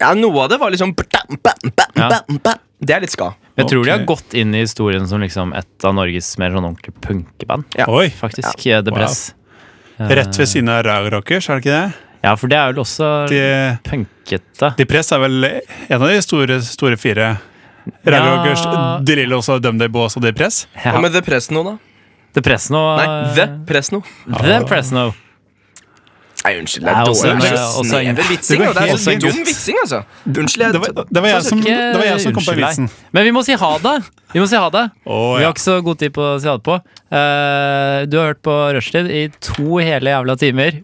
[SPEAKER 4] Ja, noe av det var liksom Det er litt ska.
[SPEAKER 2] Jeg tror de har
[SPEAKER 3] Ok.
[SPEAKER 2] gått inn i historien som liksom et av Norges mer sånn ordentlige punkeband.
[SPEAKER 4] Ja.
[SPEAKER 3] Oi!
[SPEAKER 2] Faktisk. Eh, The
[SPEAKER 3] Wow.
[SPEAKER 2] Press. Eh.
[SPEAKER 3] Rett ved siden av Raga Rockers, er det ikke det?
[SPEAKER 2] Ja, for det er vel også
[SPEAKER 3] De,
[SPEAKER 2] punkete.
[SPEAKER 3] de Press er vel en av de store, store fire. Raga Rockers, De Lille også, Dum Day Boys og De Press.
[SPEAKER 2] Ja.
[SPEAKER 4] Hva med The Presno, da?
[SPEAKER 2] The Presno.
[SPEAKER 4] Nei,
[SPEAKER 2] eh,
[SPEAKER 4] The Presno.
[SPEAKER 2] The Presno.
[SPEAKER 4] Nei, unnskyld.
[SPEAKER 2] Det er også en-
[SPEAKER 4] Det er
[SPEAKER 2] også
[SPEAKER 4] så
[SPEAKER 2] en-
[SPEAKER 4] snever vitsing.
[SPEAKER 3] Det var
[SPEAKER 4] og Det er
[SPEAKER 3] helt
[SPEAKER 4] så
[SPEAKER 3] gutt.
[SPEAKER 4] dum vitsing, altså. Unnskyld.
[SPEAKER 3] Det
[SPEAKER 4] Jeg,
[SPEAKER 3] var, det var, jeg, som,
[SPEAKER 2] Ikke
[SPEAKER 3] Mm, det var jeg som kom på
[SPEAKER 2] unnskyld deg.
[SPEAKER 3] vitsen.
[SPEAKER 2] Men vi må si ha det! Vi må si ha det.
[SPEAKER 3] Å,
[SPEAKER 2] Vi
[SPEAKER 3] ja.
[SPEAKER 2] har ikke så god tid på å si ha det på. Eh, du har hørt på Rushtid i to hele jævla timer med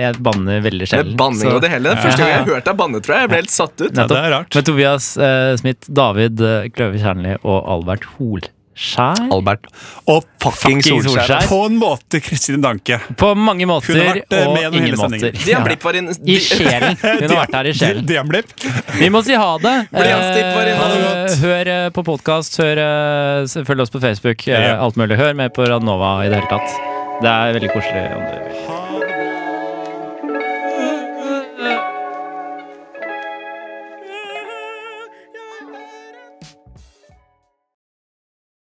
[SPEAKER 2] Jeg banner veldig
[SPEAKER 4] med
[SPEAKER 2] sjelden.
[SPEAKER 4] banning
[SPEAKER 2] så-
[SPEAKER 4] og det hele. Det er første gang jeg har hørt deg banne, tror jeg. Jeg ble helt satt ut.
[SPEAKER 3] Ja, det er rart.
[SPEAKER 2] Med Tobias eh, Smith, David eh, Kløve Kjernli og Albert Holskjær.
[SPEAKER 4] Albert
[SPEAKER 3] Og fucking
[SPEAKER 2] Fucking Solskjær.
[SPEAKER 3] På en måte Kristin Danke.
[SPEAKER 2] På mange
[SPEAKER 3] Kunne
[SPEAKER 2] måter
[SPEAKER 3] vært, eh,
[SPEAKER 2] og
[SPEAKER 3] med gjennom
[SPEAKER 2] ingen
[SPEAKER 3] hele sendingen.
[SPEAKER 2] måter.
[SPEAKER 4] Dian Blipp var inn
[SPEAKER 2] I sjelen. Hun har vært her i sjelen.
[SPEAKER 3] Diamblip.
[SPEAKER 2] Vi må si ha det.
[SPEAKER 4] Bli avstilt, bare ha det
[SPEAKER 2] Eh, hør eh, på podkast, følg oss på Facebook. eh,
[SPEAKER 3] Ja.
[SPEAKER 2] Alt mulig. Hør med på Radnova i det hele tatt. Det er veldig koselig. om du vil.